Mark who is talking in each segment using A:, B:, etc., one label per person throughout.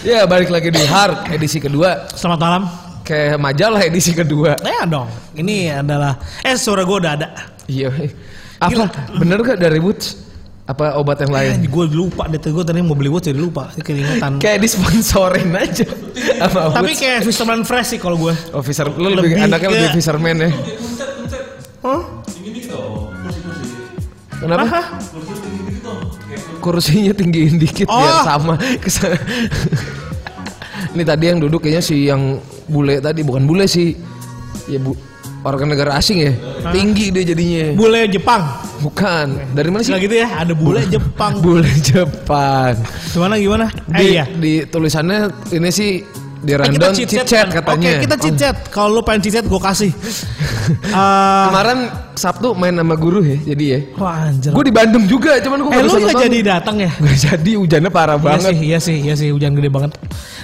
A: Ya balik lagi di Hard edisi kedua
B: Selamat malam.
A: Kayak majalah edisi kedua
B: Ya dong. Ini adalah eh suara gue udah ada.
A: Iya Apa? Bener gak dari Woods? Apa obat yang lain?
B: gue Eh, lupa deh gue tadi mau beli watch jadi lupa keingetan.
A: Kayak disponsorin aja Sama
B: Tapi
A: Woods
B: kayak Fisherman Fresh sih kalau gue.
A: Oh Fisher, lu lebih,
B: Lebih
A: anaknya
B: ke-
A: lebih fisherman ya
B: Hah?
A: Kenapa?
B: Hah?
A: Kursinya tinggiin dikit biar
B: Oh.
A: sama kesana. Ini tadi yang duduk kayaknya si yang bule tadi Bukan bule sih Ya bu orang negara asing ya Tinggi dia jadinya
B: Bule Jepang.
A: Bukan Dari mana sih?
B: Gila gitu ya, ada bule Jepang.
A: Bule Jepang
B: Gimana gimana?
A: di,
B: Eh iya.
A: di tulisannya ini sih di
B: Eh,
A: rundown
B: chit
A: chit
B: chat
A: chat
B: kan?
A: katanya. Hmm.
B: Oke, kita chit chat. Kalau lu pengen chit chat gue kasih. Eh,
A: Oh. Kemarin Sabtu main sama guru ya, jadi ya.
B: wah anjir.
A: Gue di Bandung juga, cuman gue
B: eh lu nggak jadi datang ya?
A: Gak jadi hujannya parah
B: Iya
A: banget.
B: sih, iya sih, iya sih hujan gede banget.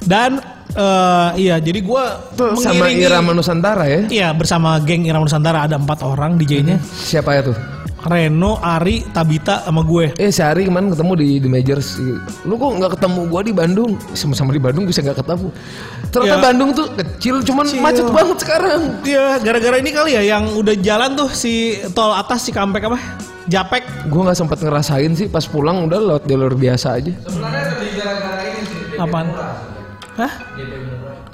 B: Dan eh iya, jadi gue
A: Tuh, sama Irama Nusantara ya.
B: Iya bersama geng Irama Nusantara ada empat orang DJ-nya
A: Siapa ya tuh?
B: Mm-hmm. Reno, Ari, Tabita sama gue
A: Eh sehari kemarin ketemu di The Majors. Lu kok nggak ketemu gue di Bandung? Sama-sama di Bandung bisa nggak ketemu? Ternyata
B: Ya.
A: Bandung tuh kecil, cuman
B: Kecil.
A: macet banget sekarang.
B: Iya gara-gara ini kali ya yang udah jalan tuh si tol atas si Kampek apa? Japek
A: Gue nggak sempat ngerasain sih pas pulang udah lewat jalur biasa aja.
B: Apaan? Hah?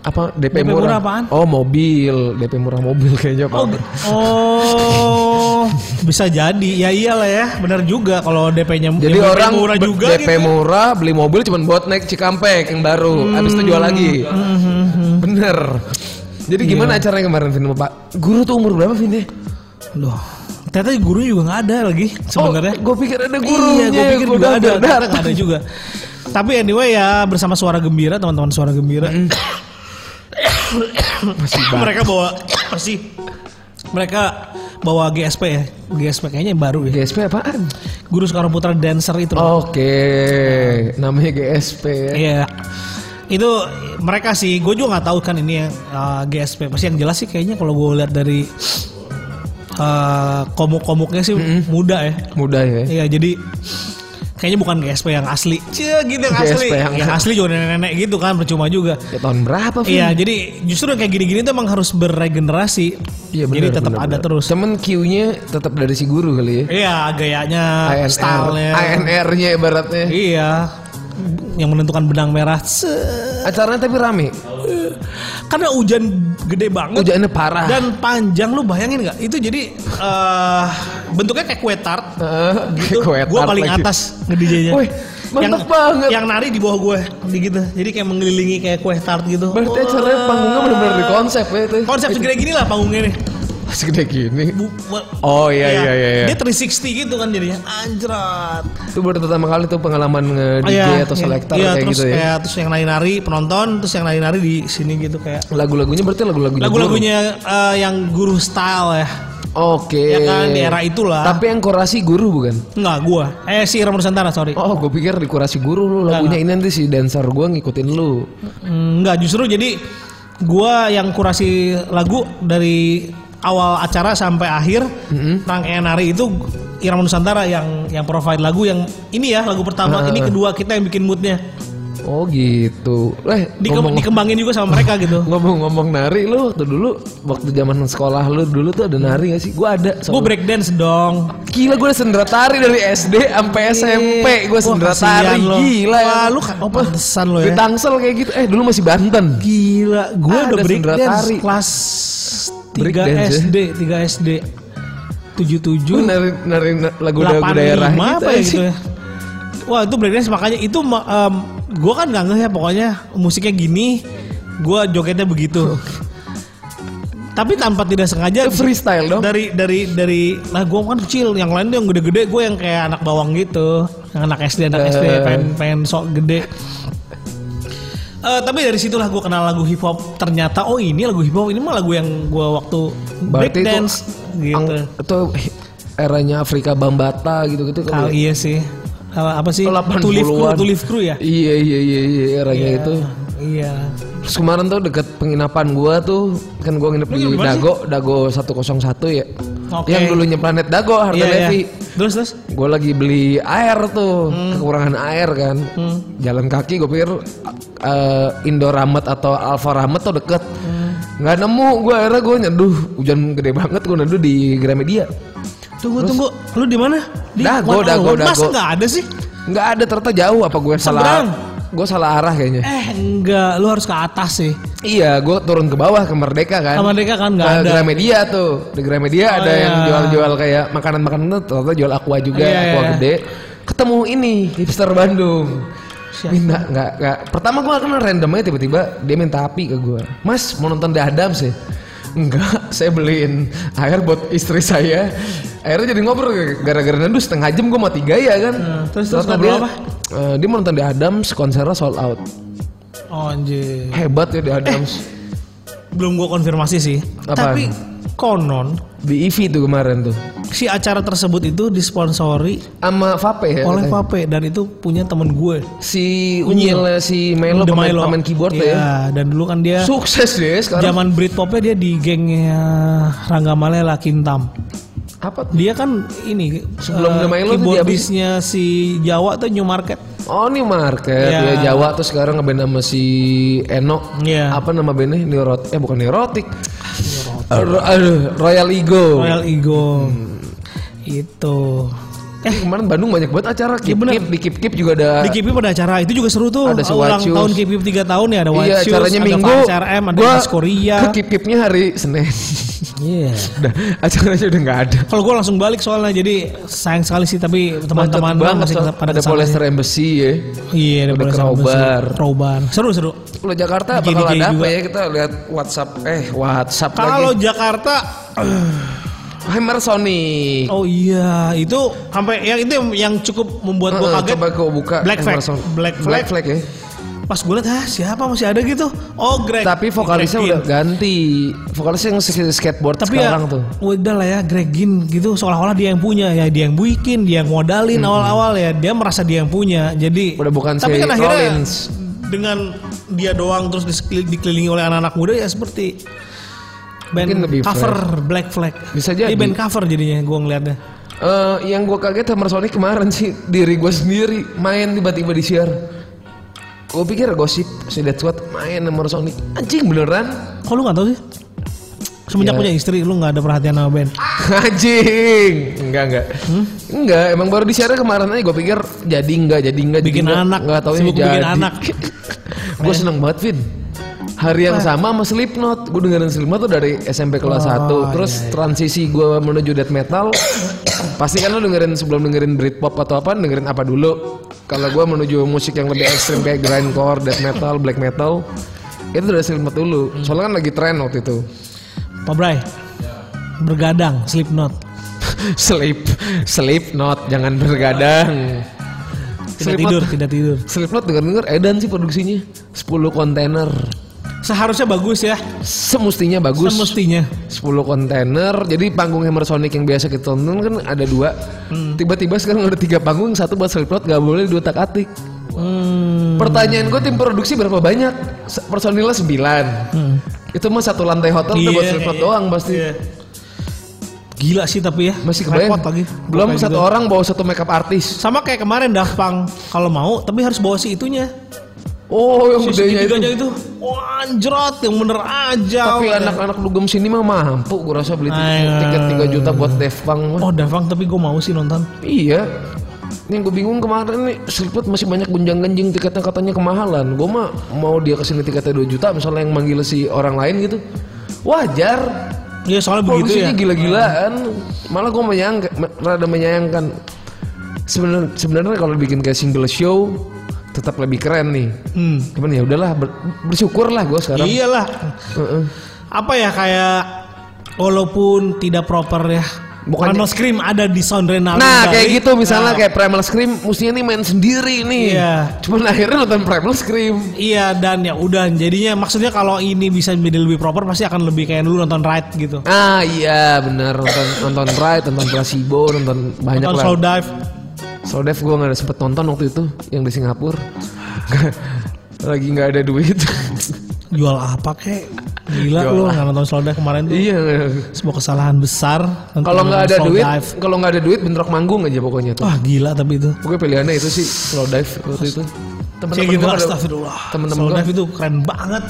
A: apa DP, murah.
B: DP Iya. murah apaan?
A: Oh mobil, DP murah mobil kayaknya Pak.
B: Oh, oh, bisa jadi ya iyalah ya benar juga kalau DP-nya
A: Jadi
B: ya, Hmm.
A: orang
B: murah
A: be-
B: juga
A: DP
B: gitu.
A: murah beli mobil cuman buat naik Cikampek yang baru, habis itu jual lagi.
B: Hmm,
A: Bener.
B: Iya.
A: Jadi gimana acaranya kemarin Vin sama Pak? Guru tuh umur berapa Vin ya?
B: Loh, ternyata gurunya juga nggak ada lagi
A: Oh,
B: sebenarnya.
A: gue pikir ada
B: Iya,
A: gurunya.
B: gue pikir
A: gua
B: juga
A: udah
B: ada,
A: udah
B: ternyata nggak ada juga. Tapi anyway ya bersama suara gembira teman-teman suara gembira.
A: Mm.
B: mereka bawa pasti mereka bawa GSP ya. GSP kayaknya yang baru ya.
A: GSP apaan?
B: Guru Soekarno Putra dancer itu.
A: Oh,
B: loh.
A: Oke, namanya GSP ya.
B: Iya. Itu mereka sih, gue juga nggak tahu kan ini yang uh, GSP. Pasti yang jelas sih kayaknya kalau gue lihat dari uh, komuk-komuknya sih muda ya.
A: Muda ya.
B: Iya jadi kayaknya bukan GSP yang asli. Cie gitu yang asli.
A: GSP yang-
B: Yang asli juga nenek-nenek gitu kan percuma juga.
A: Ya, tahun berapa Vin?
B: Iya, jadi justru yang kayak gini-gini tuh emang harus beregenerasi.
A: Iya,
B: jadi
A: bener,
B: tetap
A: bener,
B: ada
A: bener.
B: terus.
A: Cuman Q-nya tetap dari si guru kali ya.
B: Iya, gayanya, stylenya.
A: ANR-nya ibaratnya.
B: Iya. Yang menentukan benang merah. Se-
A: Acaranya tapi rame.
B: Karena hujan gede banget.
A: Hujannya parah.
B: Dan panjang lu bayangin nggak? Itu jadi eh bentuknya kayak kue tart.
A: Heeh,
B: gitu.
A: kue
B: Gue
A: tart
B: paling
A: lagi.
B: atas ngedijanya.
A: Wih, mantap banget.
B: Yang nari di bawah gue, di gitu. Jadi kayak mengelilingi kayak kue tart gitu.
A: Berarti
B: Wah.
A: acaranya panggungnya benar-benar di konsep ya itu.
B: Konsep segede gini lah panggungnya nih.
A: segede gini.
B: Bu- bu-
A: Oh, iya,
B: ya.
A: iya, iya, iya.
B: Dia 360 gitu kan jadinya. Anjrat.
A: Itu baru pertama kali tuh pengalaman nge DJ
B: Iya,
A: atau
B: iya.
A: selektor
B: Iya,
A: kayak
B: terus
A: gitu ya.
B: kayak- terus yang nari-nari penonton, terus yang nari-nari di sini gitu kayak.
A: Lagu-lagunya berarti lagu-lagunya. guru.
B: Lagu-lagunya eh, yang guru style ya.
A: Oke.
B: Ya kan, di era itulah.
A: Tapi yang kurasi guru bukan?
B: Enggak, gua. Eh si Irama Nusantara, sorry.
A: Oh, gue pikir di kurasi guru lu lagunya ini nanti si dancer gua ngikutin lu.
B: Mm, Enggak, justru jadi gua yang kurasi lagu dari awal acara sampai akhir
A: Mm-hmm.
B: rangkaian hari itu Irama Nusantara yang yang provide lagu yang ini ya lagu pertama, ini kedua kita yang bikin moodnya.
A: Oh gitu. Eh,
B: Dike-
A: ngomong,
B: dikembangin juga sama mereka gitu.
A: ngomong-ngomong nari lu waktu dulu waktu zaman sekolah lu dulu tuh ada nari gak sih? Gua ada.
B: Gue
A: soalnya.
B: break dance dong.
A: Gila gue sendera tari dari SD sampai SMP gue
B: Wah,
A: sendera
B: kasihan
A: tari
B: lo.
A: gila ya.
B: Wah, lu kan oh, pantesan lo
A: di
B: ya.
A: Tangsel kayak gitu. Eh dulu masih Banten.
B: Gila, gue
A: Ada
B: udah break
A: sendera
B: dance
A: tari.
B: kelas
A: Break
B: 3
A: dance ya?
B: SD, 3 SD.
A: Gue
B: 77
A: nari nari na- lagu-lagu
B: 85
A: daerah eh,
B: apa ya
A: aja.
B: gitu ya. Wah, itu breakdance makanya itu ma- em, gua kan nggak ngeh ya pokoknya musiknya gini, gua jogetnya begitu. Tapi tanpa tidak sengaja
A: Itu Ya, freestyle dong.
B: dari dari dari lah gua kan kecil, yang lain tuh yang gede-gede, gue yang kayak anak bawang gitu, yang anak SD, anak SD
A: Eh.
B: pengen pengen sok gede. Eh, tapi dari situlah gue kenal lagu hip hop. Ternyata oh ini lagu hip hop ini mah lagu yang gua waktu
A: Berarti itu
B: breakdance
A: Ang,
B: gitu.
A: itu eranya Afrika Bambata gitu-gitu
B: Kal
A: kali. ya.
B: iya sih. Apa, apa sih?
A: 80-an.
B: Tulif Crew, Tulif Crew ya?
A: Iya iya iya iya eranya itu.
B: Iya.
A: Terus kemarin tuh deket penginapan gua tuh kan gua nginep di
B: nginep di mana
A: Dago, Dago 101 ya.
B: Oke.
A: Yang dulunya planet Dago, Harta
B: Iya, iya. Hmm.
A: Levi.
B: Terus terus.
A: Gue
B: Hmm.
A: lagi beli air tuh, kekurangan air kan. Jalan kaki gue pikir eh, Indoramet atau Alfaramet tuh deket
B: Hmm.
A: nggak nemu gue akhirnya gue nyeduh hujan gede banget gue nyeduh di Gramedia
B: Tunggu tunggu, lu di mana? Di
A: Dago,
B: One
A: Dago,
B: on One.
A: Dago.
B: Masa nggak ada sih?
A: nggak ada ternyata jauh apa gue
B: Seberang.
A: salah gue salah arah kayaknya
B: Eh enggak, lu harus ke atas sih.
A: iya gue turun ke bawah ke Merdeka kan
B: Sama mereka kan nggak
A: Ke
B: ada.
A: Gramedia tuh di Gramedia ada
B: iya.
A: yang jual-jual kayak makanan-makanan tuh ternyata jual aqua juga
B: Iya,
A: aqua
B: iya.
A: gede ketemu ini hipster Bandung
B: Siapa?
A: minta nggak nggak pertama gue kenal randomnya tiba-tiba dia minta api ke gue mas mau nonton The Adams ya enggak saya beliin air buat istri saya akhirnya jadi ngobrol gara-gara nandu setengah jam gue mati gaya kan
B: Hmm, terus- terus
A: Ternyata
B: ngobrol
A: dia,
B: apa?
A: eh, dia mau nonton The Adams konsernya sold out
B: Oh, anjir.
A: hebat ya The
B: Eh.
A: Adams
B: Belum gua konfirmasi sih.
A: Apaan?
B: Tapi konon
A: di EV tuh kemarin tuh
B: si acara tersebut itu disponsori
A: sama Vape ya
B: oleh
A: katanya.
B: Pape dan itu punya temen gue.
A: si
B: Unyil.
A: Unyil si Melo Ya,
B: The
A: pemain,
B: Milo.
A: pemain keyboard
B: Iya,
A: ya.
B: dan dulu kan dia
A: Sukses deh sekarang.
B: zaman Britpopnya dia di gengnya Rangga Malela Kintam.
A: Apa tuh?
B: Dia kan ini
A: Sebelum
B: eh,
A: The Milo tuh dia
B: keyboardisnya si Jawa tuh New Market.
A: Oh nih market
B: Iya.
A: ya Jawa tuh sekarang ngeband sama si Eno.
B: Iya.
A: Apa nama bandnya? Neurot eh bukan neurotik. Ro- aduh, Royal Ego.
B: Royal Ego.
A: Hmm.
B: Itu.
A: Eh kemarin Bandung banyak banget acara
B: Iya,
A: Kip
B: bener.
A: Kip di Kip Kip juga ada.
B: Eh, Di KPIP ada acara itu juga seru tuh.
A: Ada si White
B: Ulang
A: Shoes.
B: tahun KPIP 3 tahun ya ada White
A: iya,
B: Shoes,
A: acaranya
B: ada
A: minggu.
B: CRM, ada
A: Gua
B: Mas Korea.
A: Ke Kip Kipnya hari Senin.
B: Iya.
A: Udah, acaranya udah nggak ada.
B: Kalau gue langsung balik soalnya jadi sayang sekali sih tapi teman-teman
A: Macet
B: gua
A: banget,
B: masih
A: soal-
B: pada
A: ada
B: kesana.
A: Polester Embassy ya.
B: Iya, ada
A: Ada
B: Polres sama Besi.
A: Crowbar.
B: Crowbar. Seru seru.
A: Kalau Jakarta
B: Bikin
A: bakal
B: IG
A: ada apa
B: juga.
A: ya? Kita lihat WhatsApp eh WhatsApp
B: Kalau
A: lagi.
B: Jakarta,
A: Hammer Sonic.
B: oh iya itu sampai yang itu yang, yang cukup membuat gue
A: Eh, eh,
B: kaget.
A: Coba kau buka
B: Black
A: Hammer
B: Flag.
A: Sonic.
B: Black
A: Black
B: Flag.
A: Flag. ya.
B: Pas gue liat, ah siapa masih ada gitu? Oh Greg.
A: Tapi vokalisnya
B: Greg
A: udah
B: Ginn.
A: ganti. Vokalisnya yang skate- skateboard
B: Tapi
A: sekarang
B: ya,
A: tuh.
B: udah lah ya Greg Ginn gitu seolah-olah dia yang punya ya dia yang buikin dia yang modalin awal-awal ya dia merasa dia yang punya jadi
A: Udah bukan
B: tapi
A: si
B: kan akhirnya
A: Rollins.
B: dengan dia doang terus disekil- dikelilingi oleh anak-anak muda ya seperti band
A: Mungkin lebih
B: cover Black Flag
A: Bisa
B: Dia
A: jadi.
B: band cover jadinya gue ngeliatnya
A: Eh, yang gue kaget Hammer Sonic kemarin sih diri gue sendiri main tiba-tiba di share. Gue pikir gosip si That's What main Hammer Sonic. Anjing beneran?
B: kok lu gak tau sih semenjak
A: Ya.
B: punya istri lu gak ada perhatian sama band
A: Anjing. Enggak enggak.
B: Hmm?
A: Enggak, emang baru di share kemarin aja gue pikir jadi enggak, jadi enggak, jadi
B: bikin
A: enggak.
B: anak
A: Enggak tahu
B: sibuk
A: jadi.
B: bikin anak
A: gue seneng banget Vin hari yang sama sama Slipknot gue dengerin Slipknot tuh dari SMP
B: Oh,
A: kelas
B: iya,
A: 1 terus transisi gue menuju death metal pasti kan lo dengerin sebelum dengerin Britpop atau apa dengerin apa dulu kalau gue menuju musik yang lebih ekstrim kayak grindcore death metal black metal itu dari Slipknot dulu
B: Hmm.
A: soalnya kan lagi tren waktu itu
B: Pak Bray bergadang Slipknot
A: Sleep Slipknot jangan bergadang
B: tidak
A: Slipknot-
B: tidur tidak tidur
A: Slipknot denger-denger edan sih produksinya 10 kontainer
B: seharusnya bagus ya
A: semestinya bagus
B: semestinya
A: 10 kontainer jadi panggung Hammer Sonic yang biasa kita tonton kan ada dua
B: Hmm.
A: tiba-tiba sekarang ada tiga panggung satu buat Slipknot gak boleh diutak atik
B: Hmm.
A: pertanyaan gue tim produksi berapa banyak Se- personilnya 9
B: Hmm.
A: itu mah satu lantai hotel udah
B: Iya,
A: buat Slipknot
B: iya.
A: doang pasti
B: Iya. Gila sih tapi ya.
A: masih
B: repot
A: kebayang
B: lagi.
A: belum
B: Kayak
A: satu
B: gitu.
A: orang bawa satu makeup artis
B: Sama kayak kemarin Daft Punk kalau mau tapi harus bawa si itunya.
A: oh yang gedenya
B: Si
A: itu
B: segitiganya itu. Wah, anjrot yang bener aja.
A: tapi anak-anak dugem sini mah mampu gue rasa beli
B: Ayo.
A: tiket 3 juta buat Daft Punk mah
B: Oh, Daft Punk tapi gue mau sih nonton.
A: Iya. Ini yang gue bingung kemarin nih Slipknot masih banyak gonjang ganjing tiketnya katanya kemahalan. Gue mah mau dia kesini tiketnya 2 juta misalnya yang manggil si orang lain gitu. Wajar.
B: Iya, soalnya begitu ya.
A: Produksinya gila-gilaan. Malah gue menyangka, me- rada menyayangkan. Sebenar- Sebenarnya kalau bikin kayak single show tetap lebih keren nih.
B: Hmm. Iya.
A: Cuman ya udahlah ber- bersyukurlah gue sekarang.
B: Iyalah.
A: Heeh.
B: Apa ya kayak walaupun tidak proper ya.
A: Bukannya-
B: Bukan Scream ada di soundtrack
A: Nah kayak gitu misalnya kayak Primal Scream mestinya nih main sendiri nih.
B: Iya.
A: Cuman akhirnya nonton Primal Scream.
B: Iya dan ya udah jadinya maksudnya kalau ini bisa menjadi lebih proper pasti akan lebih kayak dulu nonton ride gitu.
A: Ah iya benar nonton nonton Pride, nonton Placebo, nonton banyak
B: nonton
A: lah.
B: slow dive.
A: Slow Dive gue nggak ada sempet nonton waktu itu yang di Singapura. Lagi nggak ada duit.
B: Jual apa kek? Gila
A: Yo
B: lu
A: lah.
B: nggak nonton Slowdive kemarin tuh.
A: Iya.
B: Sebuah kesalahan besar. tentang
A: Kalau nggak ada duit,
B: Slowdive.
A: kalau nggak ada duit bentrok manggung aja pokoknya tuh.
B: Wah gila tapi itu.
A: Pokoknya pilihannya itu sih slow dive waktu
B: gitu
A: itu.
B: Kayak
A: Temen-temen
B: gitu
A: gua ada-
B: astagfirullah.
A: Temen-temen
B: Slowdive
A: gua-
B: itu keren banget.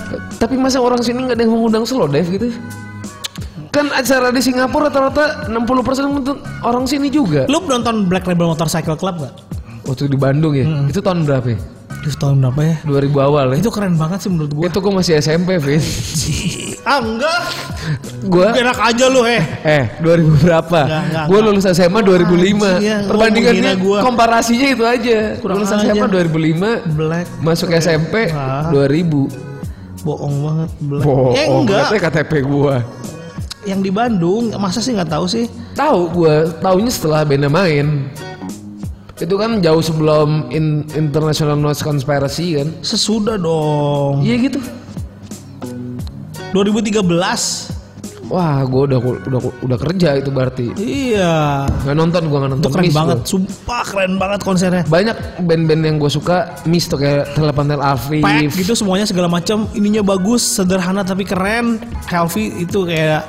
A: Tapi masa orang sini nggak ada yang mengundang slow dive gitu? Kan acara di Singapura rata-rata 60% untuk orang sini juga.
B: Lu nonton Black Rebel Motorcycle Club gak?
A: Waktu di Bandung ya.
B: Hmm.
A: Itu tahun berapa ya?
B: Di tahun berapa ya?
A: 2000 awal ya.
B: Itu keren banget sih menurut gue.
A: Itu gue masih SMP, Vin.
B: Ah enggak.
A: gue
B: Enak aja lu heh.
A: eh 2000 berapa?
B: Enggak, enggak,
A: Gue lulus SMA 2005.
B: Anjing ya, lu
A: Perbandingannya
B: menghina gua.
A: komparasinya itu aja.
B: Kurang
A: lulus
B: aja.
A: SMA 2005,
B: Black.
A: masuk SMP
B: Ah.
A: 2000.
B: Bohong banget. Black.
A: Bohong,
B: ya enggak.
A: katanya KTP gue.
B: Yang di Bandung. Masa sih nggak tahu sih?
A: Tahu gue, taunya setelah bandnya main. Itu kan jauh sebelum in- International Noise Conspiracy kan.
B: Sesudah dong.
A: Iya gitu.
B: 2013.
A: Wah, gue udah, udah udah kerja itu berarti.
B: Iya.
A: Nggak nonton gue nggak
B: Itu
A: nonton.
B: keren
A: miss
B: banget,
A: gua.
B: sumpah keren banget konsernya.
A: Banyak band-band yang gue suka miss tuh kayak Telepantel Arif.
B: Pack gitu semuanya segala macam, ininya bagus, sederhana tapi keren. Healthy itu kayak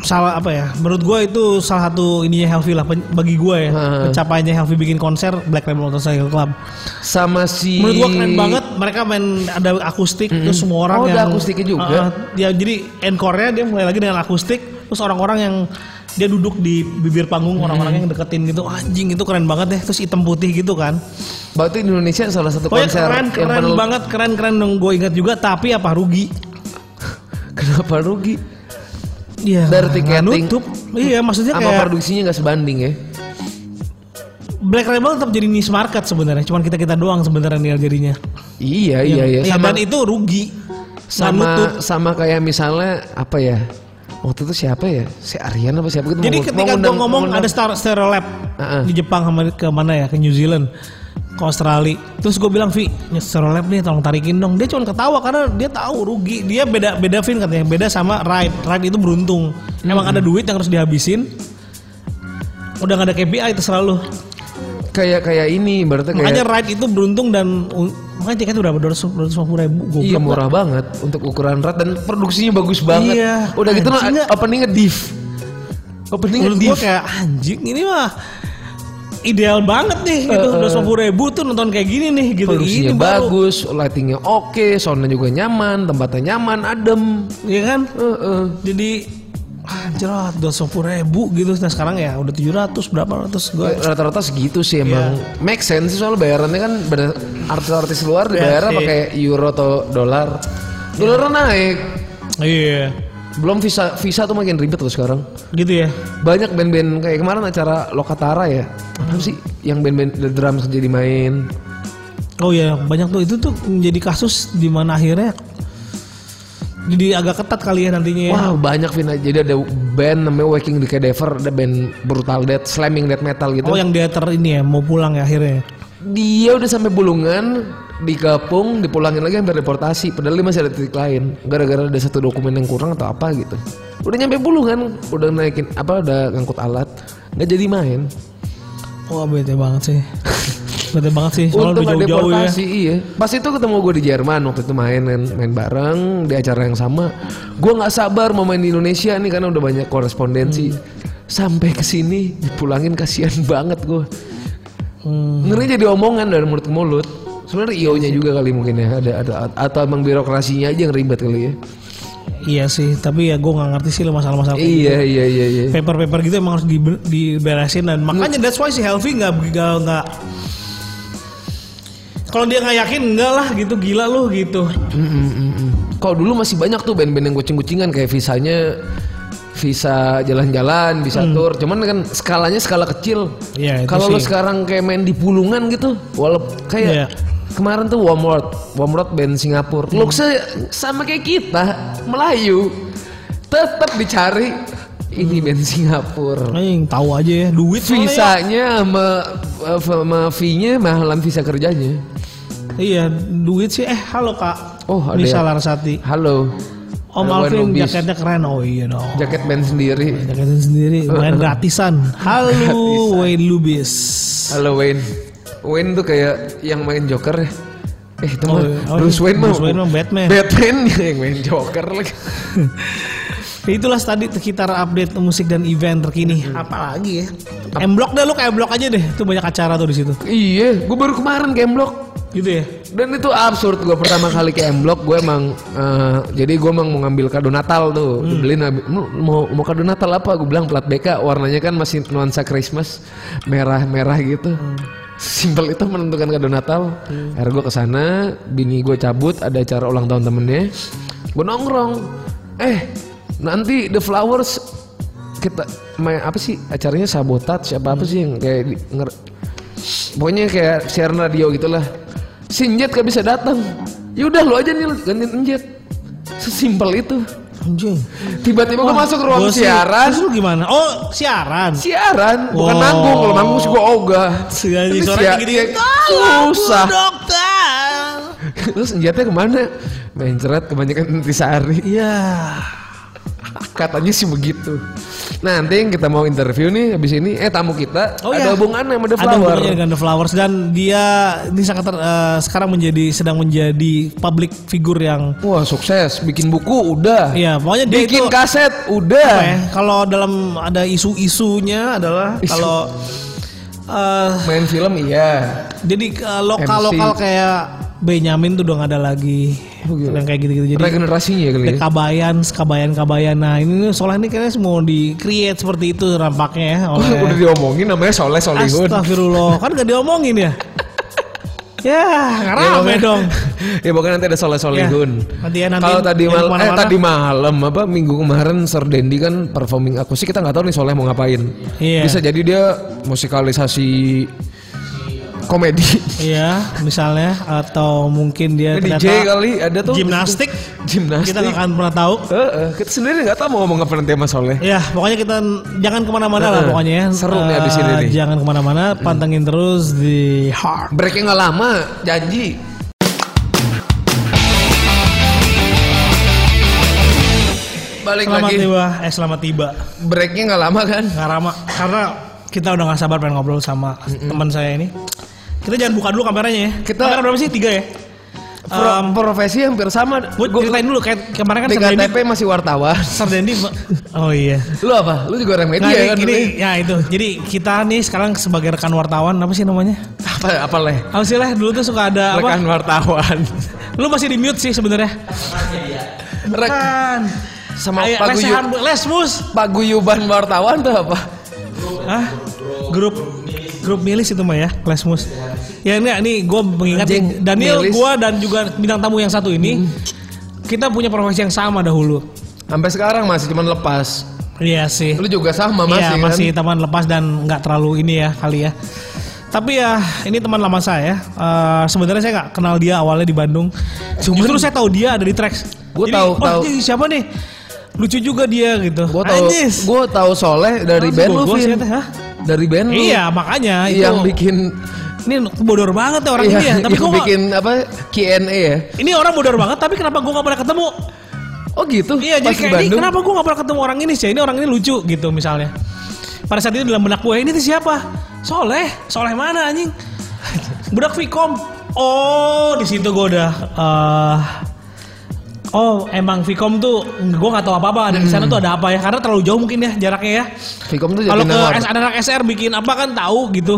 B: salah apa ya? Menurut gue itu salah satu ininya Healthy lah pen- bagi gue ya.
A: Heeh.
B: Pencapaiannya Healthy bikin konser Black Label Motorcycle Club.
A: sama si
B: Menurut gue keren banget, mereka main ada akustik terus semua orang
A: Oh, ada
B: yang
A: akustiknya juga.
B: Heeh, ya jadi encore-nya dia mulai lagi dengan akustik, terus orang-orang yang dia duduk di bibir panggung orang-orang yang deketin gitu anjing itu keren banget deh terus hitam putih gitu kan
A: berarti di Indonesia salah satu
B: Pokoknya
A: konser
B: keren,
A: yang
B: keren
A: pernah-
B: banget, keren, keren dong. Gue ingat juga, tapi apa rugi?
A: kenapa rugi
B: Iya.
A: Dari tiketing.
B: Nutup. Iya, maksudnya
A: sama
B: kayak
A: produksinya nggak sebanding ya
B: Black Label tetap jadi niche market sebenarnya. Cuman kita kita doang sebenarnya Niel, jadinya.
A: iya iya iya
B: Iya,
A: sama
B: dan itu rugi.
A: sama
B: Nggak nutup.
A: sama kayak misalnya apa ya waktu itu siapa ya si Aryan apa siapa gitu
B: Jadi
A: mau-
B: ketika
A: mau
B: gue
A: ngundang-
B: ngomong
A: mau
B: ada
A: ngundang-
B: Star Stereo Lab
A: Heeh.
B: di Jepang sama ke mana ya ke New Zealand ke Australia. Terus gue bilang Vi, ya, Stereo Lab nih tolong tarikin dong. Dia cuma ketawa karena dia tahu rugi. Dia beda beda Vin katanya beda sama Ride. Ride itu beruntung.
A: Hmm.
B: Emang ada duit yang harus dihabisin. Udah gak ada KPI terserah lu.
A: kayak kayak ini berarti kayak
B: Makanya Ride itu beruntung dan makanya tiketnya udah berapa? 250 ribu.
A: Iya murah banget untuk ukuran rat dan produksinya bagus banget.
B: Iya.
A: Udah gitu nah,
B: Anjing nggak?
A: openingnya div. Openingnya
B: menurut
A: div.
B: gue kayak anjing ini mah ideal banget nih gitu dua ribu tuh nonton kayak gini nih gitu
A: Produksinya
B: ini baru.
A: bagus, lightingnya oke, soundnya juga nyaman, tempatnya nyaman, adem.
B: ya kan
A: Heeh.
B: jadi anjir lah dua ribu gitu nah sekarang ya udah 700 berapa ratus gue
A: Rata-rata segitu
B: Iya.
A: sih emang. Make sense sih soalnya bayarannya kan ber- artis-artis luar dibayar
B: Iya sih.
A: pakai euro atau dolar. Dolarnya naik.
B: iya
A: Belum visa visa tuh makin ribet loh sekarang.
B: gitu ya
A: Banyak band-band kayak kemarin acara Lokatara ya. Apa sih yang band-band The Drums jadi main?
B: oh ya banyak tuh itu tuh menjadi kasus di mana akhirnya jadi agak ketat kali ya nantinya ya.
A: Wah banyak Vina. Jadi ada band namanya Waking the Cadaver, ada band brutal death, slamming death metal gitu.
B: oh yang dia ter ini ya mau pulang ya akhirnya
A: Dia udah sampai Bulungan, digapung, dipulangin lagi sampai deportasi. Padahal dia masih ada titik lain. Gara-gara ada satu dokumen yang kurang atau apa gitu. Udah nyampe Bulungan, udah naikin apa udah ngangkut alat, nggak jadi main.
B: wah bete banget sih bete banget sih soalnya
A: Untung
B: udah
A: ada
B: jauh-jauh ya
A: deportasi, iya. Pas itu ketemu gue di Jerman waktu itu main main, main bareng di acara yang sama. Gue nggak sabar mau main di Indonesia nih karena udah banyak korespondensi.
B: Hmm.
A: Sampai ke sini dipulangin kasihan banget gue.
B: Hmm.
A: Ngeri jadi omongan dari mulut ke mulut. Sebenarnya io-nya juga kali mungkin ya ada ada atau emang birokrasinya aja yang ribet kali ya.
B: Iya sih, tapi ya gue nggak ngerti sih lo masalah-masalah kayak
A: Iya iya iya iya.
B: paper-paper gitu emang harus dibe- diberesin dan makanya that's why si Helvi nggak nggak nggak kalau dia nggak yakin enggak lah gitu gila lu gitu
A: Mm, mm, mm, mm. Kalau dulu masih banyak tuh band-band yang kucing-kucingan kayak visanya visa jalan-jalan, bisa tour. Cuman kan skalanya skala kecil.
B: Hmm. Iya, itu
A: Kalau lu
B: sih.
A: sekarang kayak main di Pulungan gitu, walaupun kayak
B: Iya. Hmm.
A: kemarin tuh Warmworld, Warmworld band Singapura. Looks-nya sama kayak kita, Melayu. Tetap dicari ini band Singapura.
B: yang tahu aja ya duit Hmm. soalnya ya.
A: Visanya sama, eh, sama fee-nya mahalan visa kerjanya.
B: iya duit sih eh halo kak
A: Oh, ada
B: Nisa
A: ya.
B: Larsati
A: Halo.
B: Om
A: Halo,
B: Alvin
A: Wenobis.
B: jaketnya keren oh iya dong
A: jaket band sendiri.
B: jaketnya sendiri main gratisan halo Wayne Lubis
A: Halo Wayne. Wayne tuh kayak yang main Joker ya. Eh itu mah
B: Oh, oh,
A: Bruce Wayne mah
B: Bruce Wayne mah Batman.
A: Batman yang main Joker lagi
B: Ya, Itulah tadi sekitar update musik dan event terkini. Apalagi ya? M-Block dah lu kayak M-Block aja deh. Itu banyak acara tuh di situ.
A: Iya gue baru kemarin ke M-Block
B: Gitu ya.
A: Dan itu absurd gue pertama kali ke M Block gue emang eh, jadi gue emang mau ngambil kado Natal tuh dibeliin abi- "Mu- mau mau kado Natal apa gue bilang plat BK warnanya kan masih nuansa Christmas merah merah gitu simpel itu menentukan kado Natal akhirnya gue kesana bini gue cabut ada acara ulang tahun temennya gue nongkrong eh nanti The Flowers kita main apa sih acaranya sabotage apa apa sih yang kayak di- nger- pokoknya kayak siaran radio gitulah si Njet gak bisa datang ya udah lu aja nih lu gantiin Njet sesimpel itu
B: Anjing.
A: tiba-tiba gue masuk ruang
B: Gua sih-
A: siaran
B: Terus lu gimana? Oh, siaran.
A: siaran bukan
B: Wow.
A: nanggung kalau manggung sih gue ogah
B: Siaran
A: Tapi
B: sore
A: sia-
B: gitu.
A: iya,
B: Tolong,
A: susah
B: Bu dokter.
A: terus Njetnya kemana main cerat kebanyakan Intisari
B: Iya.
A: katanya sih begitu nah, nanti yang kita mau interview nih habis ini eh tamu kita
B: Oh,
A: ada
B: iya.
A: hubungannya sama The
B: Ada
A: Flower
B: hubungannya dengan The Flowers dan dia ini sangat ter- eh, sekarang menjadi sedang menjadi public figure yang
A: wah sukses bikin buku udah
B: Iya, pokoknya dia
A: bikin
B: itu-
A: kaset udah
B: apa ya? Kalau dalam ada isu-isunya adalah
A: Isu.
B: kalau eh,
A: main film iya
B: jadi eh, lokal-lokal
A: MC.
B: kayak Benyamin tuh udah nggak ada lagi
A: Oh, gila.
B: yang kayak gitu-gitu. Jadi
A: regenerasinya kali
B: ada
A: ya
B: kabayan, kabayan, kabayan. Nah ini soalnya ini kayaknya semua di create seperti itu nampaknya ya
A: Oh,
B: oleh
A: udah diomongin namanya Soleh Solihun
B: Astagfirullah kan gak diomongin ya. ya nggak rame
A: pokoknya-
B: dong.
A: ya pokoknya nanti ada Soleh Solihun
B: Ya, nanti ya, nanti
A: kalau tadi
B: yang
A: malam eh
B: kemana-mana.
A: tadi malam apa minggu kemarin Sir Dendi kan performing akustik kita nggak tahu nih Soleh mau ngapain
B: Iya.
A: bisa jadi dia musikalisasi komedi
B: Iya misalnya atau mungkin dia
A: Ini DJ kali ada tuh
B: Ya, gimnastik.
A: gimnastik
B: Kita nggak akan pernah tahu.
A: Eh, eh, kita sendiri nggak tahu mau ngomong apa nanti sama Soleh
B: Ya, pokoknya kita n- jangan kemana-mana lah
A: Heeh.
B: pokoknya ya.
A: Seru nih
B: Eh,
A: abis ini nih.
B: Jangan kemana-mana, pantengin terus di Heart.
A: breaknya nggak lama janji balik
B: Selamat
A: lagi
B: tiba, eh selamat tiba.
A: breaknya nggak lama kan
B: Nggak lama, karena kita udah nggak sabar pengen ngobrol sama teman saya ini. Kita jangan buka dulu kameranya ya.
A: Kita-
B: Kamera berapa sih? Tiga ya.
A: Pro-
B: Em,
A: profesi hampir sama
B: Gue ceritain dulu kayak kemarin Ehm. kan Sardendi,
A: TKTP masih wartawan
B: Sardendi, oh iya.
A: lu apa lu juga orang media
B: Nah, ini,
A: kan
B: ini,
A: Lu?
B: ya itu. Jadi kita nih sekarang sebagai rekan wartawan apa sih namanya?
A: apa apa leh
B: Apa sih lah dulu tuh suka ada apa?
A: rekan wartawan
B: Lu masih di mute sih sebenarnya.
A: Rek-
B: Bukan.
A: sama
B: Ayo,
A: paguyuban
B: lesehan, Bu. les mus.
A: paguyuban wartawan tuh apa
B: Hah? Ah, Grup grup milis itu mah ya, les mus. Ya ini nih gue mengingatkan
A: Anjing,
B: Daniel,
A: milis. Hmm.
B: gue dan juga bintang tamu yang satu ini kita punya profesi yang sama dahulu.
A: sampai sekarang masih cuman lepas
B: Iya sih.
A: lu juga sama masih
B: Iya
A: kan?
B: masih teman lepas dan nggak terlalu ini ya kali ya. Tapi ya ini teman lama saya. Eh, Sebenarnya saya nggak kenal dia awalnya di Bandung. Justru saya tahu dia ada di Trax.
A: Gua
B: Jadi,
A: tahu-
B: "Wah,
A: tahu.
B: ini siapa nih? Lucu juga dia gitu.
A: Gue tahu,
B: Anjis.
A: gue tahu Soleh dari
B: Langsung
A: band lu,
B: gua- gua
A: Vin.
B: sih, Teh, hah?
A: Dari band lu.
B: Iya makanya itu.
A: Yang bikin,
B: Ini bodor banget ya orang
A: iya,
B: ini ya. Tapi
A: yang
B: gua
A: bikin apa? Q&A ya.
B: ini orang bodor banget tapi kenapa gue gak pernah ketemu?
A: Oh gitu.
B: Iya jadi
A: Pas di
B: kayak ini
A: Bandung.
B: kenapa gue gak pernah ketemu orang ini sih? Ini orang ini lucu gitu misalnya. Pada saat itu dalam benak gue ini tuh siapa? Soleh, Soleh mana anjing? Budak Vicom. Oh di situ gue udah. eh, oh emang Vicom tuh gue nggak tahu apa-apa ada di sana tuh ada apa ya? Karena terlalu jauh mungkin ya jaraknya ya.
A: Vicom tuh Hmm. jadi
B: Kalau ke
A: nawar.
B: S- anak SR bikin apa kan tahu gitu.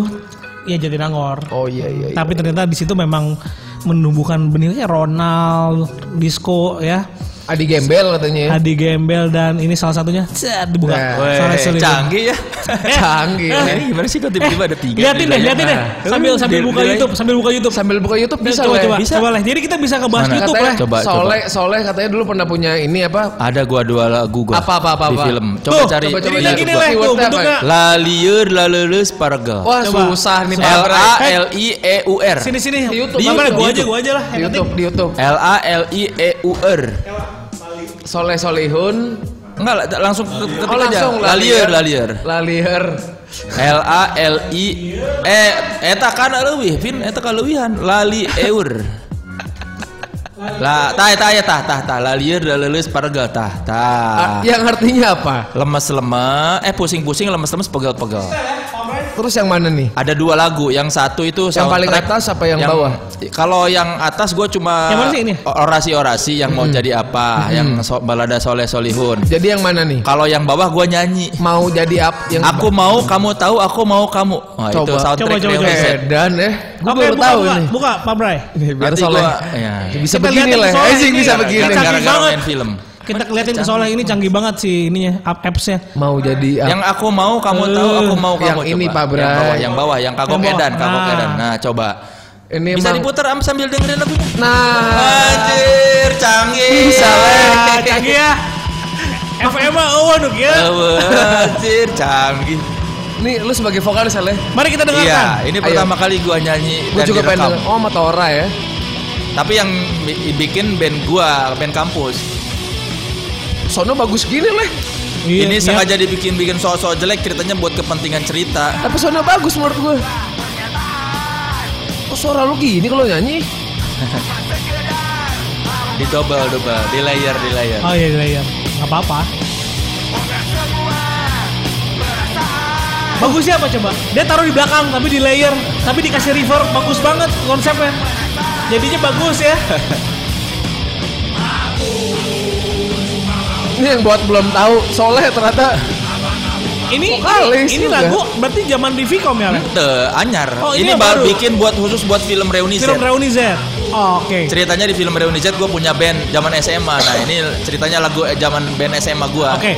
B: Ya jadi nangor.
A: Oh iya iya. iya.
B: Tapi ternyata di situ memang menumbuhkan benihnya Ronald, Disco ya,
A: Adi Gembel katanya. ya.
B: Adi Gembel dan ini salah satunya. Cet, dibuka.
A: Nah.
B: Salah
C: Weh,
B: satu itu.
C: canggih ya.
B: Eh,
A: Canggih.
B: eh,
A: ya.
C: Eh, gimana sih kok tiba-tiba ada tiga?
B: Liatin deh,
C: gilanya?
B: liatin deh.
C: Nah.
B: Sambil sambil
C: Di-
B: buka
C: di-
B: YouTube, sambil buka YouTube.
A: Sambil buka YouTube bisa
B: coba
A: Leh.
B: coba,
C: Bisa.
B: coba lah. Jadi kita bisa ngebahas
C: Mana?
B: YouTube
A: Katanya
B: lah.
C: Coba,
A: Soleh, Soleh katanya dulu pernah punya ini apa?
C: Ada gua dua lagu gua.
A: Apa, apa, apa,
C: Di
A: apa?
C: film. Coba
B: Tuh,
C: cari.
A: coba, coba,
B: Jadi
A: coba.
B: lagi nih lah tuh
A: Keywordnya apa?
B: bentuknya.
C: La lieur la leuleus parga.
A: Wah
B: Coba.
A: susah nih Pak
C: L
A: Bray.
C: A L I E U R.
B: Eh. Sini sini.
A: Di YouTube,
B: Di
A: di
B: mana?
A: YouTube,
B: Gua
A: di
B: aja, gua aja lah.
A: Di
B: Yang penting
A: YouTube, di YouTube.
C: L A L I E U R.
A: Soleh Solihun.
C: Enggak la- langsung ke- ketik
A: Oh
C: aja.
A: langsung
C: La lieur la lieur.
A: Lalier.
C: L A L I E eta kan leuwih, Vin eta kaleuwihan. La lieur. La ya, tah tah tah tah tah la lieur la leuleus parga tah tah.
A: Ah, Yang artinya apa?
C: lemes lemes eh pusing pusing lemes lemes pegel pegel
A: terus yang mana nih?
C: Ada dua lagu, yang satu itu
A: Yang paling
C: soundtrack.
A: atas apa yang bawah?
C: Kalau yang atas gue cuma
B: Yang mana sih ini?
C: orasi-orasi yang mau jadi apa, yang so- balada soleh solihun.
A: Jadi yang mana nih?
C: Kalau yang bawah gue nyanyi.
A: Mau jadi up yang
C: Aku mau kamu tahu, aku mau kamu. Wah, itu
A: Coba.
C: soundtrack ya.
B: Coba, coba,
C: Dewa
B: coba.
C: Set.
A: Edan eh. Gue
B: Oke,
A: baru
B: buka,
A: tahu
B: buka,
A: ini.
B: buka, Pak Bray.
A: Nih, biar
C: Nanti
A: soleh. Iya,
C: gua- ya.
A: Bisa
B: Kita
A: begini
B: lihat yang
A: lah.
B: soleh
A: Ezing
B: ini.
A: bisa begini.
B: Gara-gara-
A: lah.
C: Gara-gara
B: banget.
C: main film.
B: Kita keliatin ke Soleh ini canggih banget sih ininya, app apps-nya.
A: Mau jadi up.
C: Yang aku mau kamu tahu, aku mau
A: Eh, Yang
C: kamu.
A: ini,
C: coba.
A: Pak Bray.
C: Yang bawah, yang bawah, yang kagok
B: Yang bawah.
C: edan, kagok
B: Nah.
C: edan. Nah, coba.
A: ini
C: Bisa
A: emang-
C: diputar am sambil dengerin lagunya.
A: Nah,
C: Anjir, canggih. Eh,
A: Bisa,
B: Ah, canggih ya. FM mah eueuh nuk ya.
C: Anjir, canggih.
A: nih lu sebagai vokalis Ale.
B: Mari kita dengarkan.
C: Iya, ini
A: Ayo.
C: pertama kali gua nyanyi
A: Gue
C: dan
A: juga pengen
C: direkam.
A: denger. Oh, Matora ya.
C: Tapi yang bi- bikin band gua, band kampus.
A: Sono bagus gini leh.
B: Iya,
C: ini
B: iya.
C: sengaja dibikin-bikin sok-sok jelek ceritanya buat kepentingan cerita.
A: Tapi sono bagus menurut gue. Kok suara lu gini kalau nyanyi?
C: Di double, double, di layer, di layer.
B: Oh iya iya iya. Enggak apa-apa. Bagusnya ya, apa coba? Dia taruh di belakang tapi di layer, tapi dikasih reverb bagus banget konsepnya. Jadinya bagus ya.
A: Ini yang buat belum tahu Soleh ternyata
B: Ini
A: Vokalis
B: ini, ini
A: juga.
B: lagu berarti zaman di Vicom ya. Le?
C: Teh, anyar.
B: Oh, ini
C: ini
B: yang
C: baru
B: baru.
C: bikin buat khusus buat film reuni
B: Film
C: Zed.
B: Reuni Z. Oh, Oke.
C: Ceritanya di film reuni Z gue punya band zaman SMA. Nah, ini ceritanya lagu eh, zaman band SMA gua.
B: Oke.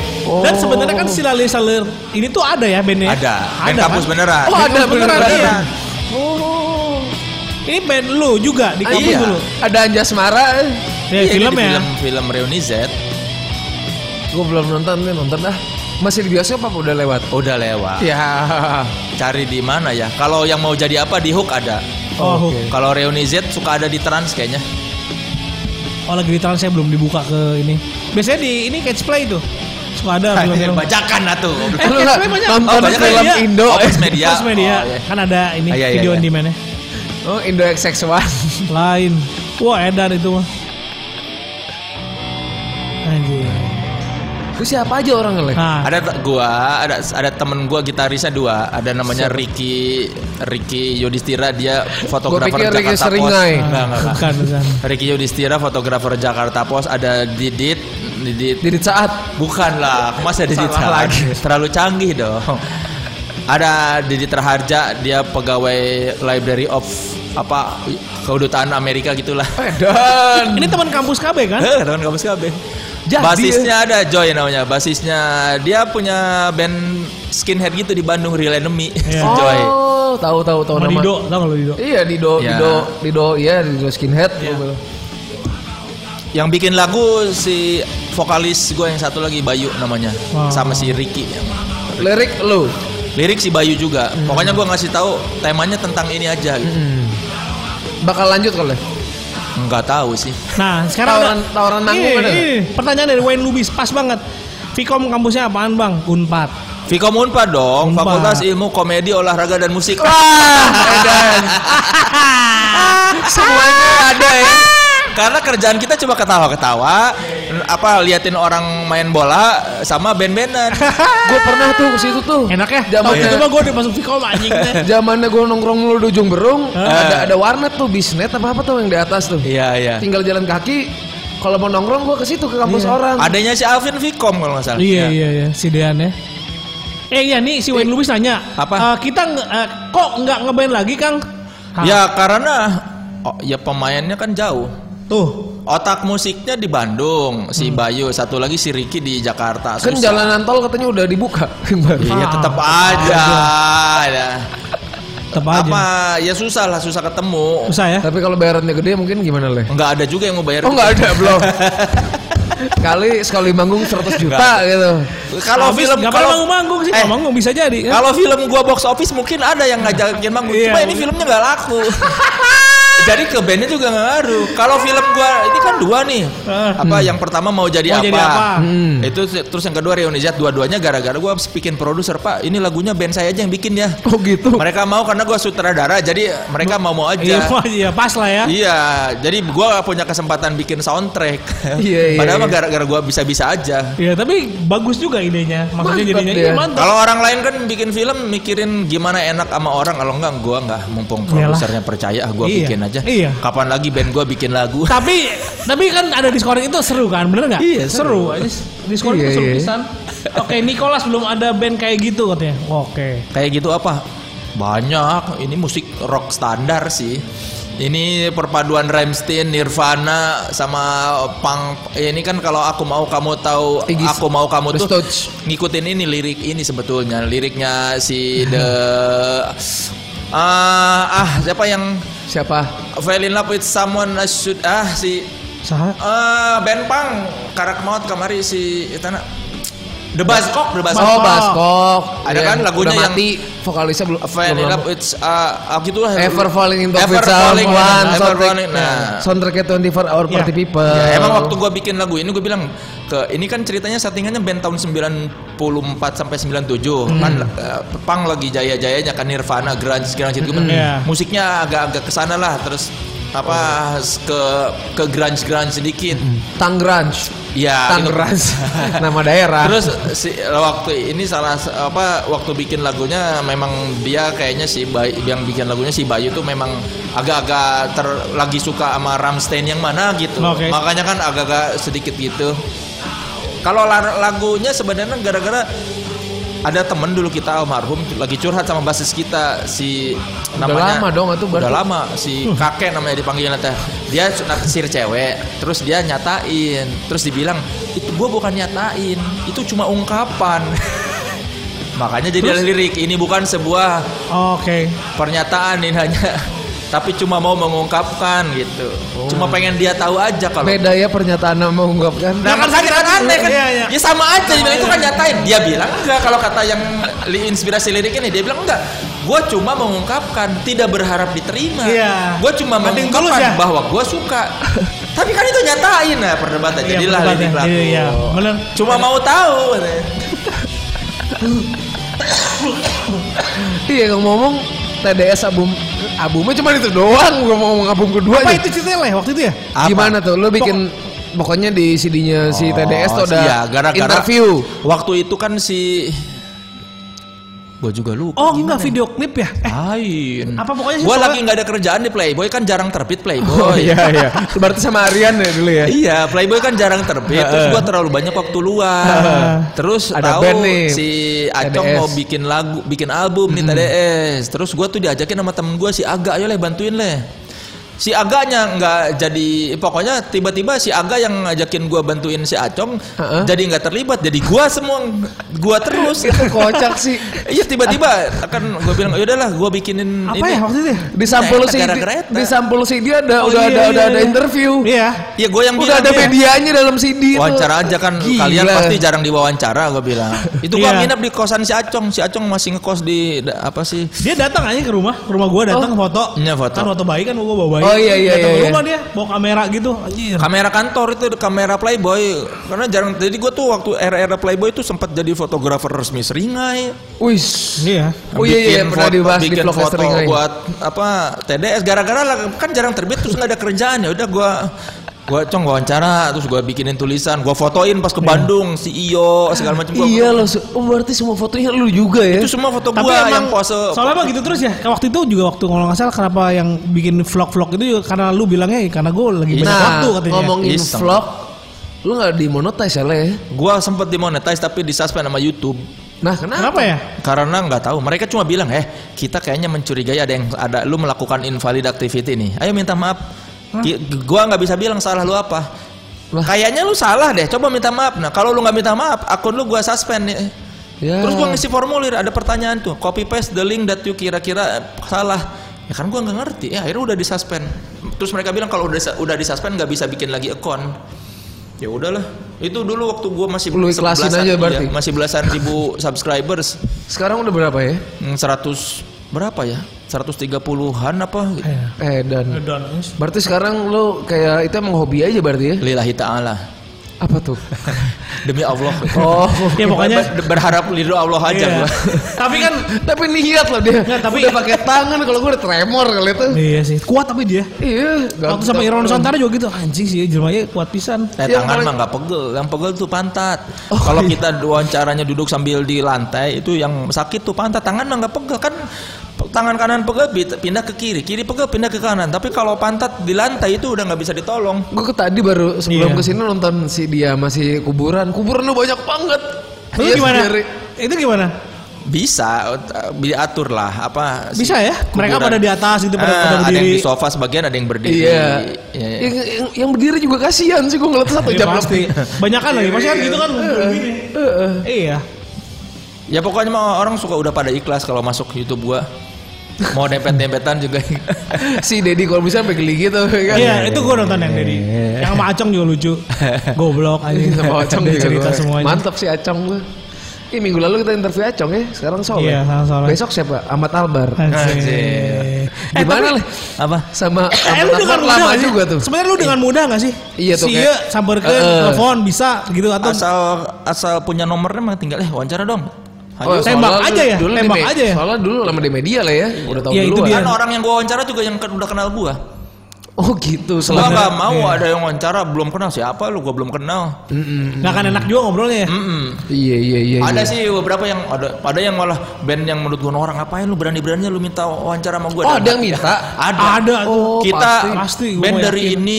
B: Dan
A: Oh.
B: sebenarnya kan si Lali Salir ini tuh ada ya bandnya?
C: Ada. Band
B: Ada
C: kampus
B: kan?
C: beneran.
A: Oh, ada
B: beneran,
A: beneran.
B: iya.
A: Oh.
B: Ini band lu juga di
A: Ah,
B: kampus
C: iya.
B: dulu.
A: Ada Anjasmara. eh.
B: Ya,
C: Iya, ini
B: film
C: di
B: ya.
C: Film film reuni Z
A: Gue belum nonton, nih nonton dah. Masih di bioskop apa udah lewat?
C: udah lewat.
B: Iya.
A: Ya.
C: Cari di mana ya? Kalau yang mau jadi apa di Hook ada.
B: Oh,
A: Oke.
C: Kalau reuni Z suka ada di Trans kayaknya.
B: oh lagi di trans saya belum dibuka ke ini. Biasanya di ini catch play tuh. Suka ada film-film.
C: Bacakan atuh.
B: Iya, Eh,
A: Lu
B: catch
A: nggak
B: play banyak.
A: nonton
C: banyak
A: film
B: media.
A: Indo?
C: Oh,
A: eh?
C: Trans media.
B: Terus media
C: Oh, iya.
B: kan ada ini
C: Ah, iya, iya,
B: video
C: iya.
B: on demand
A: Oh, Indo XX1.
B: lain. Wah edan itu mah. Anjir.
A: Itu siapa aja orangnya, Le?
B: Nah,
C: Eh, Ada t- gua, ada ada temen gua gitarisnya dua, ada namanya Ricky Ricky Yudhistira dia fotografer
A: pikir
C: Jakarta
A: Ricky
C: Post.
A: Seringai.
C: Enggak, enggak, enggak.
B: bukan bukan.
C: Ricky Yudhistira fotografer Jakarta Post, ada Didit, Didit.
A: Didit Saat.
C: Bukan lah, masa Didit
A: Salah
C: Saat? Terlalu canggih dong. Ada Didit Raharja, dia pegawai Library of apa kedutaan Amerika gitulah.
A: Oh, Edan.
B: Ini teman kampus KB kan?
C: Eh, teman kampus KB.
A: Jadi,
C: Basisnya ada Joy namanya. Basisnya dia punya band skinhead gitu di Bandung Real Enemy.
B: Iya.
C: Si Joy.
A: Oh, tahu tahu tahu
B: Sama
A: nama.
B: Dido, tau gak lo Dido?
A: Iya, Dido,
C: Iya.
A: Dido, Dido, iya, Dido skinhead. gua bilang.
C: Yang bikin lagu si vokalis gue yang satu lagi Bayu namanya.
B: Wow.
C: Sama si Ricky.
A: Lirik lu.
C: Lirik si Bayu juga.
B: Hmm.
C: Pokoknya gue ngasih tahu temanya tentang ini aja. Gitu.
A: Hmm. Bakal lanjut kalau.
B: Hmm.
C: Nggak tahu sih.
B: Nah, sekarang
A: Tawaran-
B: ada-
A: tawaran manggung
B: Ini,
A: ada nggak?
B: ini, Pertanyaan dari Wayne Lubis pas banget. Vicom kampusnya apaan, Bang? Unpad.
C: Vkom Unpad dong,
B: Unpad.
C: Fakultas Ilmu Komedi Olahraga dan Musik. Ah,
A: Wah, Edan. Semuanya ada ya.
C: Karena kerjaan kita cuma ketawa-ketawa, apa liatin orang main bola sama band-bandan.
A: Gue pernah tuh ke situ tuh.
B: Enak ya? Tahun
A: Zamannya
B: itu Eh. mah gue udah masuk Vicom anjing.
A: zamannya gue nongkrong mulu di ujung berung,
B: Eh.
A: ada ada warnet tuh bisnet apa apa tuh yang di atas tuh.
C: Iya, iya.
A: Tinggal jalan kaki. Kalau mau nongkrong gue ke situ ke kampus orang.
C: Adanya si Alvin Vicom kalau nggak salah.
B: Iya, iya, iya. Si Dean ya. Eh iya nih si Wayne Lubis nanya.
C: Apa?
B: "Eh, kita nge- eh, kok nggak ngeband lagi, Kang? Hah,
C: Ya karena oh, ya pemainnya kan jauh.
B: Tuh.
C: Otak musiknya di Bandung, si
B: Hmm.
C: Bayu, satu lagi si Ricky di Jakarta.
A: Kan
C: Susah.
A: jalanan tol katanya udah dibuka.
C: Iya,
B: Ah,
C: tetap aja. ya.
B: Tetap
C: Apa
B: aja.
C: ya susah lah, susah ketemu.
B: Susah ya?
A: Tapi kalau bayarannya gede mungkin gimana leh?
C: Nggak ada juga yang mau bayar.
A: Oh nggak ada belum. Kali sekali manggung 100 juta gitu.
C: Kalau
B: Habis,
C: film
B: nggak
C: kalau
B: pernah manggung sih,
C: Eh,
B: nggak manggung bisa jadi. kan?
C: Kalau film gua box office mungkin ada yang ngajakin manggung.
B: Iya.
C: Cuma ini filmnya nggak laku. Jadi ke bandnya juga nggak ngaruh. Kalau film gua ini kan dua nih.
B: Ah.
C: Apa yang pertama mau jadi
B: Mau
C: apa?
B: jadi apa?
A: Hmm.
C: Itu se- terus yang kedua Reuni Z dua-duanya gara-gara gua bikin produser Pak. Ini lagunya band saya aja yang bikin ya.
A: Oh gitu.
C: Mereka mau karena gua sutradara jadi mereka mau mau
B: Iya,
C: aja.
B: iya, pas lah ya.
C: Iya, jadi gua punya kesempatan bikin soundtrack.
A: Iya, iya,
C: Padahal mah
A: iya.
C: gara-gara gua bisa-bisa aja.
B: Iya, tapi bagus juga idenya. Maksudnya
A: Mantap
B: jadinya
A: dia.
B: iya, mantap.
C: Kalau orang lain kan bikin film mikirin gimana enak sama orang kalau enggak gua enggak mumpung
B: Iyalah.
C: produsernya percaya ah gua
B: Iya.
C: bikin aja.
B: Iya.
C: Kapan lagi band gua bikin lagu?
B: tapi tapi kan ada diskoring itu seru kan, bener nggak?
C: Iya,
B: seru. Diskoring
A: Iya,
B: itu seru
A: iya.
B: pisan. Oke, Nicholas belum ada band kayak gitu katanya. Oke.
C: Kayak gitu apa? Banyak. Ini musik rock standar sih. Ini perpaduan Rammstein, Nirvana sama punk. Ini kan kalau aku mau kamu tahu,
A: Iggy
C: aku mau
A: The
C: kamu tuh
A: Stooges.
C: ngikutin ini lirik ini sebetulnya. Liriknya si The ah ah siapa yang
A: Siapa?
C: Fell in love with someone I should ah si
B: Saha?
C: eh Ben Pang karak maut kamari si etana The Buzzcock The
A: Oh,
C: Buzzcock
A: Baskok.
C: Ada
A: Iya,
C: kan lagunya
A: udah
C: yang-
A: mati, vokalisnya belum.
C: Fell in
A: belum-
C: love with ah ah, gitu lah
A: Ever falling in love
C: Ever
A: with
C: falling in
A: someone.
C: love, Ever
A: soundtrack-
C: falling nah
A: Soundtracknya 24 hour party
B: Iya.
A: people.
C: Ya, emang waktu gue bikin lagu ini gue bilang ke ini kan ceritanya settingannya band tahun 94 sampai 97
A: Hmm.
C: kan eh, punk lagi jaya-jayanya kan Nirvana grunge grunge itu kan
B: Iya.
C: musiknya agak-agak kesana lah terus apa ke ke grunge grunge sedikit
A: Hmm. Tangrunch.
C: ya itu-
A: Tangrunch. Nama daerah.
C: Terus si waktu ini salah apa waktu bikin lagunya memang dia kayaknya si Bayu yang bikin lagunya si Bayu tuh memang agak-agak ter lagi suka sama Ramstein yang mana gitu.
B: Oke.
C: Makanya kan agak-agak sedikit gitu. Kalau la- lagunya sebenarnya gara-gara ada temen dulu kita almarhum lagi curhat sama basis kita si
A: Udah lama dong, itu
C: udah
A: berarti. Hmm.
C: lama si kakek namanya dipanggil teh dia naksir cewek terus dia nyatain terus dibilang itu gue bukan nyatain itu cuma ungkapan makanya jadi ada lirik ini bukan sebuah
B: Oke.
C: pernyataan ini hanya tapi cuma mau mengungkapkan gitu cuma pengen dia tahu aja kalau
A: Oh. Beda ya pernyataan sama mengungkapkan.
C: Nah, kan sakit kan aneh kan.
B: Iya, iya.
C: Ya sama aja dia bilang itu kan nyatain. Dia bilang enggak kalau kata yang li- inspirasi lirik ini dia bilang enggak. Gue cuma mengungkapkan, tidak berharap diterima.
B: Iya.
C: Gue cuma
B: Penting
C: mengungkapkan
B: tulus ya.
C: bahwa gue suka. Tapi kan itu nyatain nah perdebatan.
B: Iya,
C: Jadilah
B: perdebatan.
C: lirik lagu.
B: Iya, iya. Bener.
C: Cuma mau tahu.
A: Iya ngomong TDS album albumnya cuma itu doang gue mau ngomong album
B: Apa
A: keduanya
B: itu ceritanya Leh, waktu itu ya?
C: Apa?
A: gimana tuh lo bikin pokoknya di CD-nya si TDS tuh ada
C: iya, gara-gara-
A: interview
C: Waktu itu kan si gue juga lupa.
B: Oh, enggak video klip ya? Eh,
C: Lain.
B: Apa pokoknya Oh, sih
C: Gue
B: soalnya-
C: lagi nggak ada kerjaan di Playboy kan jarang terbit Playboy.
A: iya berarti sama Arian ya dulu ya
C: Iya, Playboy kan jarang terbit. Terus gua terlalu banyak waktu luang. Terus
A: Ada
C: tahu
A: band nih,
C: si Acong
A: TDS.
C: mau bikin lagu, bikin album nih TDS. Terus gua tuh diajakin sama temen gua si Aga, ayo leh bantuin leh. Si Aganya nggak jadi, pokoknya tiba-tiba si Aga yang ngajakin gua bantuin si Acong,
A: Heeh.
C: jadi nggak terlibat. Jadi gua semua, gua terus.
A: itu kocak sih
C: Iya tiba-tiba akan gua bilang, yaudahlah gua bikinin
B: apa
C: Hmm, ini.
B: ya waktu itu ya?
A: di sampul
C: Naik
A: CD
C: negara kereta.
A: di sampul CD ada
B: Oh,
A: udah ada
B: iya, iya,
A: udah ada
B: iya.
A: interview
B: Iya.
C: Ya gua yang
A: udah
C: bilang,
A: ada
C: iya.
A: medianya dalam CD itu.
C: wawancara aja kan
A: Gila.
C: kalian pasti jarang diwawancara gue bilang itu gue
B: Iya.
C: nginep di kosan si Acong si Acong masih ngekos di da- apa sih
B: Dia datang aja ke rumah, ke rumah gua datang foto.
C: Iya, foto.
B: Kan foto bayi kan gua bawa bayi.
A: Oh, iya, iya,
B: Datang
A: iya,
B: ke
A: iya.
B: rumah dia bawa kamera gitu. Anjir.
C: kamera kantor itu kamera Playboy karena jarang jadi gue tuh waktu era-era Playboy itu sempat jadi fotografer resmi seringai
A: Wis.
B: Iya.
A: Oh iya iya
C: Bikin
A: pernah
C: foto-
A: dibahas di
C: bikin
A: vlog
C: foto
A: Seringai.
C: buat apa TDS gara-gara lah, kan jarang terbit terus nggak ada kerjaan ya udah gue gue cong wawancara terus gue bikinin tulisan gue fotoin pas ke Bandung si Iyo segala macam gua-
A: Iya loh, se- oh, berarti semua fotonya lu juga ya.
C: itu semua foto
B: Tapi
C: gue
B: emang
C: yang pose
B: soalnya emang gitu terus ya. Kayak Waktu itu juga waktu kalau nggak salah kenapa yang bikin vlog-vlog itu juga karena lu bilangnya "Ya, karena gue lagi banyak
A: nah,
B: waktu katanya.
A: ngomongin
C: Iseng.
A: vlog, lu nggak dimonetize ya Le?
C: Gua sempet dimonetize tapi disuspend sama YouTube
A: Nah, kenapa?
B: Kenapa ya?
C: karena nggak tahu. Mereka cuma bilang, "Eh, kita kayaknya mencurigai ada yang ada lu melakukan invalid activity nih. Ayo minta maaf." Ki- Gua nggak bisa bilang salah lu apa.
A: Lah.
C: Kayaknya lu salah deh. Coba minta maaf. Nah, kalau lu nggak minta maaf, akun lu gua suspend nih.
A: Ya.
C: Terus gua ngisi formulir, ada pertanyaan tuh. Copy paste the link that you kira-kira eh, salah. Ya kan gua nggak ngerti. Ya akhirnya udah disuspend. Terus mereka bilang kalau udah dis- udah disuspend nggak bisa bikin lagi akun. Ya udahlah. Itu dulu waktu gua masih
A: Lu ikhlasin
C: sebelasan-
A: aja
C: iya,
A: berarti.
C: masih belasan ribu subscribers.
A: Sekarang udah berapa ya?
C: Hmm, 100 berapa ya?
A: 100
C: 130-an apa gitu.
B: Iya.
A: Eh dan
B: Ngedown.
A: berarti sekarang lo kayak itu emang hobi aja berarti ya?
C: Lillahi ta'ala.
A: Apa tuh?
C: Demi Allah.
A: Oh.
B: Ya pokoknya
C: Ber- berharap ridho Allah aja
B: iya.
C: gua.
B: tapi kan
A: tapi niat lah dia.
B: Nggak, tapi-
A: udah pakai tangan kalau gue udah tremor kali itu.
B: iya sih kuat tapi dia.
A: Iya.
B: Waktu sama Irwan Nusantara juga gitu anjing sih jelmanya kuat pisan.
C: Eh,
A: Yang
C: tangan
A: paling-
C: mah nggak pegel, yang pegel tuh pantat.
A: Iya, Oh,
C: Kalau
A: iya.
C: kita wawancaranya duduk sambil di lantai itu yang sakit tuh pantat, tangan mah nggak pegel kan? Pe- Tangan kanan pegel bi- pindah ke kiri, kiri pegel pindah ke kanan. Tapi kalau pantat di lantai itu udah nggak bisa ditolong.
A: Gue tadi baru sebelum
B: Iya.
A: kesini nonton si dia masih kuburan. Kuburan lu banyak banget.
B: Lu
A: Iya,
B: gimana?
A: sendiri.
B: Itu gimana?
C: Bisa eh, diatur lah apa? si
B: Bisa ya? Mereka
C: kuburan.
B: pada di atas gitu pada,
C: Eh,
B: pada
C: Ada yang
B: berdiri.
C: di sofa sebagian, ada yang berdiri.
A: Iya.
C: Iya, iya.
A: Yang, yang, yang berdiri juga kasihan sih gue ngeliat satu
B: Iya,
A: Oh, jam
B: pasti.
A: lebih. Eh,
B: Banyak kan lagi, pasti kan gitu kan. begini. Iya.
C: Ya pokoknya mah orang suka udah pada ikhlas kalau masuk YouTube gua. Mau dempet-dempetan juga.
A: si Dedi kalau bisa sampai geli gitu kan. Eh.
B: Iya, itu gue nonton yang dari. Yang sama Acong juga lucu. Goblok anjing.
A: Iya, Sama Acong
B: Dia
A: juga
B: Iya, cerita
A: gua.
B: semuanya.
A: Mantap sih Acong lu. Ih, minggu lalu kita interview Acong ya, sekarang Soleh.
B: Iya, sekarang Soleh.
A: Besok siapa? Ahmad Albar.
B: Anjing. Eh,
A: Gimana
B: tapi-
A: lah?
C: apa?
A: Sama
B: Eh,
A: Ahmad
B: lu dengan
A: Albar
B: mudah
A: lama
B: gak sih?
A: juga tuh.
B: Sebenarnya lu dengan mudah gak sih?
A: Iya tuh,
B: Si
A: kayak- Ah.
B: Iya, sambar ke
A: Heeh.
B: telepon bisa gitu atau
C: asal asal punya nomornya mah tinggal eh wawancara dong.
A: Oh,
C: Ayo.
B: saya- tembak
A: soalnya
B: aja ya,
A: dulu di
B: tembak
A: me-
B: aja ya.
A: Soalnya dulu lama di media lah ya, udah tahu
B: Ya, itu
A: duluan.
B: dia.
C: kan orang yang gua wawancara juga yang ke- udah kenal gua.
A: Oh gitu,
C: Gua
A: selama
C: nggak mau
B: Iya.
C: ada yang wawancara belum kenal siapa lu gua belum kenal.
B: nggak akan enak juga ngobrolnya ya?
C: Mm-mm.
A: Iya iya iya.
C: Ada
A: iya.
C: sih beberapa yang ada ada yang malah band yang menurut gua orang ngapain lu berani-beraninya lu minta wawancara sama gua.
A: Oh,
C: Dan-
A: ada yang minta.
C: Ada.
B: Ada tuh.
A: Oh,
C: kita
B: pasti. Pasti, gua
C: band
B: mau
C: dari
B: yakin.
C: ini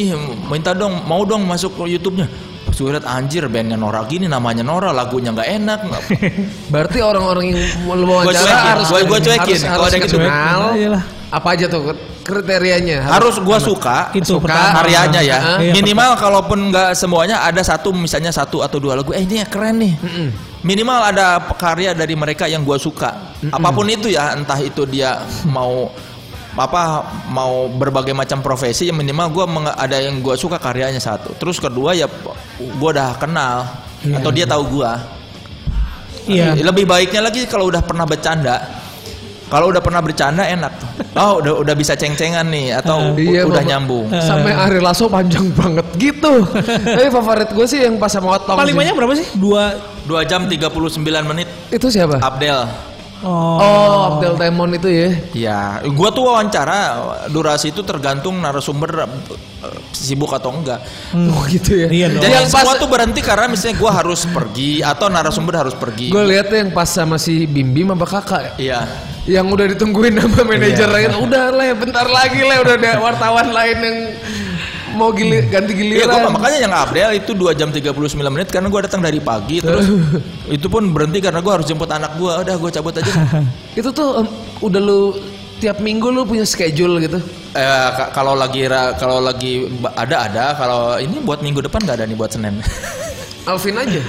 C: minta dong mau dong masuk ke YouTube-nya. Pas gue liat anjir bandnya Nora gini namanya Nora lagunya nggak enak. nggak-
A: Berarti orang-orang yang mau lu wawancara
C: cuekin,
A: harus
C: gua- gua cuekin.
A: harus,
C: Kalau
A: harus
C: ada yang gitu,
A: kenal.
B: cuekin aja lah.
A: Apa aja tuh kriterianya?
B: Iya,
C: Harus gua suka
B: Itu
A: Suka,
B: pertama.
C: karyanya ya.
B: Heeh. Iya,
C: Minimal kalaupun nggak semuanya ada satu misalnya satu atau dua lagu eh ini ya keren nih. Minimal ada karya dari mereka yang gua suka. Apapun itu ya entah itu dia mau apa mau berbagai macam profesi yang minimal gua menge- ada yang gua suka karyanya satu. Terus kedua ya gua udah kenal atau dia tahu gua.
B: Iya.
C: Lebih baiknya lagi kalau udah pernah bercanda. Kalau udah pernah bercanda enak. Oh, udah udah bisa ceng-cengan nih atau u-
A: Iya,
C: udah
A: Bapak.
C: nyambung.
B: Eh.
A: Sampai Ari Lasso panjang banget gitu. Tapi favorit gue sih yang pas sama Otong.
B: Paling
A: sih.
B: banyak berapa sih? Dua.
C: 2 jam 39 menit
A: Itu siapa?
C: Abdel.
B: Oh.
A: Oh, Abdel Temon itu ya.
C: Ya, gua tuh wawancara durasi itu tergantung narasumber eh, sibuk atau enggak.
A: Oh gitu ya.
B: Iya dong.
C: Jadi
A: yang pas
C: Hmm. semua tuh berhenti karena misalnya gua harus pergi atau narasumber harus pergi.
A: gue lihat yang pas sama si Bim Bim apa kakak ya?
C: Iya.
A: yang udah ditungguin sama manajer lain udah lah bentar lagi lah udah ada wartawan lain yang mau gili- ganti
C: Iya, gua-
A: giliran
C: makanya yang Abdel itu 2 jam 39 menit karena gua datang dari pagi terus itu pun berhenti karena gua harus jemput anak gua. Udah gua cabut aja.
A: itu tuh em, udah lu tiap minggu lu punya schedule gitu
C: Eh, ka- kalau lagi ra- kalau lagi ba- ada ada kalau ini buat minggu depan nggak ada nih buat Senin.
A: Alvin aja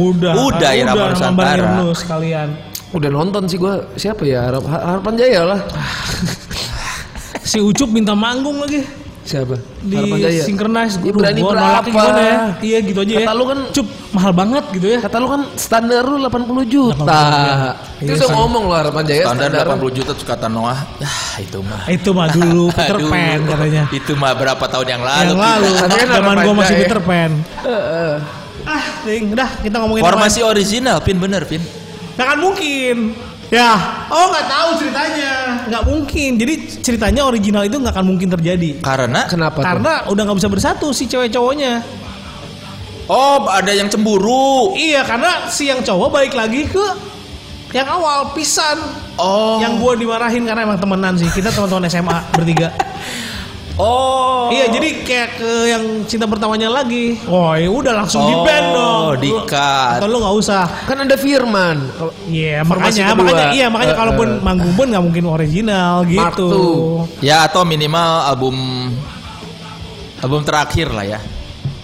B: Udah.
C: Udah,
A: ya,
B: Ah,
C: Irama
B: udah,
C: Nusantara.
B: nambahin lu sekalian.
A: udah nonton sih gua siapa ya Harap, Harapan Jaya lah
B: Si Ucup minta manggung lagi
A: siapa
B: di
A: Harapan Jaya
B: synchronize
A: Ya, berani
B: Gua nolaknya
A: berapa?
B: gimana ya? Iya gitu aja ya.
A: Kata lu kan
B: Cup mahal banget gitu ya.
A: kata lu kan standar lu 80 juta
B: 80 juta.
A: itu
B: Iya,
A: udah
B: standar.
A: ngomong lo Harapan Jaya
B: Ya,
C: Standar
A: standar,
C: 80 juta terus kata Noah, ah itu mah.
B: Itu mah dulu Peter
C: Aduh,
B: Pan katanya.
C: Itu mah berapa tahun yang lalu.
B: Yang lalu
A: Tapi kan
B: zaman
A: harapan
B: gua masih
A: aja ya.
B: Peter Pan.
A: Heeh.
B: Ah, ting, dah kita ngomongin apa?
C: Formasi original, Pin bener Pin.
B: Nggak kan mungkin. Ya, oh nggak tahu ceritanya, nggak mungkin. Jadi ceritanya original itu nggak akan mungkin terjadi.
C: Karena
A: kenapa tuh?
B: Karena udah nggak bisa bersatu si cewek cowoknya.
C: oh ada yang cemburu.
B: Iya, karena si yang cowok balik lagi ke yang awal pisan.
C: Oh.
B: Yang gua dimarahin karena emang temenan sih. Kita teman-teman SMA bertiga.
C: Oh.
B: Iya, jadi kayak ke yang cinta pertamanya lagi. Oh, ya udah langsung di
C: Oh,
B: band dong.
C: di-cut.
B: Kalau lu nggak usah.
A: kan ada Firman Kalau-
B: Iya,
A: Formasi
B: makanya,
A: kedua.
B: makanya, iya, makanya
A: Eh,
B: kalaupun
A: eh.
B: manggung pun nggak mungkin original
A: Mark
B: gitu.
A: two.
C: Ya atau minimal album album terakhir lah ya.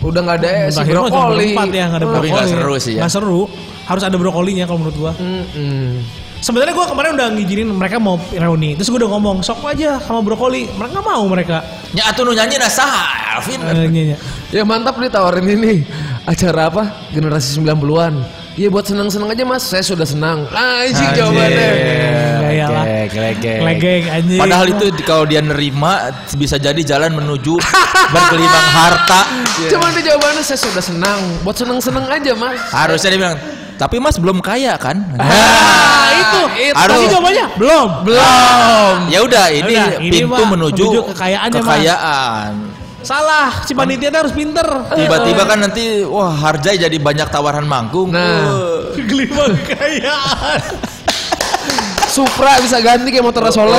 A: udah nggak ada Eh, si
B: Terakhir mah cuma
A: brokoli
B: berempat ya, nggak ada
C: Tapi
B: brokoli.
C: nggak seru sih ya.
B: Nggak seru. Harus ada brokolinya kalau menurut gua.
A: Mm-mm.
B: Sebenarnya gua kemarin udah ngizinin mereka mau reuni. Terus gua udah ngomong, sok aja sama brokoli. Mereka nggak mau mereka.
C: Ya atau nu nyanyi nah saha, Alvin.
B: Eh, iya, iya.
A: Ya mantap ditawarin ini acara apa? Generasi 90-an. Ya buat senang-senang aja Mas. Saya sudah senang. Anjing Ah, jawabannya.
B: Gaya lah.
C: oke.
D: Legek, legek.
B: Legeng anjing.
C: Padahal itu di- kalau dia nerima bisa jadi jalan menuju bergelimang harta.
A: Cuman itu jawabannya saya sudah senang. Buat seneng-seneng aja mas.
C: Harusnya dia bilang, tapi Mas belum kaya kan?
A: Ah, itu.
C: Aduh.
B: Tapi jawabannya belum.
C: belum. Ya udah, ini
B: Yaudah, ini,
C: pintu
B: Pak,
C: menuju,
B: menuju kekayaan ya, Mas.
C: kekayaan.
B: Salah, si panitia harus pinter. Eh,
C: Tiba-tiba kan nanti wah harga jadi banyak tawaran manggung. Oh.
A: Nah.
B: Gelimang kekayaan.
A: Supra bisa ganti kayak motor
B: Oh,
A: Soleh.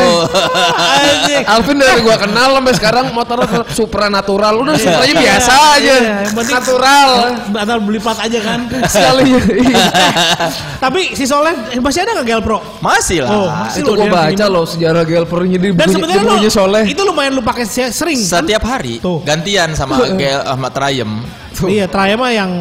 B: Anjing.
A: Alvin dari gua kenal sampai sekarang motornya tetap supra natural. Udah supranya
B: Iya,
A: biasa aja.
B: iya, yang penting- Iya.
A: Natural.
B: Batal beli plat aja kan.
A: Sekali.
B: Tapi si Soleh eh, masih ada nggak Gelpro?
C: Masih lah.
B: Oh, masih
A: itu
B: loh
A: gua
B: dia
A: baca
B: pinjem.
A: loh sejarah Gelpernya di
B: Dan sebenarnya lo,
A: bukunya Soleh.
B: itu lumayan lu pakai se- sering kan?
C: Setiap hari
B: Tuh.
C: gantian sama Gel sama Triumph.
B: Iya, Traya mah yang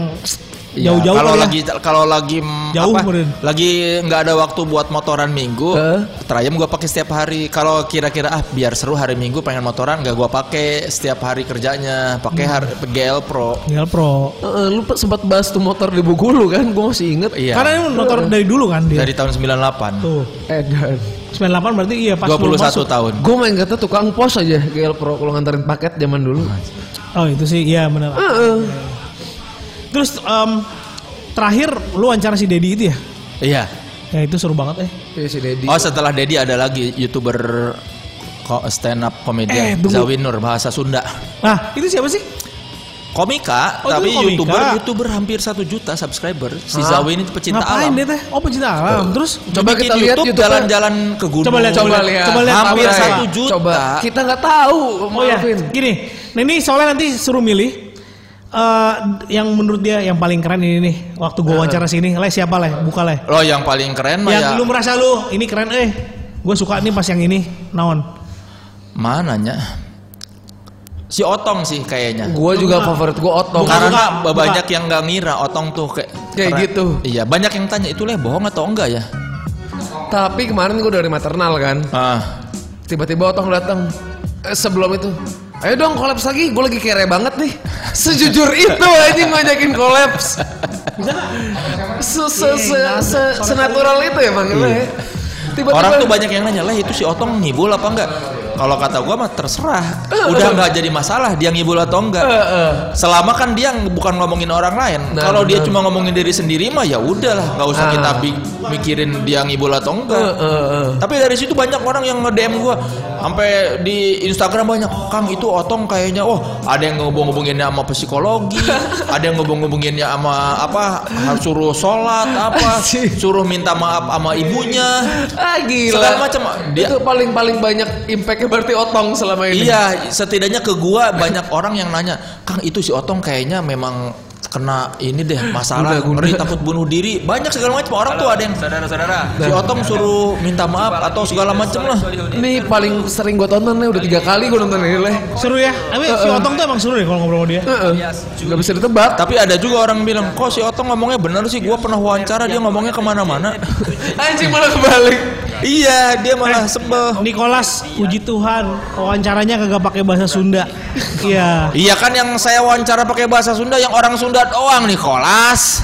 C: Iya,
B: jauh-jauh
C: kalau
B: kali ya.
C: lagi kalau lagi mm,
B: Jauh,
C: apa,
B: Murin.
C: lagi nggak ada waktu buat motoran minggu
A: Heeh.
C: Triumph gue pakai setiap hari kalau kira-kira ah biar seru hari minggu pengen motoran nggak gue pakai setiap hari kerjanya pakai
B: Hmm.
C: har- GL Pro
B: Gelpro.
A: Heeh, lu pe- sempat bahas tuh motor di buku lu kan, gua masih inget.
C: iya
B: Karena ini motor dari dulu kan dia.
C: dari tahun 98
B: Tuh.
A: Eh, dan
B: 98 berarti iya pas lu
C: 21
B: masuk.
C: tahun
A: gua main kata tukang pos aja GL Pro kalau nganterin paket zaman dulu.
B: Oh, itu sih iya benar.
A: Heeh.
B: Terus em, terakhir lu wawancara si Dedi itu ya?
C: iya
B: Ya itu seru banget eh.
A: Iya, si Dedi.
C: oh setelah Dedi ada lagi youtuber ko- stand up
B: Eh,
C: komedian
B: tunggu.
C: Zawinur bahasa Sunda
B: Nah, itu siapa sih?
C: komika
B: Oh, itu
C: tapi
B: komika.
C: youtuber youtuber hampir satu juta subscriber si
A: Hah?
C: Zawin itu pecinta
B: Ngapain
C: alam
B: dia teh? Oh, pecinta alam. Terus
A: Coba
C: Bikin
A: kita lihat
C: YouTube
A: YouTube-nya.
C: jalan-jalan ke gunung.
B: Coba lihat,
A: Coba lihat.
B: Coba lihat,
C: hampir
B: coba lihat.
C: satu juta.
A: Coba. Kita nggak tahu.
B: Oh ya,
A: maafin.
B: gini. Nah ini soalnya nanti suruh milih eh, yang menurut dia yang paling keren ini nih. Waktu gua wawancara sini, leh siapa leh? Buka leh.
C: Lo yang paling keren mah
B: Yang
C: Eh. ya
B: lu merasa lu ini keren eh. Gue suka nih pas yang ini. Naon.
C: mananya? Si Otong sih kayaknya.
A: Gua juga favorit gua Otong.
B: Bukan.
C: Karena
B: buka.
C: banyak yang nggak ngira Otong tuh kayak
A: Kayak
C: keren.
A: gitu.
C: Iya, banyak yang tanya itu leh bohong atau enggak ya?
A: Tapi kemarin gua dari maternal kan.
C: Ah,
A: Tiba-tiba Otong datang. Eh, sebelum itu, ayo dong kolaps lagi. Gue lagi kere banget nih. Sejujur itu aja ngajakin kolaps. Se
C: Iya,
A: se se, se- senatural itu ya bang. Le? Tiba-tiba
C: orang tuh banyak yang nanya, "Leh itu si Otong ngibul apa enggak?" Kalau kata gua mah terserah.
A: Eh,
C: Udah nggak jadi masalah dia ngibul atau enggak. Selama kan dia bukan ngomongin orang lain.
A: Nah,
C: Kalau dia
A: benar.
C: cuma ngomongin diri sendiri mah ya udahlah, nggak usah
A: Ah.
C: kita bi- mikirin dia ngibul atau enggak.
A: Eh, eh, eh.
C: Tapi dari situ banyak orang yang nge-DM gua sampai di Instagram banyak, "Kang itu otong kayaknya." Wah, ada yang ngobong-ngobonginnya sama psikologi, ada yang ngobong-ngobonginnya sama apa? Harus suruh sholat apa?
A: Anjing.
C: Suruh minta maaf sama ibunya.
A: Ah gila.
C: Segala macam. Dia-
A: Itu paling paling banyak impactnya berarti otong selama ini.
C: Iya, setidaknya ke gua banyak orang yang nanya, "Kang itu si otong kayaknya memang kena ini deh masalah ngeri takut bunuh diri banyak segala macam orang tuh ada yang saudara-saudara si otong suruh minta maaf atau segala macam lah
A: Ini paling sering gue tonton nih udah tiga kali gue nonton ini leh.
B: Seru ya.
C: Eh,
B: Tapi si Otong tuh emang seru deh kalau ngobrol sama dia.
A: Heeh.
C: Iya,
A: Gak bisa ditebak.
C: Tapi ada juga orang bilang, kok si Otong ngomongnya bener sih, gue pernah wawancara dia ngomongnya kemana-mana.
A: Anjing malah kebalik.
C: iya, dia malah sebel.
B: Nicholas, puji Tuhan, wawancaranya kagak pakai bahasa Sunda. Iya.
C: Iya kan yang saya wawancara pakai bahasa Sunda, yang orang Sunda doang nih, kolas.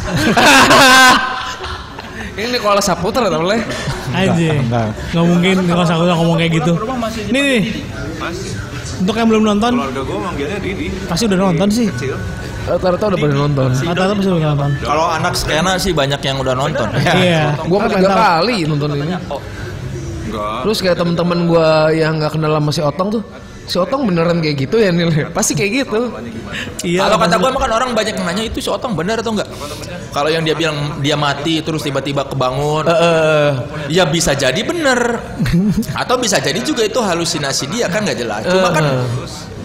A: Ini Nikola Saputra tau leh.
B: Anjir. Nggak mungkin Nicholas aku ngomong kayak gitu. Nih nih. Untuk yang belum nonton,
E: Keluarga gue manggilnya Didi.
B: pasti udah nonton sih.
E: Kecil.
A: Rata-rata udah pada nonton.
B: Rata-rata pasti udah nonton.
C: Kalau anak skena sih banyak yang udah nonton.
B: Iya.
A: Gue
B: Apa yang
A: tiga
B: tahu?
A: kali Oh. nonton ini.
E: Enggak.
A: Terus kayak temen-temen gue yang gak kenal sama si Otong tuh. Si Otong beneran kayak gitu ya Nil. Pasti kayak gitu.
B: Iya.
C: Kalau kata gue makan orang banyak yang nanya itu si Otong bener atau enggak? Kalau yang dia bilang dia mati terus tiba-tiba
A: Eh,
C: kebangun, ya bisa jadi bener atau bisa jadi juga itu halusinasi dia kan nggak jelas. Cuma kan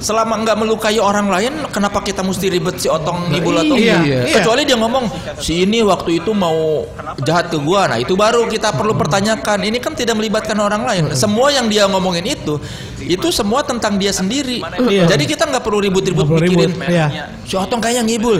C: selama nggak melukai orang lain, kenapa kita mesti ribet si Otong ngibul atau
A: iya,
C: enggak?
A: iya.
C: Kecuali dia ngomong si ini waktu itu mau jahat ke gua, nah itu baru kita perlu pertanyakan. Ini kan tidak melibatkan orang lain. Semua yang dia ngomongin itu, itu semua tentang dia sendiri.
B: Iya.
C: Jadi kita nggak perlu ribut-ribut
B: Nggak perlu
C: mikirin.
B: ribut, iya.
C: Si Otong kayaknya ngibul.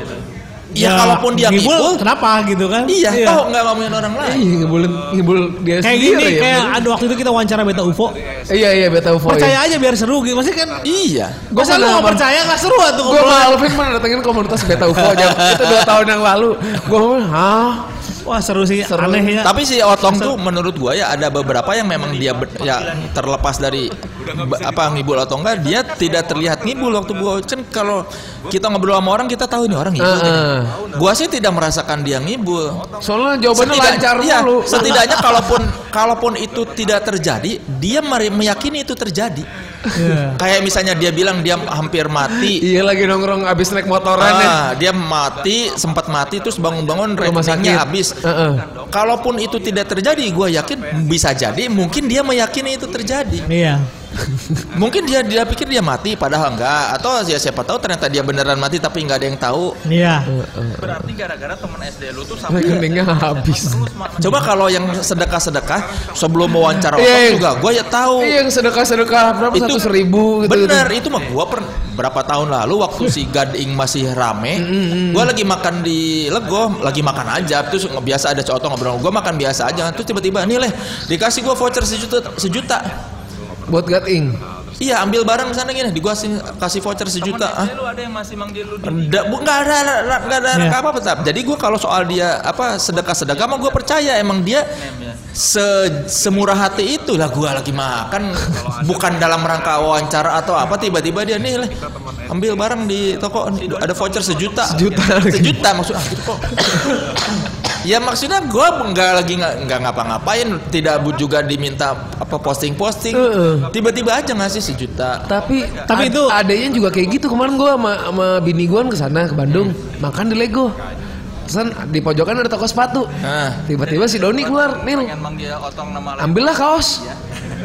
C: Ya, kalaupun dia ngibul,
B: kenapa gitu kan?
C: iya, toh nggak ngomongin orang lain.
A: Iya ngibul ngibul dia
B: Kayak
A: sendiri
B: gini,
A: ya.
B: kayak ada waktu itu kita wawancara beta UFO.
A: Iya iya beta UFO.
B: Percaya aja biar seru gitu. Maksudnya kan
C: Iya.
A: Gua
B: Masa lu
A: pernah-
B: gak percaya gak seru tuh
A: Gue sama Alvin pernah datengin komunitas beta UFO aja. Itu 2 tahun yang lalu. Gue ngomong, hah?
B: Wah seru sih,
A: Seru.
B: aneh ya.
C: Tapi si Otlong tuh menurut gua ya ada beberapa yang memang dia ber- ya terlepas dari ba- apa ngibul atau enggak dia tidak terlihat ngibul waktu gua kan kalau kita ngobrol sama orang kita tahu ini orang ngibul.
A: Ah,
C: kayaknya.
A: ah.
C: Gua sih tidak merasakan dia ngibul.
A: Soalnya jawabannya
C: Setidak-
A: lancar
C: iya,
A: mulu.
C: Setidaknya kalaupun kalaupun itu tidak terjadi, dia mere- meyakini itu terjadi.
B: Iya.
C: Kayak misalnya dia bilang dia hampir mati.
A: Iya lagi nongkrong abis naik motoran ya.
C: Ah, dia mati, sempat mati terus bangun-bangun
A: Rumah sakit.
C: rekeningnya habis.
A: Heeh.
C: Kalaupun itu tidak terjadi, gue yakin bisa jadi mungkin dia meyakini itu terjadi.
B: Iya.
C: Mungkin dia dia pikir dia mati padahal enggak atau ya siapa tahu ternyata dia beneran mati tapi nggak ada yang tahu.
B: Iya.
E: Berarti gara-gara teman SD lu tuh sampai
A: Rekeningnya habis.
C: Iya. Coba kalau yang sedekah-sedekah sebelum wawancara
A: Iya,
C: orang
A: iya.
C: juga gue ya tahu.
A: Iya yang sedekah-sedekah berapa
C: Itu
A: satu seribu gitu.
C: Bener, itu mah gua pernah berapa tahun lalu waktu si Gading masih rame, gua lagi makan di Lego, lagi makan aja, terus nge- biasa ada cowok ngobrol, gua makan biasa aja, terus tiba-tiba nih leh dikasih gua voucher sejuta, sejuta,
A: Buat gating.
C: iya ambil barang sana gini, di gua sing- kasih voucher sejuta, ah
E: lu ada yang masih manggil lu
C: Nggak, bu, nggak ada, nggak ada,
B: Iya.
C: nggak apa-apa. Tap. Jadi gue kalau soal dia apa sedekah-sedekah, mah gue percaya emang dia se- semurah hati itu lah. Gue lagi makan, bukan dalam rangka wawancara atau apa. Tiba-tiba dia nih, leh, ambil barang di toko, ada voucher sejuta,
A: Sejuta.
C: sejuta maksudnya. gitu kok. Ya maksudnya gue nggak lagi nggak nggak ngapa-ngapain, tidak bu- juga diminta apa posting-posting.
A: Heeh.
C: Tiba-tiba aja ngasih sejuta.
A: Tapi ad-
B: Tapi itu-
A: adanya juga kayak gitu. Kemarin gua sama, sama bini gua ke sana ke Bandung, makan di Lego. Pesan di pojokan ada toko sepatu.
B: Ah.
C: Nah.
A: Tiba-tiba si Doni keluar, "Nil,
E: yang manggil otong nama lu.
A: ambillah kaos."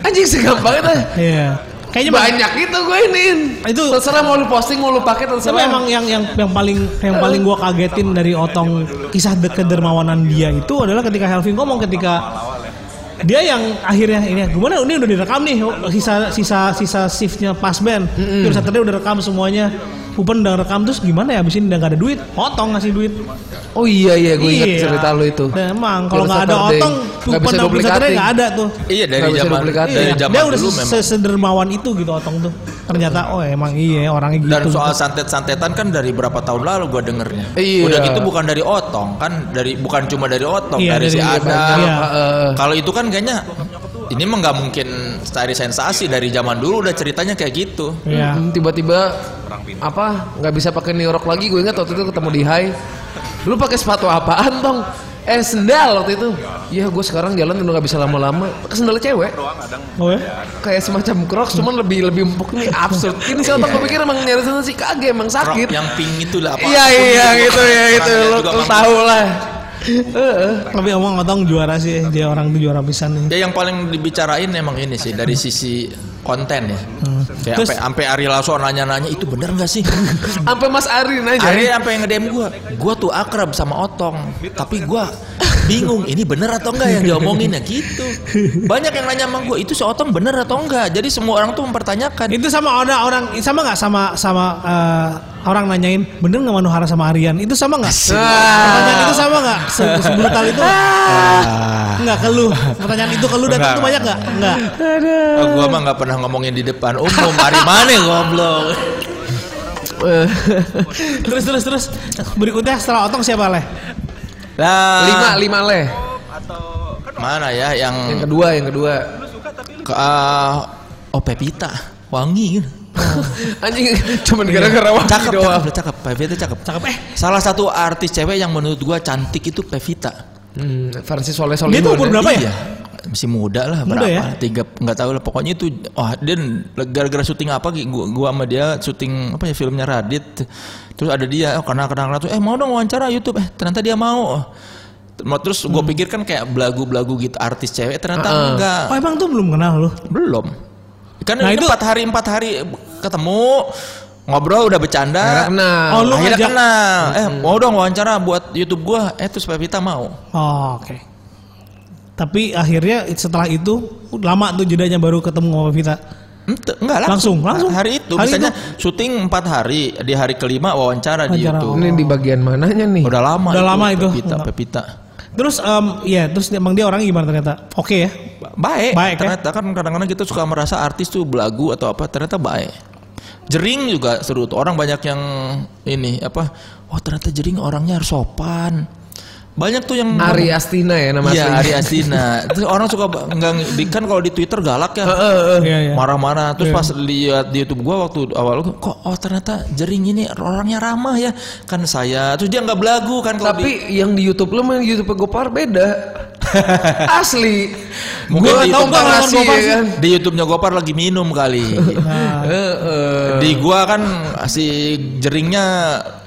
A: Anjing segampang itu.
B: Iya. Kayaknya
A: Banyak itu gue ini.
B: Itu-
A: terserah mau lu posting, mau lu pakai
B: Tapi
A: terserah.
B: emang yang yang yang paling yang paling gua kagetin dari Otong kisah de- kedermawanan dia itu adalah ketika Helvin ngomong ketika dia yang akhirnya ini gimana ini udah direkam nih sisa sisa sisa shiftnya pas band terus Saturday udah rekam semuanya Upen udah rekam terus gimana ya abis ini udah gak ada duit Otong ngasih duit
A: Oh iya iya, gue inget cerita lu itu.
B: Dan emang kalau
A: Terus
B: nggak ada
A: Saturday,
B: Otong
A: nggak
B: Upen
A: bisa
B: sama
A: duplikating.
B: Saturday nggak ada tuh
C: Iya dari
A: Nggak bisa
C: zaman
A: duplikating.
C: dari
A: Iya,
C: zaman
B: dia udah
C: dulu
B: se-
C: memang.
B: sesedermawan itu gitu Otong tuh ternyata oh emang iya orangnya gitu
C: Dan soal santet-santetan kan dari berapa tahun lalu gua dengernya.
A: Iya.
C: Udah gitu bukan dari Otong kan dari bukan cuma dari Otong
B: Iya,
C: dari, si
B: dari-
C: Adam.
B: Iya.
A: Heeh.
C: Kalau itu kan kayaknya ini mah nggak mungkin cari sensasi dari zaman dulu udah ceritanya kayak gitu.
B: Iya.
A: Hmm, tiba-tiba apa nggak bisa pakai new York lagi gue ingat waktu itu ketemu di Hai lu pakai sepatu apaan tong eh sendal waktu itu ya gue sekarang jalan udah nggak bisa lama-lama pakai sendal cewek
B: Oh ya?
A: kayak semacam crocs cuman lebih lebih empuk ini absurd ini sih otak gue pikir emang nyari sendal sih kagak emang
C: Rock
A: sakit
C: yang pink itu lah apa?
A: iya iya gitu ya
C: Orang
A: itu
C: dia
A: lu,
C: juga
A: lu
C: mampu.
A: tahu lah Heeh.
B: Tapi omong otong juara sih dia orang tuh juara pisan nih.
C: Ya yang paling dibicarain emang ini sih dari sisi konten ya. Kayak
B: Terus-
C: sampai sampai Ari Lasso nanya-nanya itu bener nggak sih?
A: sampai Mas Arin aja
C: Akhirnya sampai ngedem gue, gue tuh akrab sama Otong, tapi gue bingung ini bener atau enggak yang diomongin ya gitu. Banyak yang nanya sama gue itu si Otong bener atau enggak. Jadi semua orang tuh mempertanyakan.
B: Itu sama orang orang sama nggak sama sama eh, orang nanyain bener nggak Manuhara sama Aryan? Itu sama nggak? Pertanyaan itu sama nggak? Se- Sebrutal itu
C: Ah,
B: nggak ke lu? Pertanyaan itu ke lu datang
C: Nggak.
B: tuh banyak nggak? Nggak.
C: Oh, gue mah nggak pernah ngomongin di depan umum. Hari mana goblok?
A: Eh,
B: Terus terus terus berikutnya setelah otong siapa leh?
C: Nah,
A: lima lima leh
C: Mana ya yang,
A: yang kedua yang kedua
C: ke, ah, oh Pepita wangi. gitu.
A: anjing cuman gara-gara wangi
C: Iya. Cakep,
A: doang
C: cakep, cakep. Pevita cakep.
B: Cakep eh.
C: Salah satu artis cewek yang menurut gue cantik itu Pevita.
A: Hmm, versi Soleh Soleh
B: Dia tuh umur berapa ya?
C: Iya. Masih muda lah
B: Muda ya?
C: berapa? Tiga nggak tahu lah pokoknya itu wah dan gara-gara syuting apa Ki? gua, gua sama dia syuting apa ya filmnya Radit. Terus ada dia oh, karena kenal kenal tuh eh mau dong wawancara YouTube eh ternyata dia mau. Mau Terus
B: Hmm.
C: gue pikir kan kayak belagu-belagu gitu artis cewek ternyata
A: Heeh.
C: enggak
B: Oh emang tuh belum kenal lu?
C: belum. Kan
B: Nah,
C: ini
B: itu-
C: empat hari empat hari ketemu ngobrol udah bercanda.
A: Nah,
B: Oh, lu
C: akhirnya
B: ngajak.
C: kenal. Eh mau dong wawancara buat YouTube gua. Eh terus Pevita mau.
B: Oh, oke. Tapi akhirnya setelah itu lama tuh jedanya baru ketemu sama Vita.
C: Ent- Enggak
B: Langsung,
C: langsung.
B: langsung.
C: Hari itu
B: Hari
C: misalnya syuting 4 hari, di hari kelima wawancara di
B: Wawancara.
C: YouTube.
A: ini di bagian mananya nih?
C: Udah lama
B: Udah lama itu.
C: Pepita,
B: Udah.
C: Pepita.
B: Terus em ya terus emang dia orangnya gimana ternyata? Oke ya.
C: Ba- Baik.
B: Baik, ya?
C: ternyata kan kadang-kadang kita suka merasa artis tuh belagu atau apa, ternyata baik. Jering juga seru tuh. Orang banyak yang ini apa? Oh, ternyata Jering orangnya harus sopan. Banyak tuh yang
A: Ari Astina ya nama
C: Iya,
A: aslinya.
C: Ari Astina. Terus orang suka ba- nggak di- kan kalau di Twitter galak ya.
A: Eh,
B: Iya, iya.
C: Marah-marah. Terus pas lihat di YouTube gua waktu awal gua, kok oh ternyata jering ini orangnya ramah ya. Kan saya. Terus dia nggak belagu kan kalau
A: Tapi
C: di-
A: yang di YouTube lo main YouTube Gopar beda. Asli.
C: Mungkin
A: Gua
C: di
A: tahu
C: YouTube
A: Bang
C: Gopar Ah.
A: Rasi,
B: Gopar
A: ya kan. Eh,
C: di YouTube-nya Gopar lagi minum kali.
B: Iya.
A: Heeh.
C: di gua kan si jeringnya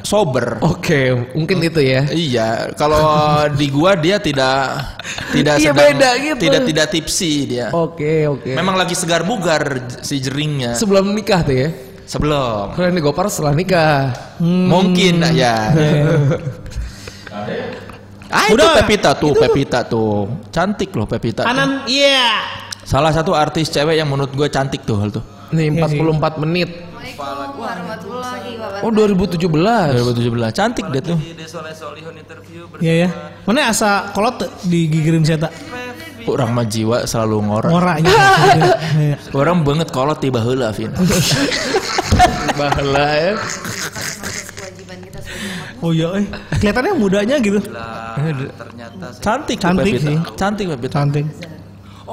C: sober.
A: Oke, mungkin itu ya.
C: Iya, kalau di gua dia tidak tidak
A: Iya,
C: sedang-
A: beda gitu.
C: tidak tidak tipsi dia.
A: Oke, oke.
C: Memang lagi segar bugar si jeringnya
A: Sebelum nikah tuh ya.
C: sebelum.
A: Keren di Gopar setelah nikah.
C: Hmm, Mungkin ya.
B: Hmm.
C: Ah, itu
B: Udah.
C: Pepita tuh, Pepita tuh. Cantik loh Pepita. tuh.
B: Anan, iya.
C: Salah satu artis cewek yang menurut gue cantik tuh hal tuh.
A: Nih 44 menit.
D: Assalamualaikum warahmatullahi
A: Oh,
D: wabarakatuh.
A: 2017.
C: 2017. Cantik dia tuh.
E: Di Desoleh Solihun interview
B: Iya ya. Mana asa kolot digigirin saya tak?
C: Orang mah jiwa selalu ngora.
B: Ngora gitu. Iya.
C: Orang banget kolot tiba heula, Vin.
A: Bahala ya.
D: Kewajiban kita sebagai umat.
B: Oh iya, eh. kelihatannya mudanya gitu.
E: berbilang ternyata sih.
C: Cantik, tuh
B: Cantik
C: Pepita.
B: sih.
C: Cantik Pepita.
B: Cantik.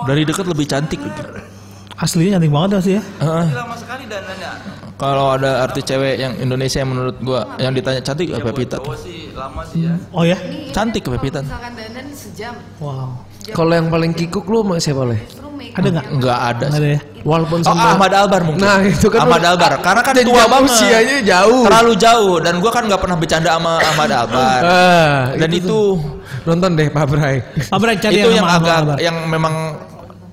C: Dari dekat lebih cantik. gitu.
B: Aslinya cantik banget sih ya.
C: Heeh.
E: lama sekali dananya.
C: Kalau ada artis cewek yang Indonesia yang menurut gua yang ditanya cantik ya Pepita tuh.
E: Cowok sih lama sih ya.
B: Oh ya.
D: Ini- ini
C: Cantik
D: kalau
C: Pepita.
D: Misalkan dandan sejam.
B: Wow.
A: Kalau yang paling kikuk lu sama siapa leh?
D: Terus make
B: Ada nggak?
C: Enggak ada.
B: Nggak
C: sih.
B: ada ya.
A: Walaupun
C: Oh,
A: sama
C: Ahmad Albar mungkin.
A: Nah, itu kan
C: Ahmad
A: lu-
C: Albar. Karena kan
A: Dan
C: tua
A: jauh,
C: banget.
A: Usianya jauh.
C: Terlalu jauh dan gua kan nggak pernah bercanda sama Ahmad Albar.
A: Ah,
C: dan itu
A: nonton deh Pak Bray.
B: Apa Bray,
C: itu,
B: cari
C: yang
B: sama
C: agak ya.
B: Albar.
C: yang memang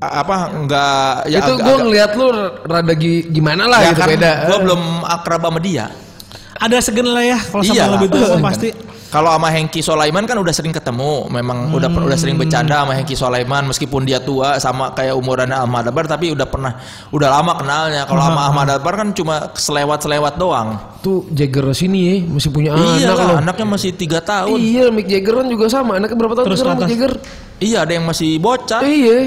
C: apa enggak ya
A: itu
C: agak-
A: gue
C: agak-
A: ngeliat lu rada gi- gimana lah
C: ya
A: gitu
C: kan
A: beda.
C: gua belum akrab sama dia.
B: Ada segen lah ya kalau sama
C: Iya lah,
B: lebih tua
C: pasti kan.
B: pasti.
C: Kalau sama Hengki Solaiman kan udah sering ketemu, memang udah per- udah
B: Hmm.
C: sering bercanda sama Hengki Solaiman meskipun dia tua sama kayak umurannya Ahmad Albar tapi udah pernah udah lama kenalnya. Kalau sama Ahmad Albar kan cuma selewat-selewat doang.
A: Tuh Jagger sini ya masih punya
B: Ah,
C: iya
A: anak
C: lah,
A: loh.
C: anaknya masih tiga tahun.
A: Iya Mick Jagger kan juga sama. Anaknya berapa tahun
B: Terus
A: sekarang
B: ke
A: Mick
B: atas.
A: Jagger?
C: Iya, ada yang masih bocah.
A: Iya.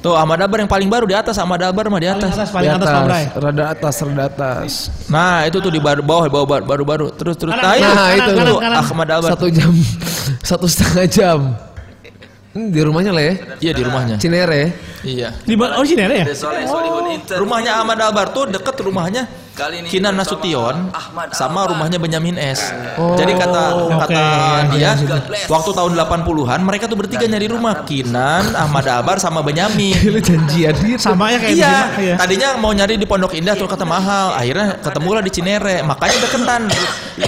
C: Tuh Ahmad Albar yang paling baru di atas, Ahmad Albar mah di atas.
B: Paling atas paling
A: Di
B: atas Pak Bray.
A: Rada atas, rada atas.
C: Nah, itu tuh di bar- bawah, di bawah bar- baru-baru. Terus terus
B: Kanan,
C: iya,
A: kanan,
C: itu
A: kanan,
C: tuh
B: kanan.
C: Ahmad Albar.
A: Satu jam, satu setengah jam. Ini di rumahnya lah ya.
C: Iya di rumahnya.
A: Cinere ya.
C: Iya.
B: Di ba- oh sini ada ya?
E: Desoleh Solihun interview.
C: Rumahnya Ahmad Albar tuh deket rumahnya
E: Kali ini
C: Kinan
E: bersama
C: Nasution
E: Ahmad
C: sama rumahnya Benyamin S. Jadi kata
B: Oh. Oke,
C: kata
B: iya,
C: dia waktu tahun 80-an mereka tuh bertiga nyari rumah Kinan, Ahmad Albar sama Benyamin.
A: Lu janjian gitu.
B: Sama ya kayak di
C: Iya,
B: rumah, iya.
C: tadinya mau nyari di Pondok Indah tuh kata mahal. Akhirnya ketemulah di Cinere. Makanya deketan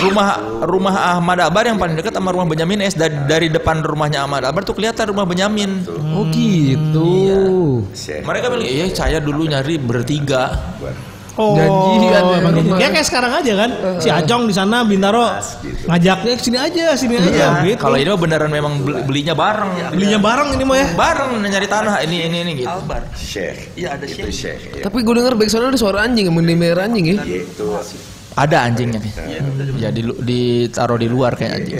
C: rumah rumah Ahmad Albar yang paling dekat sama rumah Benyamin S dari, dari depan rumahnya Ahmad Albar tuh kelihatan rumah Benyamin.
A: Oh gitu.
C: Hmm, iya. Mereka bilang, "Iya, saya dulu nyari bertiga."
B: Oh,
A: Janjian ya,
B: emang gitu.
A: rumah.
B: ya kayak sekarang aja kan, si Acong di sana Bintaro ngajaknya sini aja, sini aja.
C: gitu. Iya,
B: gitu.
C: kalau ini mah beneran memang beli- belinya bareng.
B: Belinya bareng ini mah ya.
C: bareng nyari tanah ini ini ini gitu.
E: Albar.
F: Syekh.
E: Iya, ada
F: Itu Syekh. Ya.
A: Tapi gue denger backsoundnya ada suara anjing, mendemer anjing ya.
F: Itu
C: Ada anjingnya nih. Ya di ditaruh di luar kayak anjing.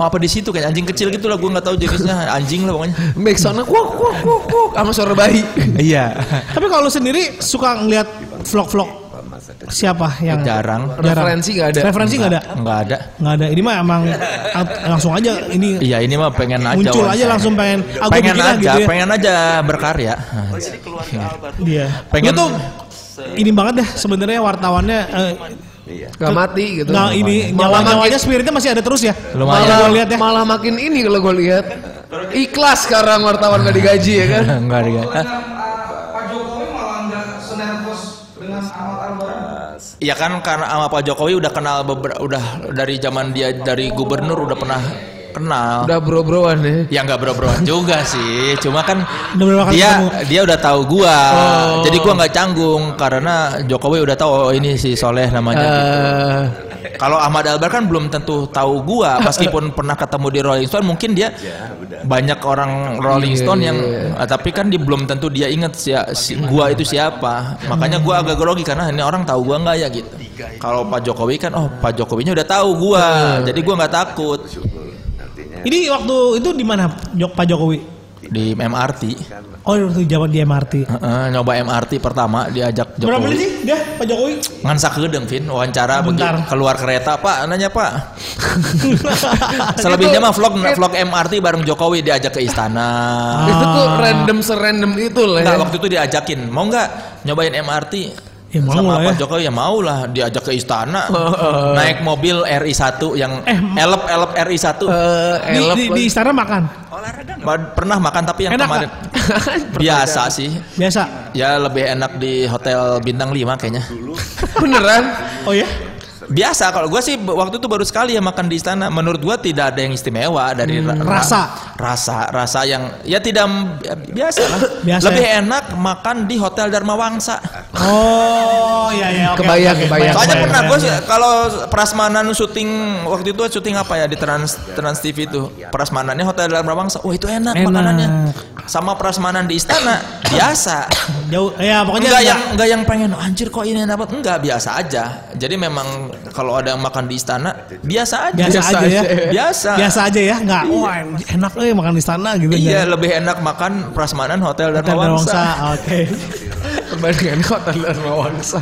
C: Oh, apa di situ kayak anjing kecil gitu lah gua nggak tahu jenisnya anjing lah pokoknya.
A: Backsoundnya kuak kuak kuak kuak sama suara bayi.
C: Iya.
B: Tapi kalau lu sendiri suka ngeliat vlog-vlog siapa yang
C: Jarang.
A: Referensi nggak ada.
B: Referensi nggak ada.
C: Nggak ada.
B: Nggak ada. Ini mah emang ang- langsung aja ini
C: Iya ini mah pengen aja.
B: muncul
C: wawancara.
B: aja langsung pengen ah, gua
C: Pengen
B: bikin lah
C: aja,
B: gitu ya.
C: pengen aja berkarya.
E: Oh, Jadi keluarga Albar.
B: Iya. Lu
C: Pengen-
B: tuh ini banget deh sebenarnya wartawannya eh,
F: iya.
A: Gak mati gitu.
B: nah ini
A: malah
B: nyawa-nyawanya spiritnya masih ada terus ya.
C: Lumayan.
B: Kalau
A: malah,
B: gua lihat ya.
A: malah makin ini kalau gue lihat. Ikhlas sekarang wartawan gak digaji ya kan.
C: Enggak ada. Iya kan karena sama Pak Jokowi udah kenal beber- udah dari zaman dia dari gubernur udah pernah kenal.
A: Udah bro-broan ya.
C: Ya nggak bro-broan juga sih, cuma kan
B: Udah berapa kali
C: dia
B: ketemu? Oh.
C: dia udah tahu gua, jadi gua nggak canggung karena Jokowi udah tahu oh, ini si Soleh namanya. gitu.
A: Eh,
C: Kalau Ahmad Albar kan belum tentu tahu gua, meskipun pernah ketemu di Rolling Stone, mungkin dia banyak orang Rolling
A: Ya, Iya,
C: Stone yang,
A: iya.
C: ah, tapi kan dia belum tentu dia ingat si, si- gua itu siapa. Makanya gua agak grogi karena ini orang tahu gua nggak ya gitu. Kalau Pak Jokowi kan, oh Pak Jokowinya udah tahu gua, jadi gua nggak takut.
F: Artinya
B: Iya. Ini waktu itu di mana Jok Pak Jokowi?
C: di MRT.
B: Oh, waktu zaman di MRT.
C: Heeh, nyoba MRT pertama diajak
B: Berapa menit
C: Jokowi.
B: sih dia Pak Jokowi?
C: Ngan sakedeung Vin wawancara
B: Bentar.
C: begitu keluar kereta Pak nanya Pak. Selebihnya mah vlog vlog MRT bareng Jokowi diajak ke
B: Oh,
C: istana.
A: Itu tuh random serandom itu lah ya.
B: iya.
C: Enggak, waktu itu diajakin. Mau nggak nyobain MRT?
B: Ya, mau
C: sama
B: lah
C: Pak
B: ya. Oh,
C: Jokowi ya mau lah diajak ke istana. Naik mobil RI1 yang
B: Eh,
C: elep-elep
A: Eh,
C: RI1.
B: Di,
A: elep
B: di-
A: lah.
B: di istana makan.
E: Olahraga nggak?
C: Pad- Pernah makan tapi yang
B: Enak
C: kemarin
B: nggak?
C: biasa sih.
B: Biasa.
C: Ya lebih enak di hotel bintang 5 kayaknya.
A: Beneran?
B: Oh ya?
C: Biasa kalau gue sih b- waktu itu baru sekali ya makan di istana. Menurut gue tidak ada yang istimewa dari ra- ra-
B: Hmm, rasa.
C: rasa rasa yang ya tidak m- ya, biasa lah.
B: Biasa
C: Lebih
B: ya.
C: enak makan di hotel Dharma Wangsa.
B: Oh, ya ya. oke,
A: Kebayang,
B: oke, oke.
A: kebayang.
C: Soalnya
A: Bayang,
C: pernah gue kalau prasmanan syuting waktu itu syuting apa ya di Trans Trans TV itu prasmanannya hotel dalam Wangsa. Wah itu enak,
B: Enak.
C: makanannya. Sama prasmanan di istana biasa.
B: Jauh. Ya pokoknya
C: Enggak
B: ada-
C: yang enggak yang pengen anjir kok ini dapat enggak biasa aja. Jadi memang kalau ada yang makan di istana biasa aja.
B: biasa,
A: Biasa
B: aja ya.
A: aja.
C: Biasa.
B: Biasa aja ya, enggak. Wah, enak eh makan di istana gitu.
C: Iya
B: Jangan-
C: lebih enak makan prasmanan hotel
B: Hotel
C: Dharma
B: Wangsa.
C: Wangsa.
B: Oke.
A: Perbandingan hotel Dharma Wangsa.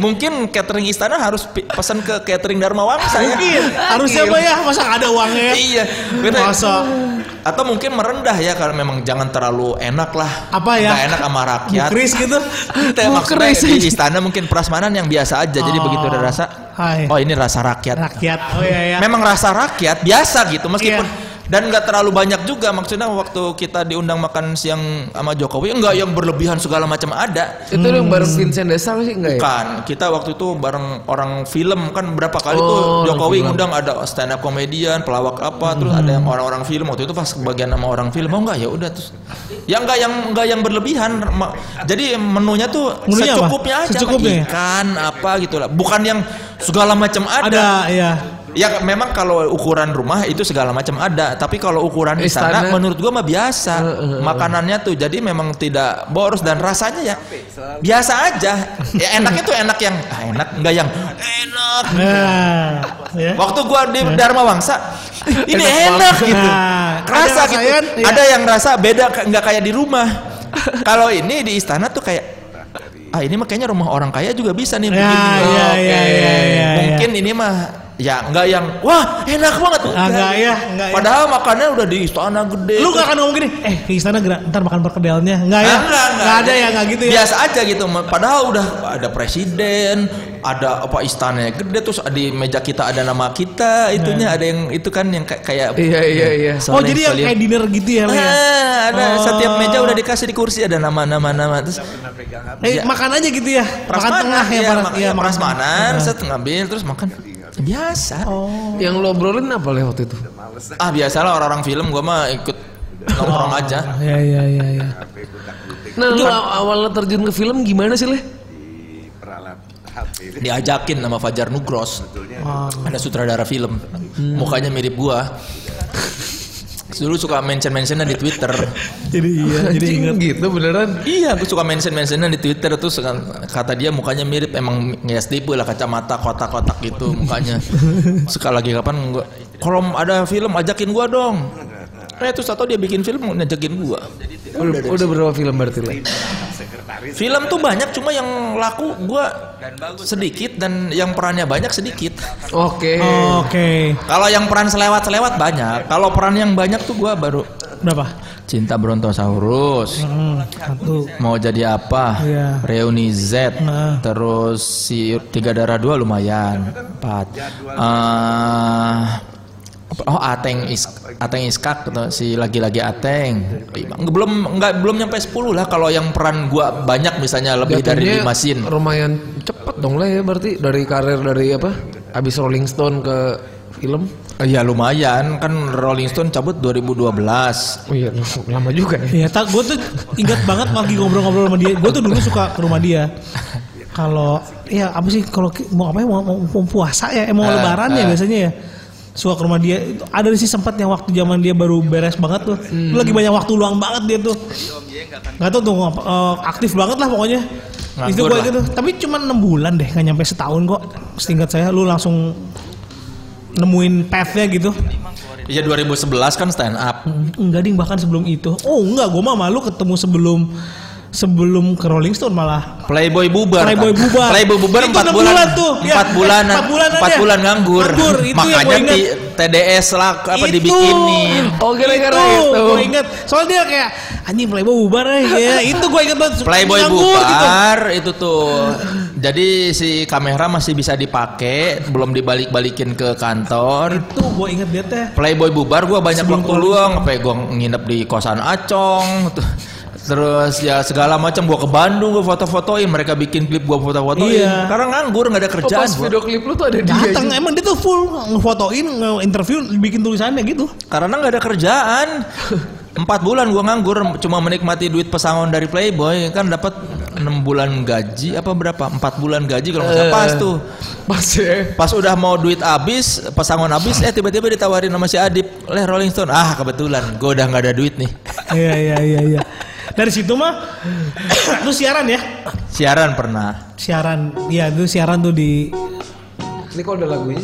C: Mungkin catering istana harus pi- pesan ke catering Dharma Wangsa ya.
B: Mungkin harusnya apa ya? Masa nggak ada uangnya?
C: Iya. Bener.
B: Masa
C: Atau mungkin merendah ya kalau memang jangan terlalu enak lah.
B: Apa ya?
C: Nggak enak sama rakyat.
B: Kris gitu.
C: Kita
A: Bu
C: maksudnya
A: Kris
C: di
A: aja.
C: istana mungkin prasmanan yang biasa aja. Jadi
B: Oh.
C: begitu udah rasa,
B: Hai.
C: oh ini rasa rakyat.
B: Rakyat. Oh iya ya.
C: Memang rasa rakyat biasa gitu meskipun
B: Iya.
C: dan nggak terlalu banyak juga maksudnya waktu kita diundang makan siang sama Jokowi enggak yang berlebihan segala macam ada.
A: Itu yang bareng Vincent Desa sih
B: Iya.
A: enggak ya?
C: Bukan, kita waktu itu bareng orang film kan berapa kali tuh
A: Oh, orang
C: Jokowi
A: film.
C: ngundang ada stand up komedian, pelawak apa, terus ada yang orang-orang film waktu itu pas kebagian sama orang film mau nggak ya udah terus ya nggak yang nggak yang berlebihan Ma- jadi menunya tuh
B: Menunya apa?
C: secukupnya aja
B: Secukupnya ya?
C: Kayak ikan apa gitu lah bukan yang segala macam ada.
B: ada ya.
C: ya memang kalau ukuran rumah itu segala macam ada tapi kalau ukuran istana,
A: Istana.
C: menurut gua mah biasa makanannya tuh jadi memang tidak boros dan rasanya ya biasa aja ya enaknya tuh enak yang ah, enak enggak yang enak
B: Nah, ya.
C: waktu gua di Dharma Wangsa ini
A: Enak
C: enak,
A: banget.
C: gitu
B: Nah,
C: rasa
B: ada
C: gitu
B: rasanya, iya.
C: ada yang rasa beda k- nggak kayak di rumah kalau ini di istana tuh kayak ah ini mah kayaknya rumah orang kaya juga bisa nih
B: Ya, ya,
C: Oke.
B: ya, ya, ya,
C: mungkin ini mah ya nggak yang wah enak banget
B: Ah, nggak ya, nggak ya.
C: padahal makannya udah di istana gede
B: Lu gak akan ngomong gini, eh ke istana gerak, ntar makan perkedelnya. Enggak ya?
C: Ah, enggak, enggak.
B: Nggak ada ya, enggak gitu ya.
C: Biasa aja gitu. Padahal udah ada presiden, ada apa istananya gede terus di meja kita ada nama kita,
B: Iya.
C: itunya ada yang itu kan yang kayak- kayak
A: Iya iya iya.
B: Oh
C: Soleh,
B: jadi yang
C: soleh.
B: kayak dinner gitu ya? Lu ya?
C: Ah, ada
B: Oh.
C: setiap meja udah dikasih di kursi ada nama-nama nama terus
B: Eh
C: Iya.
B: makan aja gitu ya? Makan
C: prasmanan,
B: tengah ya?
C: iya,
B: Pak?
C: mak-
B: Iya,
C: iya,
B: makan
C: prasmanan,
B: tengah.
C: set ngambil terus makan biasa.
B: Oh.
A: Yang lo obrolin apa leh waktu itu?
C: Ah biasalah orang-orang film gua mah ikut nongkrong aja.
B: Ya ya ya ya.
A: Nah, lo aw- awalnya terjun ke film gimana sih leh?
C: Diajakin sama Fajar Nugros. Ada sutradara film. Mukanya mirip gua. Dulu suka mention-mentionnya di Twitter.
B: Jadi iya, jadi
A: Anjing,
B: ingat.
A: gitu beneran.
C: iya, aku suka mention-mentionnya di Twitter terus kan kata dia mukanya mirip emang ya tipe lah kacamata kotak-kotak gitu mukanya. Sekali lagi kapan gua kalau ada film ajakin gua dong. Eh terus atau dia bikin film ngajakin gua.
A: Udah, udah berapa film berarti leh?
C: Film tuh banyak cuma yang laku gua sedikit dan yang perannya banyak sedikit.
A: Oke.
B: Oke.
C: Kalau yang peran selewat-selewat banyak. Kalau peran yang banyak tuh gua baru
B: Berapa?
C: cinta Brontosaurus.
B: Hmm, satu.
C: Mau jadi apa?
B: Iya.
C: Reuni Z.
B: Nah.
C: Terus si tiga darah dua lumayan. Empat. Eh, apa- oh Ateng is Ateng Iskak atau si lagi-lagi Ateng. Lima. Belum nggak belum nyampe 10 lah kalau yang peran gua banyak misalnya lebih dari
A: Jatuhnya
C: lima scene.
A: Lumayan cepet dong leh ya berarti dari karir dari apa? Abis Rolling Stone ke film.
C: Iya lumayan kan Rolling Stone cabut 2012.
A: Oh iya, lama juga ya.
B: Iya, tak gue tuh ingat banget lagi ngobrol-ngobrol sama dia. Gue tuh dulu suka ke rumah dia. Kalau ya apa sih kalau ki- mau apa ya mau, mau- mau puasa ya, eh, mau
C: Ah,
B: lebaran ya biasanya ya. Suka ke rumah dia. Itu Ada sih sempat yang waktu zaman dia baru beres banget tuh.
C: Hmm.
B: Lu Lagi banyak waktu luang banget dia tuh. Gak tau tuh ngapa- eh, aktif banget lah pokoknya. itu
C: Nganggur
B: gue
C: lah.
B: gitu. Tapi cuma 6 bulan deh, nggak nyampe setahun kok. Setingkat saya lu langsung nemuin pathnya gitu
C: Ya 2011 kan stand up.
B: Enggak ding bahkan sebelum itu. Oh enggak, gue mah malu ketemu sebelum sebelum ke Rolling Stone malah.
C: Playboy bubar.
B: Playboy
C: kan?
B: bubar.
C: Playboy bubar
B: Itu
C: 4
B: enam
C: bulan.
B: bulan tuh. Ya,
C: 4 bulan.
B: empat
C: 4
B: bulan
C: bulan,
B: aja.
C: nganggur.
B: Nganggur, itu yang
C: Makanya
B: gua
C: di TDS lah apa dibikinin.
A: Oh, gara-gara itu.
B: Gue inget. Soalnya dia kayak anjing Playboy bubar eh. ya. itu gue inget banget.
C: Playboy
B: Nganggur gitu.
C: bubar itu tuh. Jadi si kamera masih bisa dipakai, belum dibalik-balikin ke kantor.
B: Itu gue inget dia teh.
C: Playboy bubar gua banyak
B: Sebelum
C: waktu luang, apa ya, gua nginep di kosan Acong. tuh. Terus ya segala macam gua ke Bandung gua foto-fotoin, mereka bikin klip gua foto-fotoin.
B: Iya.
C: Karena nganggur nggak ada
A: Oh,
C: kerjaan.
A: pas
C: gua.
A: video klip lu tuh ada dia.
B: Datang
A: aja.
B: emang dia tuh full ngefotoin, nge-interview, bikin tulisannya gitu.
C: Karena nggak ada kerjaan. Empat bulan gua nganggur, cuma menikmati duit pesangon dari Playboy kan dapat enam bulan gaji apa berapa? Empat bulan gaji kalau nggak salah
A: Eh.
C: pas tuh.
A: Pas ya.
C: Pas udah mau duit habis, pesangon habis, eh tiba-tiba ditawarin sama si Adip, leh Rolling Stone. Ah kebetulan, gua udah nggak ada duit nih.
B: Iya iya iya iya. Dari situ mah lu siaran ya?
C: Siaran pernah.
B: Siaran. Iya, itu siaran tuh di
A: Ini kok ada lagunya?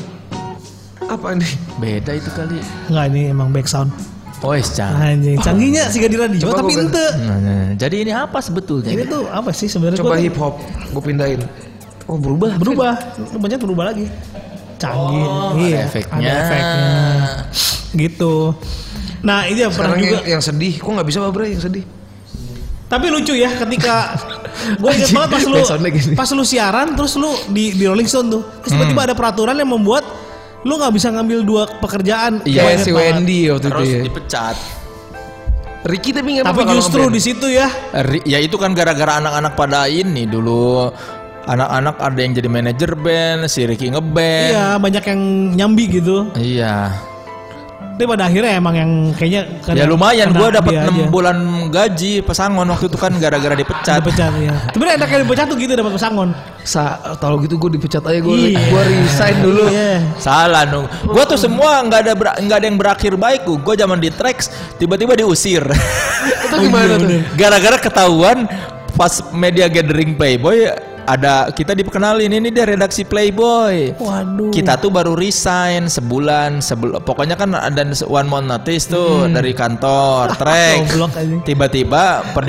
A: Apa nih?
C: Beda itu kali.
B: enggak ini emang back sound.
C: Oh, Cang.
B: Anjing, canggihnya sih gak di radio,
A: Coba
B: tapi
A: gua
B: ente.
C: Nah, nah, jadi ini apa sebetulnya?
B: Ini tuh apa sih sebenarnya?
A: Coba
B: gua tuh
A: hip hop, gue pindahin. Oh berubah.
B: berubah, banyak berubah lagi. Canggih.
A: Oh,
B: iya,
C: ada efeknya.
B: Ada efeknya. Gitu. Nah, itu ya pernah
A: Sekarang
B: juga.
A: yang, yang sedih, kok nggak bisa babre yang sedih?
B: Tapi lucu ya ketika gue inget
A: Anjing,
B: banget pas lu
A: back sound lagi nih. Hmm.
B: pas lu siaran terus lu di di Rolling Stone tuh terus tiba-tiba ada peraturan yang membuat lu nggak bisa ngambil dua pekerjaan. Gua
A: Iya
B: inget
A: si
B: banget.
A: Wendy waktu itu
C: Terus
A: ya.
C: dipecat.
A: Ricky tapi nggak
B: Tapi
A: apa-apa kalau
B: justru
A: ngeband.
B: di situ ya
C: Ri- Ya itu kan gara-gara anak-anak pada ini dulu anak-anak ada yang jadi manajer band, si Ricky ngeband.
B: iya banyak yang nyambi gitu.
C: Iya.
B: Tapi pada akhirnya emang Kan yang kayaknya kena-
C: Ya lumayan
B: kena
C: gua dapat
B: dia
C: 6
B: aja.
C: bulan gaji pesangon waktu itu kan gara-gara dipecat.
B: Dipecat ya. Sebenarnya enaknya dipecat tuh gitu dapat pesangon.
A: Sa, kalau gitu gue dipecat aja gue,
B: Iya.
A: gue resign dulu.
B: Iya.
C: Salah nung. Gua tuh semua nggak ada ber- nggak ada yang berakhir baik. Gue zaman di tracks tiba-tiba diusir.
A: Itu gimana tuh?
C: Gara-gara ketahuan pas media gathering Playboy ada kita diperkenalin ini dia redaksi Playboy.
B: Waduh.
C: Kita tuh baru resign sebulan sebelum pokoknya kan ada one month notice tuh dari kantor track.
B: Hmm. Goblok aja.
C: Tiba-tiba per-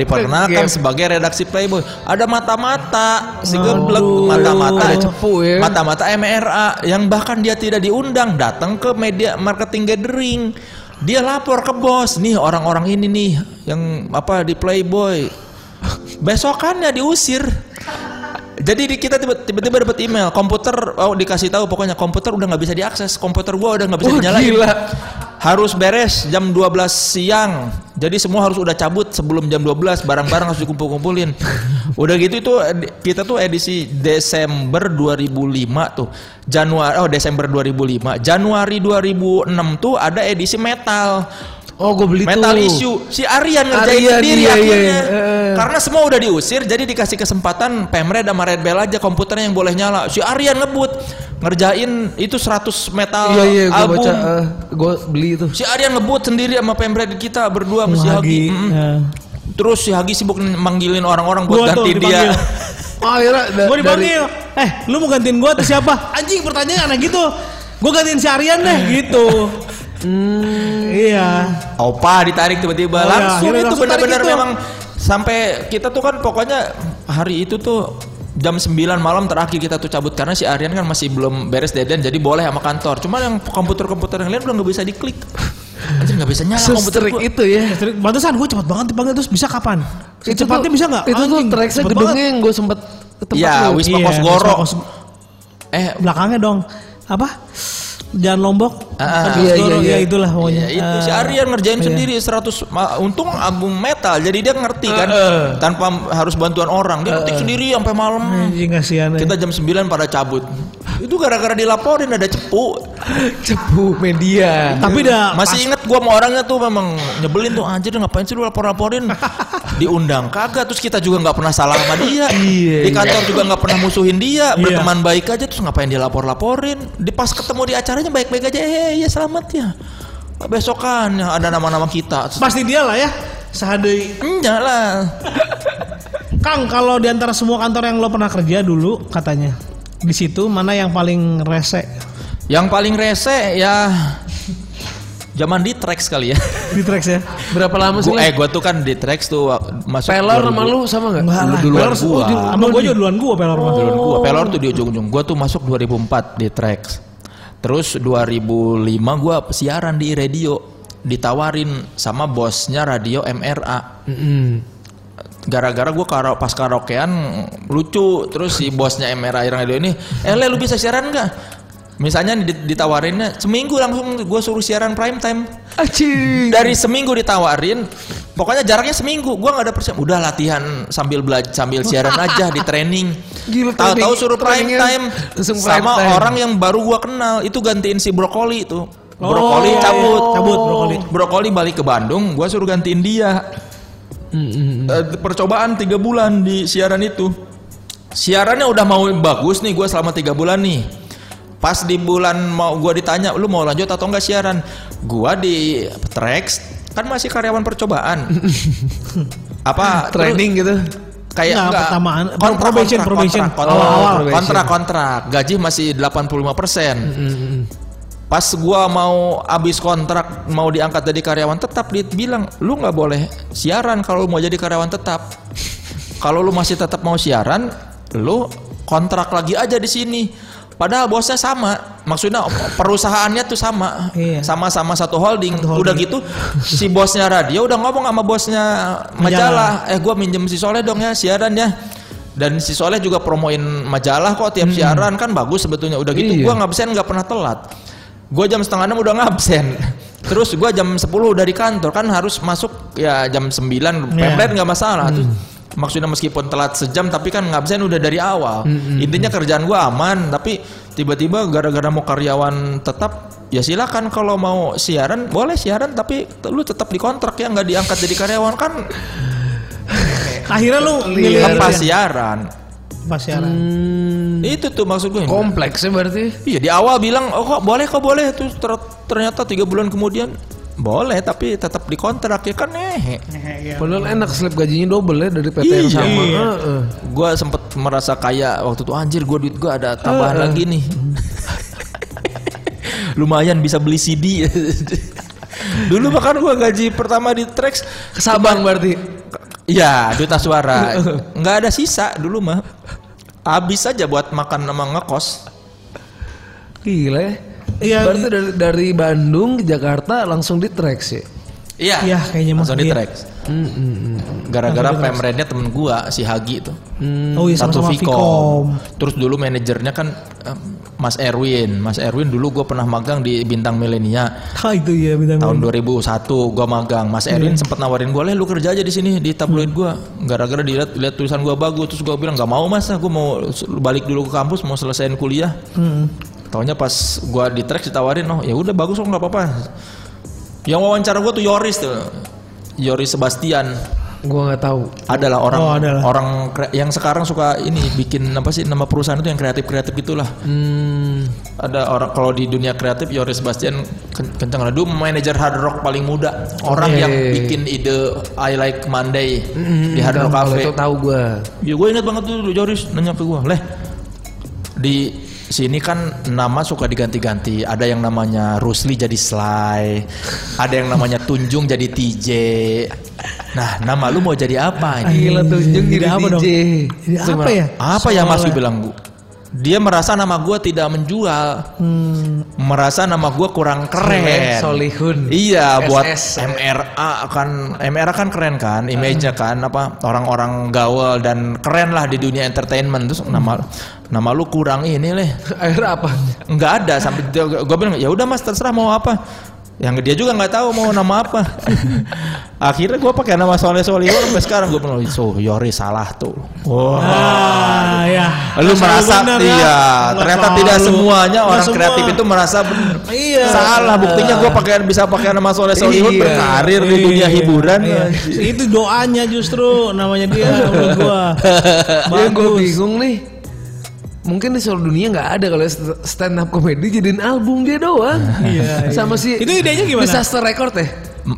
A: Gap.
C: diperkenalkan sebagai redaksi Playboy. Ada mata-mata, si geblek
B: Aduh.
C: mata-mata
A: Ada cepu ya.
C: mata-mata MRA yang bahkan dia tidak diundang datang ke media marketing gathering. Dia lapor ke bos, nih orang-orang ini nih yang apa di Playboy. Besokannya diusir. Jadi di- kita tiba- tiba-tiba dapat email, komputer oh, dikasih tahu pokoknya komputer udah nggak bisa diakses, komputer gua udah nggak bisa
A: Wah,
C: dinyalain.
A: gila.
C: Harus beres jam 12 siang. Jadi semua harus udah cabut sebelum jam 12, barang-barang harus dikumpul-kumpulin. Udah gitu itu edi- kita tuh edisi Desember 2005 tuh. Januari oh Desember 2005. Januari 2006 tuh ada edisi metal.
A: Oh gue beli
C: Metal
A: tuh.
C: issue si Aryan ngerjain
A: Aryan,
C: sendiri
A: iya, iya,
C: akhirnya.
A: iya. Eh.
C: Karena semua udah diusir jadi dikasih kesempatan Pemred sama Red Bell aja komputernya yang boleh nyala. Si Aryan ngebut ngerjain itu 100 metal
A: Iya iya gue
C: album.
A: baca, gue beli itu.
C: Si Aryan ngebut sendiri sama Pemred kita berdua sama si Hagi.
B: Lagi.
C: Mm-mm.
A: iya.
B: Ya.
C: Terus si Hagi sibuk manggilin orang-orang buat
B: Gua tuh
C: ganti
B: dipanggil.
C: dia.
A: Oh akhirnya da-
B: Gua
A: dari
B: dipanggil. Eh, lu mau gantiin gua tuh siapa? Anjing pertanyaan aneh gitu. Gua gantiin si Aryan deh gitu.
A: Hmm.
B: Iya.
C: Opa ditarik tiba-tiba
B: Oh, ya,
C: langsung
B: akhirnya
C: itu
B: langsung tarik
C: benar-benar
B: itu.
C: memang sampai kita tuh kan pokoknya hari itu tuh jam 9 malam terakhir kita tuh cabut karena si Aryan kan masih belum beres deadline jadi boleh sama kantor. Cuman yang komputer-komputer yang lain udah nggak bisa diklik. Anjir nggak bisa nyala komputer
A: sestrik
C: gua.
A: itu ya.
B: Batasan gue cepat banget dipanggil terus bisa kapan?
A: Itu
B: Secepatnya
A: tuh-
B: bisa nggak?
A: Itu tuh
B: Anjing,
A: tracknya
B: cepet
A: gedungnya
B: banget.
A: yang gue sempet ke tempat
C: Iya,
A: lu.
C: Wisma
B: Iya,
C: Kosgoro.
B: Wisma Kos-
C: Eh,
B: belakangnya dong. Apa? Jalan Lombok.
C: Ah,
B: Bukan
A: iya, iya,
B: Kosgoro, ya
A: iya.
B: itulah pokoknya.
C: ya itu si
B: Ah,
C: Aryan ngerjain
B: iya.
C: sendiri 100 ma- untung album metal jadi dia ngerti kan
B: Eh,
C: tanpa m- harus bantuan orang dia ngetik sendiri sampai malam.
B: Anjing kasihan. ya.
C: Kita jam 9 pada cabut. Itu gara-gara dilaporin ada cepu.
A: cepu media.
B: Tapi
A: Ah,
B: udah
C: Masih inget gue sama orangnya tuh memang nyebelin tuh anjir ngapain sih lu lapor-laporin diundang kagak terus kita juga nggak pernah salah sama
A: Iya,
C: dia di kantor juga nggak pernah musuhin dia berteman baik aja terus ngapain dia lapor-laporin di pas ketemu di acaranya baik-baik aja eh ya selamat ya besokan ada nama-nama kita
B: pas- pasti dia lah ya. Sehadai
C: enggak lah
B: Kang, kalau di antara semua kantor yang lo pernah kerja dulu katanya di situ mana yang paling rese?
C: yang paling rese ya Zaman di tracks kali ya.
B: Di tracks ya.
A: Berapa lama sih?
C: Gua, eh
A: Len?
C: gue tuh kan di tracks tuh wa- masuk.
A: Pelor
C: 2000.
A: sama lu sama nggak?
B: Enggak lah.
C: duluan
B: Pelor-
C: gua. Iya.
B: oh, dulu- Sama gua juga duluan gua Pelor mah.
C: Duluan gua. Pelor tuh di ujung-ujung. Gue tuh masuk 2004 di tracks. Terus 2005 gue siaran di radio. Ditawarin sama bosnya radio MRA.
A: Mm-mm.
C: gara-gara gue karo pas karaokean lucu terus si bosnya MRA Irang Radio ini eh Le, lu bisa siaran nggak misalnya di- ditawarinnya seminggu langsung gue suruh siaran prime time
A: Aci.
C: dari seminggu ditawarin pokoknya jaraknya seminggu gue nggak ada persiapan udah latihan sambil belajar sambil siaran aja di training
A: Gila,
C: tahu-tahu
A: training-
C: suruh prime
A: trainingnya
C: time
A: langsung prime
C: sama
A: time.
C: orang yang baru gue kenal itu gantiin si brokoli itu brokoli
A: Oh.
C: cabut
B: Cabut brokoli.
C: brokoli balik ke Bandung gue suruh gantiin dia Eh, percobaan tiga bulan di siaran itu siarannya udah mau bagus nih gue selama tiga bulan nih pas di bulan mau gue ditanya lu mau lanjut atau enggak siaran gue di tracks kan masih karyawan percobaan apa terus
A: Training gitu.
C: kayak
B: Nah,
C: enggak,
B: pertamaan,
C: kontrak,
B: probation,
C: kontrak,
B: probation.
C: kontrak, kontrak,
A: Awal-awal.
C: kontrak, kontrak. gaji masih 85
B: Mm,
C: pas gua mau abis kontrak mau diangkat jadi karyawan tetap dia bilang lu nggak boleh siaran kalau lu mau jadi karyawan tetap kalau lu masih tetap mau siaran lu kontrak lagi aja di sini padahal bosnya sama maksudnya perusahaannya tuh sama
B: Iya.
C: sama-sama satu holding.
B: Satu holding.
C: udah gitu si bosnya radio udah ngomong sama bosnya majalah eh gua minjem si Soleh dong ya siaran ya dan si Soleh juga promoin majalah kok tiap siaran kan bagus sebetulnya udah gitu
A: Iya.
C: gua ngabsen nggak pernah telat gua jam setengah enam udah ngabsen terus gua jam 10 dari kantor kan harus masuk ya jam 9 pepet nggak masalah Terus maksudnya meskipun telat sejam tapi kan ngabsen udah dari awal intinya kerjaan gua aman tapi tiba-tiba gara-gara mau karyawan tetap ya silakan kalau mau siaran boleh siaran tapi lu tetap dikontrak ya nggak diangkat jadi karyawan kan
B: Akhirnya lu
C: Iya.
B: milih ya?
C: lepas siaran
B: Pas siaran. Hmm.
C: Hmm. itu tuh maksud gue
A: Kompleksnya Hmm, ya berarti.
C: Iya di awal bilang oh kok boleh kok boleh terus ter- ternyata tiga bulan kemudian boleh tapi tetap dikontrak ya kan eh
A: Padahal enak slip gajinya double ya dari PT yang
C: Iya.
A: sama.
B: Iya.
A: Heeh.
C: gue sempet merasa kaya waktu itu anjir gue duit gue ada tambahan lagi nih lumayan bisa beli CD dulu bahkan gue gaji pertama di Trax
A: Kesabang berarti.
C: ya juta suara nggak ada sisa dulu mah habis aja buat makan sama ngekos
A: Gila ya.
B: Iya.
A: Berarti dari, dari Bandung ke Jakarta langsung di ya? track sih.
C: iya
B: Iya, kayaknya mah.
C: langsung di
B: Iya.
C: Trax gara-gara pemrednya temen gue si Hagi tuh
B: Oh iya
C: Hmm. satu
B: sama-sama
C: Vicom.
B: Vicom.
C: Terus dulu manajernya kan eh, Mas Erwin. Mas Erwin dulu gue pernah magang di Bintang Milenia
B: Ah itu ya bintang
C: tahun 2001 gue magang. Mas
B: Hmm.
C: Erwin sempat nawarin gue, "Leh, lu kerja aja di sini di tabloid gue." Gara-gara dilihat lihat tulisan gue bagus, terus gue bilang, "Gak mau, Mas. Gue mau s- balik dulu ke kampus, mau selesaiin kuliah."
B: Hmm.
C: Taunya pas gua di track ditawarin, oh ya udah bagus kok nggak apa-apa. Yang wawancara gue tuh Yoris tuh, Yoris Sebastian
A: Gua nggak tahu.
C: adalah orang
B: Oh, adalah.
C: orang kre- yang sekarang suka ini bikin apa sih nama perusahaan itu yang kreatif kreatif gitulah
A: Hmm,
C: ada orang kalau di dunia kreatif Yoris Bastian ken- kencang lah dulu manajer hard rock paling muda orang
A: Oke.
C: yang bikin ide I Like Monday di hard rock
A: gampang,
C: cafe
A: Itu tahu gua.
C: ya gue inget banget tuh Yoris nanya ke gue leh di sini kan nama suka diganti-ganti ada yang namanya Rusli jadi Sly ada yang namanya Tunjung jadi TJ nah nama lu mau jadi apa ini
A: Gila tuh Jung jadi
B: apa dong?
A: DJ.
B: Jadi
A: Cuma-
B: apa ya?
C: apa ya Mas bilang Bu? Dia merasa nama gue tidak menjual,
B: Hmm.
C: merasa nama gue kurang
A: Keren,
C: keren.
A: Solihun.
C: Iya,
A: SS.
C: buat MRA kan MRA kan keren kan, image-nya kan apa orang-orang gaul dan keren lah di dunia entertainment terus nama nama lu kurang ini leh
A: Akhirnya apa?
C: nggak ada sampai gue bilang ya udah mas terserah mau apa yang dia juga nggak tahu mau nama apa akhirnya gue pakai nama Soleh Solihun sampai sekarang gue bilang so Yori salah tuh wah
B: Ah ya. Selalu
C: lu merasa
B: benar ya.
C: iya
B: Nggak
C: ternyata
B: selalu.
C: tidak semuanya
B: Nggak
C: orang
B: semua.
C: kreatif itu merasa ben-
B: Iya.
C: salah buktinya gue pakaian bisa pakai nama soleh solihun
A: Iya.
C: berkarir di dunia
B: Iya.
C: hiburan
B: Iya. Itu doanya justru namanya dia menurut gua.
A: Yang gue bingung nih. Mungkin di seluruh dunia nggak ada kalau st- stand up comedy jadiin album dia doang.
B: Iya, iya.
A: Sama si
B: Itu idenya gimana?
A: Disaster record ya?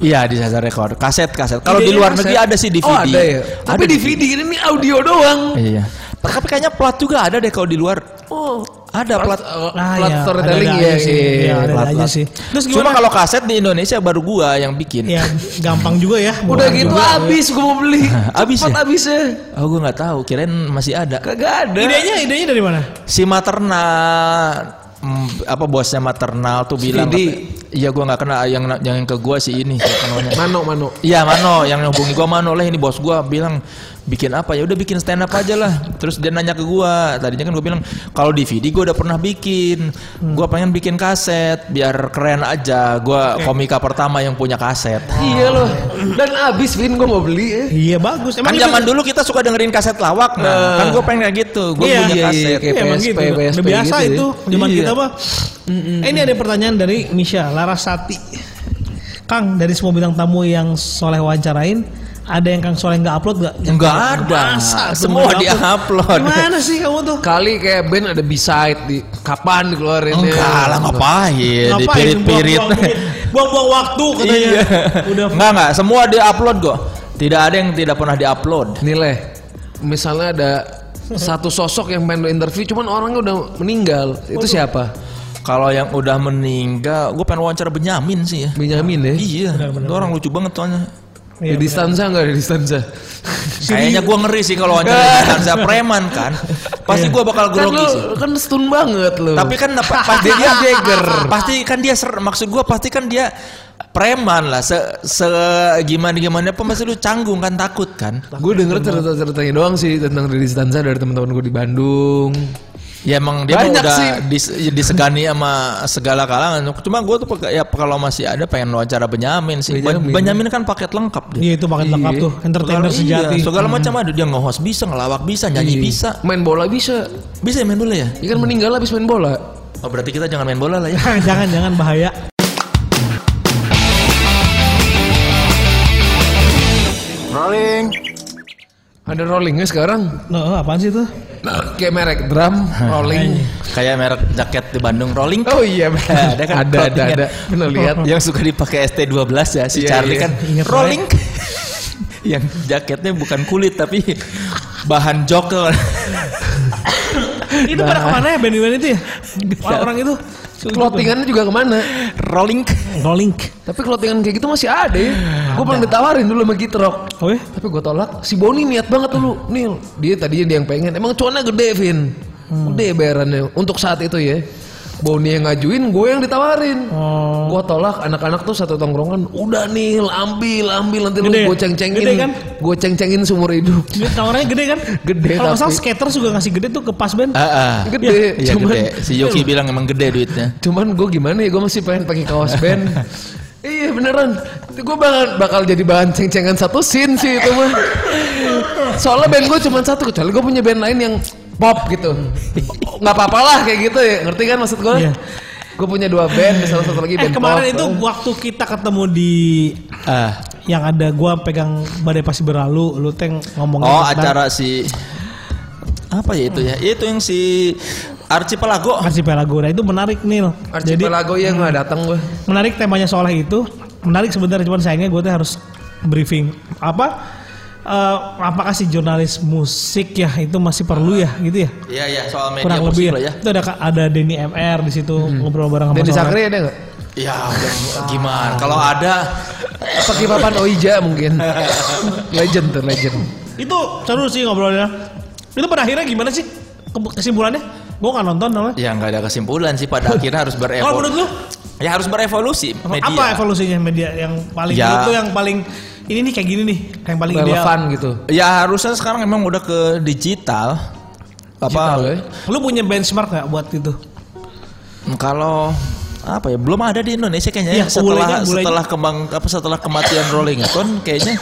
C: iya di sasar rekor kaset kaset kalau di
B: Idenya ya?
C: luar
B: kaset.
C: negeri ada sih DVD
A: Oh ada ya. Tapi DVD ini audio doang.
C: Iya. Tapi kayaknya plat juga ada deh kalau di luar. Oh, ada plat
B: Ah,
A: Plot
B: iya,
A: eh, storytelling
B: ada-ada
A: ya,
B: aja sih.
A: iya,
B: Iya,
A: iya.
B: ada-ada
C: Plat,
B: aja
C: plat.
B: sih. Terus
C: Cuma
B: gimana?
C: kalau kaset di Indonesia baru gua yang bikin.
B: ya gampang juga ya.
A: Udah
B: Gampang
A: gitu
B: juga.
A: habis gue mau beli.
C: Habis
A: Cepet
C: ya?
A: habisnya.
C: Oh, gua nggak tahu. Kirain masih ada.
A: Kagak ada.
B: Idenya idenya dari mana?
C: Si Materna mm, apa bosnya Maternal tuh bilang
A: Vidi.
C: iya gua nggak kenal yang yang ke gua si ini siapa namanya?
A: Mano mano.
C: Iya Mano yang hubungi gua Mano lah ini bos gua bilang bikin apa ya udah bikin stand up aja lah terus dia nanya ke gua tadinya kan gua bilang kalau DVD gua udah pernah bikin gua pengen bikin kaset biar keren aja gua komika pertama yang punya kaset
A: Iya loh. Dan habis Vin gue mau beli. eh.
B: Iya bagus.
C: kan
B: itu-
C: zaman dulu kita suka dengerin kaset lawak nah, kan gua pengen kayak gitu gua
B: Iya,
C: punya
B: iya,
A: iya,
C: kaset
A: kayak
B: Iya, emang
A: PSP,
B: gitu. Udah
A: PSP
B: biasa
A: gitu ya.
B: itu zaman
C: Iya.
B: kita mah. Eh, ini ada pertanyaan dari Misha Larasati. Kang, dari semua bintang tamu yang Soleh wawancarain, ada yang Kang Soleh nggak upload nggak?
C: Nggak ada. Semua di-upload.
B: Gimana sih kamu tuh?
A: Kali kayak band ada beside di kapan dikeluarin
B: Oh,
C: enggak
A: Iya.
C: lah ngapain
B: Ngapain?
C: Ya, dipirit-pirit
B: Buang-buang duit, Buang-buang waktu katanya.
C: iya
B: Udah
C: enggak enggak semua di-upload kok tidak ada yang tidak pernah di-upload
A: Nilai. Misalnya ada satu sosok yang pengen lo interview cuman orangnya udah meninggal. Itu siapa?
C: Kalau yang udah meninggal, gue pengen wawancara Benyamin sih ya.
A: Benyamin ya.
C: Iya, itu orang lucu banget soalnya.
A: Di
C: Iya.
A: distansa enggak di distansa?
C: Kayaknya gue ngeri sih kalau wawancara Kansa preman kan. Pasti gue bakal
A: Kan
C: grogi
A: lo
C: sih.
A: kan stun banget lo.
C: Tapi kan napa- pasti dia jeger. Pasti kan dia ser- maksud gue pasti kan dia preman lah. Se, gimana gimana pun pasti lu canggung kan takut kan.
A: Gue denger cerita-ceritanya doang sih tentang Riri Stanza dari teman-teman gue di Bandung.
C: Ya emang dia mah
A: Banyak
C: udah
A: sih.
C: dis- disegani sama segala kalangan. Cuma gue tuh pe- ya kalau masih ada pengen wawancara Benyamin sih. Ba-
A: Benyamin.
C: Benyamin kan paket lengkap dia.
B: Iya itu paket lengkap tuh, entertainer
C: Segala-
B: sejati.
C: Iya,
A: Hmm.
C: segala macam ada dia nge-host bisa, ngelawak bisa,
A: Iya.
C: nyanyi bisa.
A: Main bola bisa.
C: Bisa ya main bola ya?
A: Ikan meninggal habis main bola.
C: Oh, berarti kita jangan main bola lah ya.
B: jangan jangan bahaya.
A: Ada rollingnya sekarang.
B: No, oh, apaan sih itu?
A: Kayak merek drum, rolling.
C: Kayak merek jaket di Bandung Rolling.
A: Oh iya,
C: ada kan
A: ada, ada,
C: clothing-nya.
A: ada. Bener lihat.
C: yang suka dipakai ST12 ya si
A: Iya,
C: Charlie
A: iya.
C: kan
B: Ingat
C: Rolling. yang jaketnya bukan kulit tapi bahan jokel.
B: itu pada kemana ya band-band itu ya? Orang-orang itu
A: Clothingannya juga kemana?
C: rolling.
B: rolling.
A: Tapi clothingan kayak gitu masih ada ya. Gue pernah ditawarin dulu sama Gitrok.
B: Oh ya?
A: Tapi gue tolak. Si Boni niat banget dulu. Nil, dia tadinya dia yang pengen. Emang cuannya gede, Vin.
B: Hmm.
A: Gede bayarannya. Untuk saat itu ya. Boni yang ngajuin, gue yang ditawarin.
B: Oh.
A: Gua tolak anak-anak tuh satu tongkrongan. Udah nih, ambil, ambil nanti lu
B: Gede ya?
A: gue ceng-cengin.
B: Gede kan?
A: Gue ceng-cengin seumur hidup.
B: Gede, Tawarannya gede kan?
A: Gede,
B: Kalau nggak salah
A: tapi-
B: skaters juga ngasih gede tuh ke pas band.
C: Ah, ah.
A: Gede,
C: Iya
A: cuman
C: gede. Si Yoki bilang emang gede duitnya.
A: cuman gue gimana ya gue masih pengen pakai kaos band iya beneran gue bakal bakal jadi bahan ceng-cengan satu scene sih itu mah soalnya band gue cuma satu kecuali gue punya band lain yang pop gitu nggak apa-apa lah kayak gitu ya ngerti kan maksud gue
B: Iya.
A: gue punya dua band salah satu lagi
B: eh
A: band
B: kemarin
A: pop.
B: itu waktu kita ketemu di
C: Ah.
B: yang ada gua pegang badai pasti berlalu, lu teng ngomongin
C: Oh
B: tentang-
C: acara si apa ya itu ya? Itu yang si Archipelago.
B: Archipelago. Nah, itu menarik Nil. Jadi
A: Archipelago ya nggak datang gue
B: menarik temanya soleh itu menarik sebenarnya cuman sayangnya gue tuh harus briefing apa eh, apakah si jurnalis musik ya itu masih perlu ya gitu ya
C: Iya iya soal media
B: kurang
C: musik
B: lebih
C: lah ya.
B: ya. itu ada ada Denny MR di situ ngobrol bareng sama
A: dan di
B: Soleh.
A: Sakri ada nggak
C: Ya udah, gimana? Kalau ada
A: pakai papan Oija mungkin legend tuh legend
B: itu seru sih ngobrolnya itu pada akhirnya gimana sih Ke- kesimpulannya gue nggak nonton namanya
C: ya nggak ada kesimpulan sih pada akhirnya harus
B: kalau menurut
C: berevolusi.
B: lu
C: Ya harus berevolusi iya, media.
B: apa evolusinya media yang paling
C: Ya.
B: menurut lu yang paling ini nih kayak gini nih yang paling
A: relevan gitu
C: Ya harusnya sekarang emang udah ke digital.
A: Digital,
C: Apa?
A: ya.
B: ideal lu punya benchmark nggak buat itu
C: Kalau apa ya belum ada di Indonesia kayaknya
B: Iya,
C: ya, setelah
B: mulainya- mulainya.
C: setelah kembang apa setelah kematian Rolling Stone kayaknya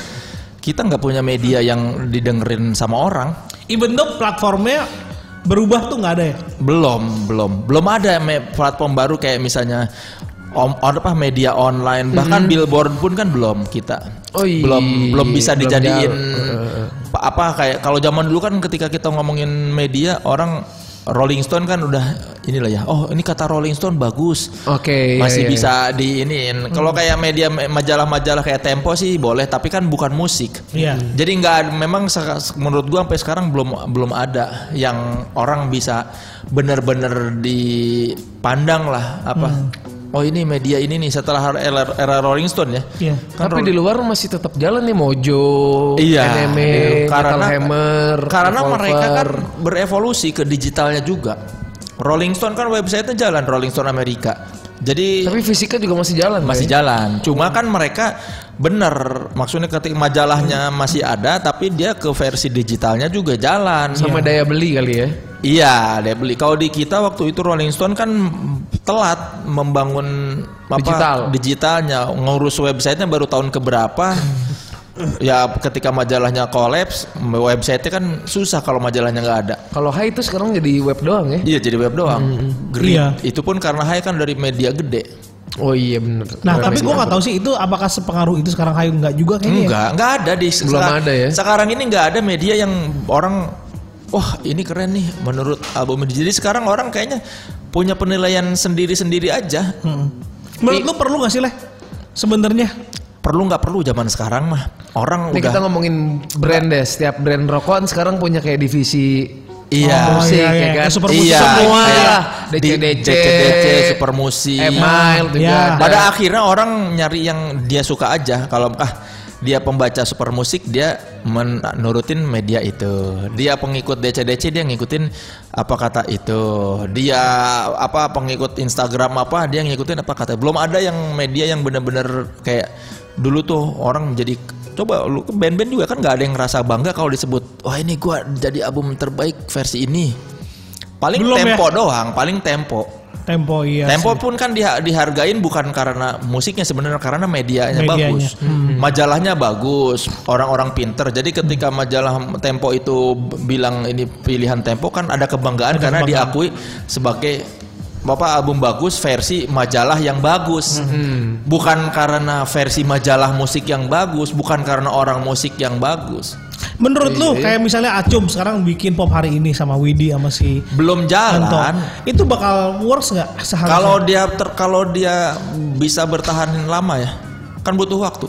C: kita nggak punya media yang didengerin sama orang
B: even though platformnya berubah tuh nggak ada ya
C: belum belum belum ada me- platform baru kayak misalnya om on apa media online bahkan
A: Hmm.
C: billboard pun kan belum kita
A: Oh iya,
C: belum belum bisa
A: belum
C: dijadiin
A: jauh.
C: pa- apa kayak kalau zaman dulu kan ketika kita ngomongin media orang Rolling Stone kan udah inilah ya. Oh, ini kata Rolling Stone bagus.
A: Oke. iya, iya.
C: masih
A: Hmm.
C: bisa diinin. Kalau kayak media majalah-majalah kayak Tempo sih boleh, tapi kan bukan musik.
B: Iya.
C: Jadi nggak ada- memang seka- menurut gua sampai sekarang belum belum ada yang orang bisa bener-bener dipandang lah apa.
A: Hmm.
C: Oh ini media ini nih setelah era, era Rolling Stone ya.
B: Iya.
C: Kan
A: Tapi di luar masih tetap jalan nih Mojo,
C: Iya,
A: NME,
C: di-
A: E, Metal Hammer,
C: karena
A: Revolver.
C: mereka kan berevolusi ke digitalnya juga. Rolling Stone kan websitenya jalan Rolling Stone Amerika. Jadi
A: tapi fisiknya juga masih jalan. ya?
C: masih
A: Bay.
C: jalan. Cuma kan mereka bener maksudnya ketika majalahnya
A: Hmm.
C: masih ada tapi dia ke versi digitalnya juga jalan.
A: sama daya beli kali ya.
C: Iya, dia beli. Kalau di kita waktu itu Rolling Stone kan telat membangun apa,
A: Digital.
C: digitalnya, ngurus websitenya baru tahun keberapa.
A: Hmm.
C: ya ketika majalahnya kolaps, websitenya kan susah kalau majalahnya nggak ada.
A: Kalau Hai itu sekarang jadi web doang ya.
C: Iya jadi web doang. Grid.
B: Iya.
C: Itu pun karena Hai kan dari media gede.
A: Oh iya bener.
B: Nah,
A: Web
B: tapi
A: doang.
B: gua nggak tahu sih itu apakah sepengaruh itu sekarang Hayu nggak juga kayaknya. ya.
C: Enggak, enggak ada di
A: Belum ada ya?
C: Sekarang ini enggak ada media yang orang wah, ini keren nih menurut album ini. Jadi sekarang orang kayaknya punya penilaian sendiri-sendiri aja.
B: Hmm. Menurut lu perlu nggak sih leh? Sebenarnya
C: Perlu nggak perlu zaman sekarang mah. Orang
A: Ini
C: udah
A: kita ngomongin brand deh. Setiap brand rokokan sekarang punya kayak divisi
B: Oh,
C: Iya.
A: musik
B: iya, iya.
A: ya kan.
B: Kayak super musik
C: iya,
B: semua.
C: kayak di
A: DC-DC,
C: DC, super musik.
A: Email juga.
B: Iya.
A: ada.
C: Nah, Pada akhirnya orang nyari yang dia suka aja. Kalau ah dia pembaca super musik dia men- nurutin media itu. Dia pengikut DC-DC dia ngikutin apa kata itu. Dia apa pengikut Instagram apa dia ngikutin apa kata. Belum ada yang media yang bener-bener kayak dulu tuh orang menjadi coba lu ke band-band juga kan nggak ada yang ngerasa bangga kalau disebut wah ini gua jadi album terbaik versi ini. Paling
B: Belum ya?
C: tempo doang, paling tempo.
B: tempo iya.
C: Tempo pun kan diha- dihargain bukan karena musiknya sebenarnya karena medianya, Hmm.
B: Medianya.
C: bagus, majalahnya bagus, orang-orang pinter. Jadi ketika majalah Tempo itu b- bilang ini pilihan Tempo kan ada kebanggaan karena diakui sebagai bapak album bagus versi majalah yang bagus, Hmm. bukan karena versi majalah musik yang bagus, bukan karena orang musik yang bagus.
B: Menurut lu
C: Iya,
B: kayak misalnya Acum sekarang bikin pop hari ini sama Widi sama si
C: Belum
B: Anto,
C: jalan.
B: itu bakal works nggak seharusnya?
C: Kalau dia ter, kalau dia bisa bertahan lama ya, kan butuh waktu.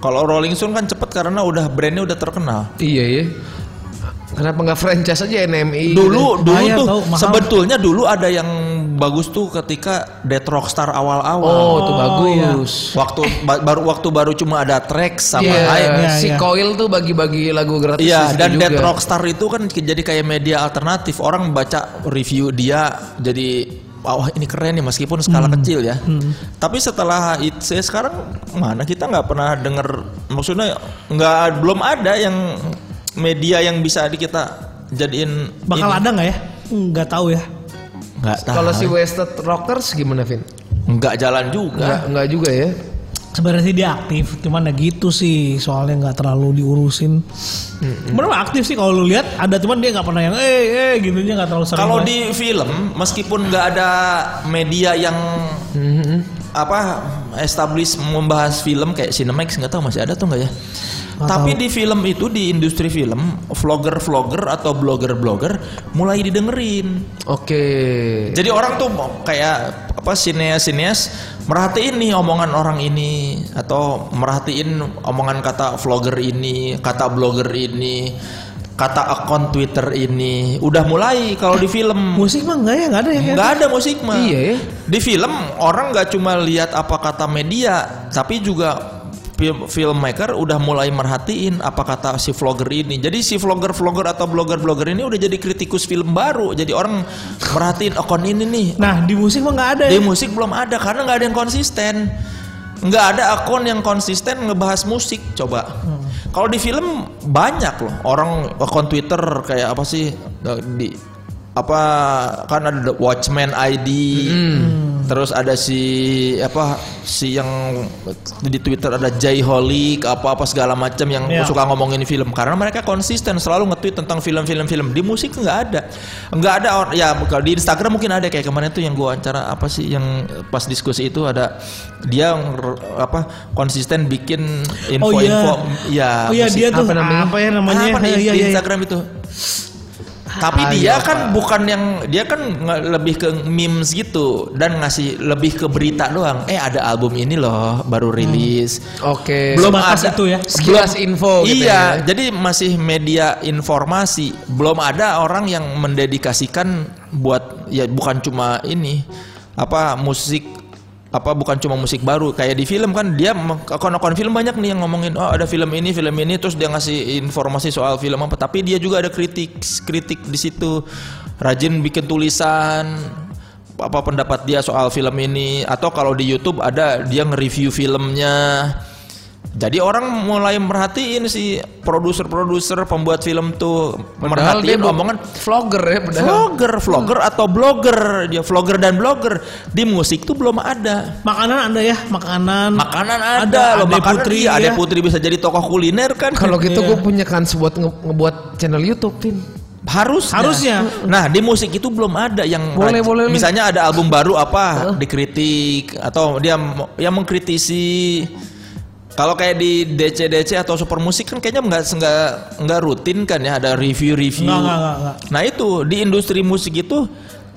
C: Kalau Rolling Stone kan cepet karena udah brandnya udah terkenal.
A: Iya ya. Kenapa nggak franchise aja NMI?
C: Dulu
B: gitu.
C: dulu
A: iya,
B: Bayar
C: tuh
B: tau, mahal.
C: sebetulnya dulu ada yang bagus tuh ketika Dead Rockstar awal-awal. Iya.
A: Oh, itu bagus.
B: iya.
C: Waktu ba- baru waktu baru cuma ada track sama
A: Iya,
C: hype.
B: Iya,
A: si
B: iya.
A: Coil tuh bagi-bagi lagu gratis di
C: Iya,
A: situ
C: dan
A: juga.
C: Dead Rockstar itu kan ke- jadi kayak media alternatif. Orang baca review dia jadi wah ini keren nih meskipun skala
A: Hmm.
C: kecil ya. Tapi setelah itu sekarang mana kita nggak pernah denger maksudnya nggak belum ada yang media yang bisa di kita jadiin
B: bakal ada nggak ya? Nggak tahu ya.
C: nggak
A: Kalau si Wasted Rockers gimana, Vin?
C: nggak jalan juga.
A: Enggak, enggak juga ya.
B: Sebenarnya sih dia aktif, cuman ya gitu sih soalnya nggak terlalu diurusin. Bener lah aktif sih kalau lu lihat ada cuman dia nggak pernah yang eh eh gitu nggak terlalu sering.
C: Kalau
B: lah.
C: di film, meskipun nggak ada media yang apa establish membahas film kayak Cinemax nggak tahu masih ada tuh nggak ya? Tapi di film itu di industri film, vlogger-vlogger atau blogger-blogger mulai didengerin.
A: Oke.
C: Jadi orang tuh mau kayak apa sineas-sineas merhatiin nih omongan orang ini atau merhatiin omongan kata vlogger ini, kata blogger ini, kata akun Twitter ini. Udah mulai kalau di film.
B: musik mah nggak ya nggak ada ya.
C: Nggak ada musik mah.
A: kan? Iya ya.
C: Di film orang nggak cuma lihat apa kata media, tapi juga film- filmmaker udah mulai merhatiin apa kata si vlogger ini. Jadi si vlogger-vlogger atau blogger-blogger ini udah jadi kritikus film baru. Jadi orang merhatiin akun ini nih.
B: Nah di musik mah nggak ada.
C: Di
B: ya.
C: musik belum ada karena nggak ada yang konsisten. Nggak ada akun yang konsisten ngebahas musik. Coba.
B: Hmm.
C: Kalau di film banyak loh orang akun Twitter kayak apa sih eh, di apa kan ada The Watchman ID.
B: Hmm.
C: Terus ada si apa si yang di Twitter ada Jay Holic apa apa segala macam yang
B: Iya.
C: suka ngomongin film karena mereka konsisten selalu nge-tweet tentang film-film film di musik nggak ada nggak ada or- ya kalau di Instagram mungkin ada kayak kemarin tuh yang gua wawancara apa sih yang pas diskusi itu ada dia nger- apa konsisten bikin
B: oh
C: info-info
B: iya.
C: ya
B: oh iya
C: musik.
B: dia tuh
A: Apa
B: apa,
A: namanya?
B: ya namanya?
C: apa nih
B: Iya, Ah,
C: di
B: iya, iya.
C: Instagram itu Tapi dia kan bukan yang dia kan nge- lebih ke memes gitu dan ngasih lebih ke berita doang. Eh ada album ini loh baru rilis.
A: Oke.
C: Belum
B: Sebatas
C: ada
B: itu ya.
A: Sekilas info gitu
C: iya,
A: ya.
C: jadi masih media informasi. Belum ada orang yang mendedikasikan buat ya bukan cuma ini apa musik apa bukan cuma musik baru kayak di film kan dia meng- akun-akun film banyak nih yang ngomongin oh ada film ini film ini terus dia ngasih informasi soal film apa tapi dia juga ada kritik kritik di situ rajin bikin tulisan apa pendapat dia soal film ini atau kalau di YouTube ada dia nge-review filmnya. Jadi orang mulai merhatiin si produser-produser pembuat film tuh
A: Padahal dia
C: merhatiin
A: bu-
C: omongan
A: vlogger ya padahal.
C: vlogger, vlogger atau blogger, dia vlogger dan blogger. Di musik tuh belum ada.
B: Makanan ada ya, makanan.
C: Makanan ada, loh,
B: Ade
C: makanan
B: Putri
C: iya, Ade
B: ya.
C: Putri bisa jadi tokoh kuliner kan.
A: Kalau gitu
B: Iya.
A: gue punya kans buat nge- ngebuat channel YouTube, Vin.
C: harusnya.
B: Harusnya.
C: Nah, di musik itu belum ada yang
A: Boleh, boleh, Lin.
C: misalnya ada album baru apa dikritik atau dia mo- yang mengkritisi kalau kayak di DC DC atau Super Musik kan kayaknya nggak nggak nggak rutin kan ya ada review-review.
B: Nggak, nggak, nggak, nggak.
C: Nah itu di industri musik itu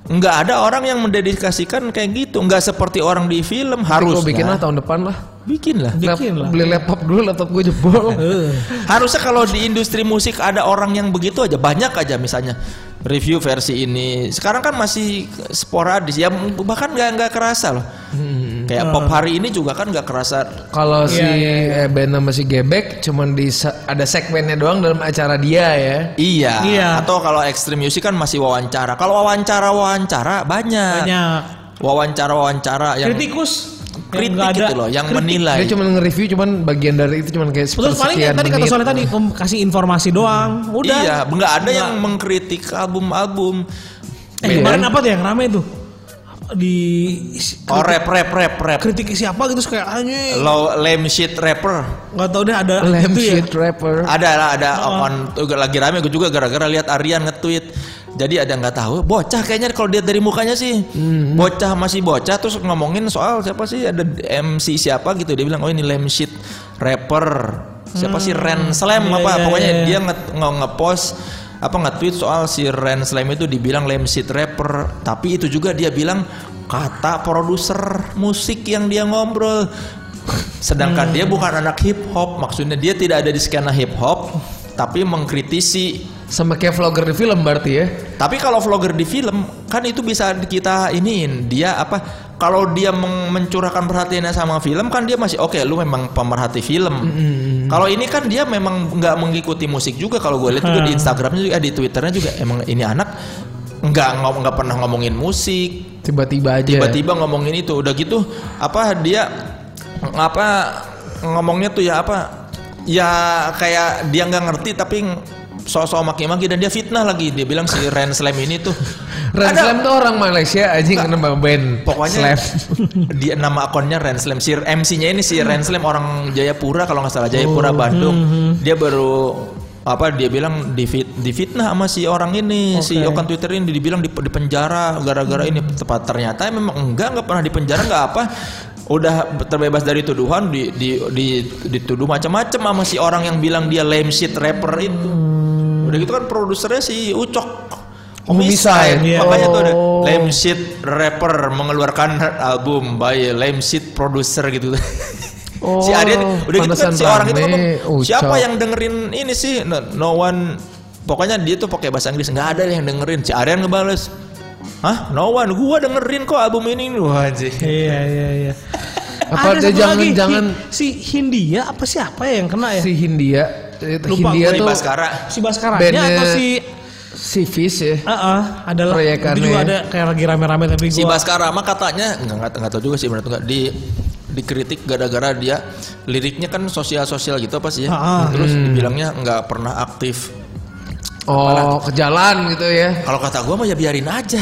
C: nggak ada orang yang mendedikasikan kayak gitu nggak seperti orang di film harusnya
A: Gue bikin lah tahun depan lah.
C: bikin lah
A: Lap-
B: Bikin lah.
A: Beli laptop dulu, laptop gue jebol.
B: Eh,
C: Harusnya kalau di industri musik ada orang yang begitu aja banyak aja misalnya review versi ini. Sekarang kan masih sporadis ya bahkan nggak nggak kerasa loh.
B: Hmm.
C: Kayak pop hari ini juga kan nggak kerasa.
A: Kalau si
B: Iya, iya,
A: eh, band sama si Gebek cuman di se- ada segmennya doang dalam acara dia ya.
C: Iya.
B: Iya.
C: Atau kalau extreme music kan masih wawancara. Kalau wawancara wawancara banyak.
B: Banyak.
C: Wawancara wawancara Iya. yang
B: Kritikus. yang
C: kritik
B: nggak ada.
C: gitu loh, yang menilai.
A: Dia cuman nge-review cuman bagian dari itu cuman kayak
B: Terus paling yang
A: sepersekian
B: tadi kata
A: menit.
B: soalnya tadi em, kasih informasi doang. Udah.
C: Iya, nggak ada yang mengkritik album-album.
B: Eh,
A: Iya.
B: kemarin apa tuh yang rame tuh? Di
C: Oh rap rap rap rap.
B: kritik siapa gitu terus kayak anjing.
C: Low lame shit rapper.
B: Enggak tahu deh ada
A: Lamb
B: itu ya.
A: shit rapper.
C: Ada lah ada on tuh lagi rame gue juga gara-gara lihat Aryan nge-tweet. Jadi ada nggak tahu bocah kayaknya kalau lihat dari mukanya sih bocah masih bocah terus ngomongin soal siapa sih ada MC siapa gitu dia bilang oh ini lame shit rapper. Siapa sih Ren Slam
B: Iya,
C: apa
B: iya,
C: pokoknya
B: iya.
C: dia nge- nge- nge-post apa nge-tweet soal si Ren Slam itu dibilang lame shit rapper tapi itu juga dia bilang kata produser musik yang dia ngobrol sedangkan
B: Hmm.
C: dia bukan anak hip hop maksudnya dia tidak ada di skena hip hop tapi mengkritisi
A: Sama kayak vlogger di film berarti ya.
C: tapi kalau vlogger di film kan itu bisa kita iniin dia apa kalau dia meng- mencurahkan perhatiannya sama film kan dia masih oke lu memang pemerhati film. Kalau ini kan dia memang nggak mengikuti musik juga kalau gue lihat juga di Instagramnya juga eh, di Twitternya juga emang ini anak nggak ngom- nggak pernah ngomongin musik
A: Tiba-tiba aja.
C: tiba-tiba ngomongin itu udah gitu apa dia apa ngomongnya tuh ya apa ya kayak dia nggak ngerti tapi ng- sosok maki-maki dan dia fitnah lagi dia bilang si Ren Slam ini tuh
A: Ren
C: Ada-
A: Slam tuh orang Malaysia anjing nama band.
C: pokoknya
A: Slam.
C: dia nama akunnya Ren Slam si MC-nya ini si Ren Slam orang Jayapura kalau nggak salah Jayapura Bandung dia baru apa dia bilang di difitnah sama si orang ini si Okan Twitter ini dibilang di, di penjara gara-gara ini tepat ternyata memang enggak nggak pernah di penjara nggak apa udah terbebas dari tuduhan di di di dituduh macam-macam sama si orang yang bilang dia lame shit rapper itu
A: Hmm.
C: udah gitu kan produsernya si Ucok
A: Homicide.
C: Homicide.
A: Iya.
C: Makanya tuh ada
A: Oh.
C: Lame Shit rapper mengeluarkan album by Lame Shit producer gitu. si Adit udah
A: Oh,
C: gitu kan
A: pantesan
C: si orang itu
A: rame,
C: ngomong, siapa
A: ucap."
C: yang dengerin ini sih? No, no one pokoknya dia tuh pakai bahasa Inggris nggak ada yang dengerin. Si Aryan ngebales, "Hah? No one, gua dengerin kok album ini." Wah, anjing.
B: Iya iya iya.
A: Apa dia
B: satu
A: jangan-
B: lagi, Hi-
A: jangan-
B: si Hindia apa siapa ya yang kena ya?
A: si Hindia. Eh,
B: Lupa
A: Hindia
B: gue
C: Di
A: tuh
C: Baskara.
B: Si Baskaranya
A: bandnya
B: atau si
A: si Fish ya.
B: Heeh, adalah
A: Proyekannya.
B: itu juga ada kayak lagi rame-rame tapi gua
C: Si Baskara mah katanya nggak nggak nggak tahu juga sih benar atau nggak di dikritik gara-gara dia liriknya kan sosial-sosial gitu apa sih ya?
B: Ah, ah.
C: Terus dibilangnya nggak pernah aktif.
A: Oh, ke jalan gitu ya.
C: Kalau kata gua mah ya biarin aja.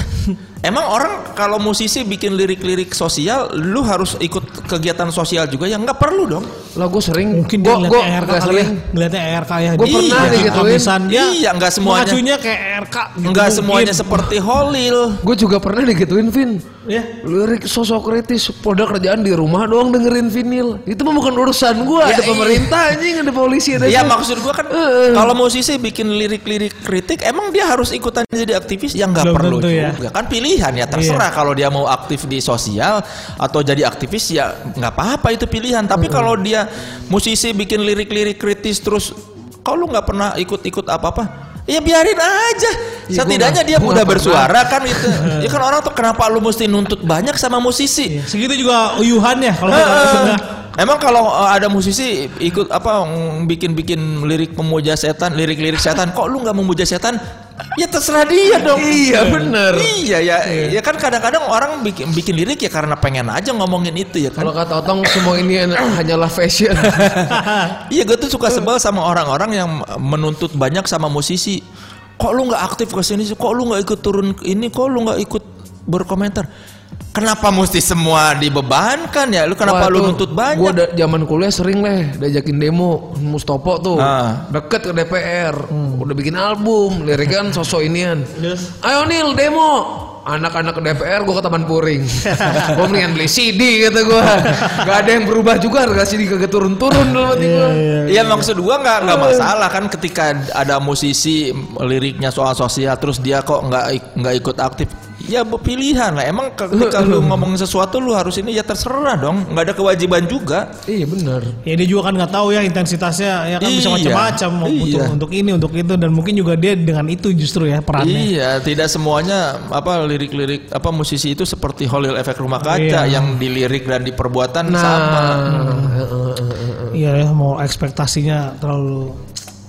C: Emang orang kalau musisi bikin lirik-lirik sosial, lu harus ikut kegiatan sosial juga ya nggak perlu dong.
A: Lah gue sering
B: Mungkin dia
A: gue
B: ngeliatnya
A: gue
B: ARK kali ya. Ngeliatnya ARK ya.
A: Gua
B: Dia
A: pernah
B: jadi
A: digituin.
B: abisan. Dia
C: Iya, nggak semuanya.
B: mengacunya kayak ARK. gitu
C: Nggak
B: mungkin.
C: semuanya seperti Holil.
A: Gue juga pernah digituin Vin.
B: Ya.
A: Lirik sosok kritis, produk kerjaan di rumah doang dengerin vinil. Itu mah bukan urusan gue.
C: Ya,
A: ada
C: iya.
A: pemerintah anjing, ada polisi, ada.
C: Iya
A: itu.
C: maksud gua kan
A: Eh, eh.
C: kalau musisi bikin lirik-lirik kritik emang dia harus ikutan jadi aktivis yang nggak
B: Belum
C: perlu
B: tentu ya.
C: juga kan pilihan ya terserah
A: Iya.
C: kalau dia mau aktif di sosial atau jadi aktivis ya nggak apa-apa itu pilihan tapi kalau dia musisi bikin lirik-lirik kritis terus kalau nggak pernah ikut-ikut apa-apa Ya biarin aja.
A: Iya, gua
C: Setidaknya
A: nggak-
C: dia
A: gua nggak
C: udah
A: pernah.
C: bersuara kan itu. ya kan orang tuh kenapa lu mesti nuntut banyak sama
A: Iya.
C: musisi?
B: Ya, Segitu juga uyuhan ya kalau
C: Heeh.
B: kita
C: Emang kalau uh, ada musisi ikut apa mm, bikin-bikin lirik pemuja setan, lirik-lirik setan, kok lu nggak memuja setan? Ya terserah dia dong.
A: Iya bener.
C: Iya ya, ya kan kadang-kadang orang bikin bikin lirik ya karena pengen aja ngomongin itu ya kan.
A: Kalau kata Otong semua ini en- hanyalah fashion.
C: Iya gue tuh suka sebel sama orang-orang yang menuntut banyak sama musisi. Kok lu nggak aktif ke sini sih? Kok lu nggak ikut turun ke ini? Kok lu nggak ikut berkomentar? Kenapa mesti semua dibebankan ya? Lu kenapa lu nuntut banyak?
A: Gue zaman kuliah sering leh diajakin demo Mustopo tuh.
C: Ah.
A: Deket ke DPR.
C: Hmm.
A: Udah bikin album, lirik kan sosok inian. Ayo Nil demo. Anak-anak ke DPR gue ke Taman Puring. gue mendingan beli CD kata gue. Gak ada yang berubah juga harga CD kagak turun-turun dalam hati gue.
C: Iya maksud gua nggak nggak masalah kan ketika ada musisi liriknya soal sosial terus dia kok nggak ik- nggak ikut aktif ya pilihan lah emang ketika lu ngomongin sesuatu lu harus ini ya terserah dong nggak ada kewajiban juga
A: Iya bener.
B: Ya dia juga kan nggak tahu ya intensitasnya ya kan bisa
C: Iya.
B: macam-macam mau butuh
C: Iya.
B: untuk ini untuk itu dan mungkin juga dia dengan itu justru ya perannya.
C: Iya, tidak semuanya apa lirik-lirik apa musisi itu seperti Holil Efek Rumah Kaca
B: Iya.
C: yang dilirik dan di perbuatan
A: Nah,
C: sama.
A: eh, eh, eh, eh.
B: Iya ya mau ekspektasinya terlalu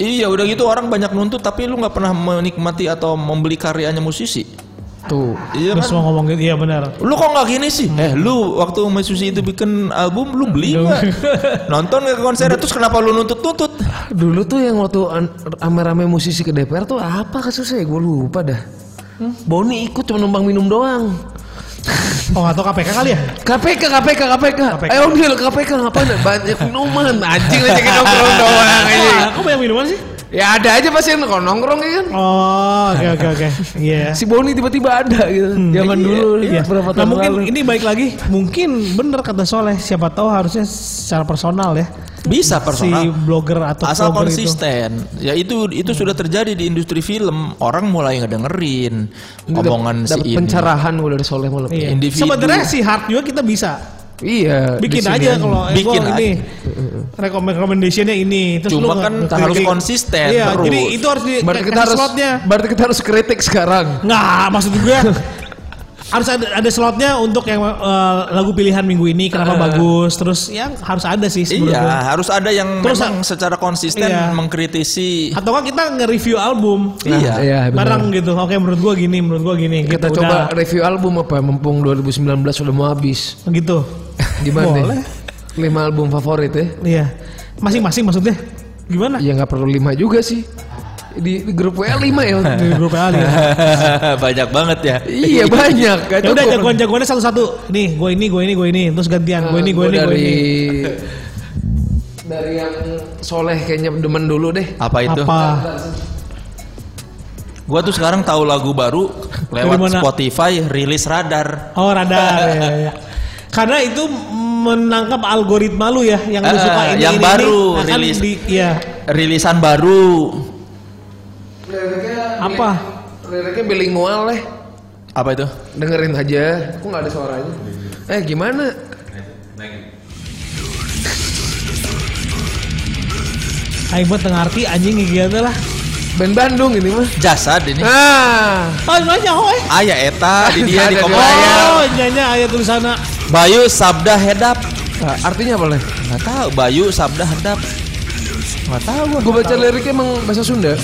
C: Iya, udah gitu orang banyak nuntut tapi lu nggak pernah menikmati atau membeli karyanya musisi.
A: tuh.
C: Iya
B: Terus
C: kan?
B: mau ngomong gitu, iya benar.
C: Lu kok nggak gini
B: Hmm.
C: sih? Eh, lu waktu Mas Susi itu bikin album, lu beli nggak? Nonton nggak ke konser? Terus kenapa lu nuntut-nuntut?
A: Dulu tuh yang waktu an- rame-rame musisi ke DPR tuh apa kasusnya ya? Gue lupa dah.
B: Hmm?
A: Boni ikut cuma numpang minum doang.
B: Oh atau KPK kali ya?
A: KPK, KPK, KPK.
B: KPK.
A: Ayo Nil, KPK ngapain? Banyak minuman. Anjing aja kita nongkrong doang.
C: Iya.
A: anjing.
B: Wah, kok banyak minuman sih?
A: Ya ada aja pasti yang nongkrong nongkrong ya kan.
B: Oh oke oke oke. Iya.
A: Si Boni tiba-tiba ada gitu. Zaman dulu
B: Iya.
A: berapa
B: Nah
A: tahun
B: mungkin
A: lalu.
B: ini baik lagi, mungkin bener kata Soleh, siapa tahu harusnya secara personal ya.
C: Bisa
B: Si
C: personal.
B: blogger atau
C: Asal
B: vlogger itu.
C: konsisten. Ya itu itu sudah terjadi di industri film. Orang mulai ngedengerin
A: Ini dap- Gitu.
C: omongan si
A: dapet
C: ini.
A: pencerahan gue dari Soleh malam.
B: Iya.
C: Individu.
B: Sebenarnya si hard juga kita bisa
A: Iya. di
B: bikin
A: sini
B: aja kalau eh,
C: Bikin
B: gua ini rekomend recommendationnya ini. Terus
C: Cuma
B: lu
C: kan
B: nggak-
C: harus
B: bikin-
C: konsisten
B: Iya,
C: terus.
B: jadi itu harus di
A: Berarti kita
B: kasih
A: harus
B: slotnya.
A: berarti kita harus kritik sekarang.
B: Nggak, maksud gue harus ada ada slotnya untuk yang eh, lagu pilihan minggu ini kenapa bagus terus yang harus ada sih
C: Iya,
B: sebelumnya.
C: harus ada yang
B: Terus-
C: memang secara konsisten
B: Iya.
C: mengkritisi.
B: Atau kan kita nge-review album
A: Nah,
C: Iya.
A: iya benar.
B: bareng gitu. Oke, menurut gua gini, menurut gua gini.
A: Kita
B: gitu.
A: coba review album apa mumpung 2019 sudah mau habis.
B: Udah, gitu.
A: Gimana
B: Boleh.
A: nih? 5 album favorit ya?
B: Iya. Masing-masing maksudnya gimana?
A: Ya nggak perlu 5 juga sih. Di, di grup WA 5 ya.
B: Di grup A ya.
C: Banyak banget ya.
A: iya banyak. Gak
B: Ya
C: Eh,
B: udah
A: cukup.
B: jagoan-jagoannya satu-satu. Nih, gua ini, gua ini, gua ini. Terus gantian. Gua ini,
C: Ah,
B: gua
A: Gua
B: ini, gua
A: dari
B: ini.
A: dari yang soleh kayaknya demen dulu deh.
C: Apa itu?
B: Apa?
C: Gua tuh sekarang tahu lagu baru
B: Dari mana?
C: lewat Spotify rilis
B: Oh,
C: radar.
B: radar. ya, ya. Karena itu menangkap algoritma lu ya yang lu
C: Eh,
B: suka ini
C: yang
B: ini,
C: baru
B: ini. Nah, kan
C: rilis.
B: di, iya.
C: Rilisan baru.
B: Apa?
A: Liriknya bilingual leh.
C: Apa itu?
A: Dengerin aja. Kok nggak ada suaranya? Eh gimana?
B: Aing buat tengah arti anjing gitu lah.
A: Band Bandung ini mah.
C: Jasad ini.
A: Ah,
B: Oh, nanya hoi.
C: Ayah eta di dia di
A: Ada
C: komo
A: di layar.
B: Oh, nyanya ayat tulisannya.
C: Bayu Sabda Hedap.
A: Nah, artinya apa leh?
C: Enggak tahu Bayu Sabda Hedap. Enggak tahu gua.
A: Gue baca liriknya emang bahasa Sunda.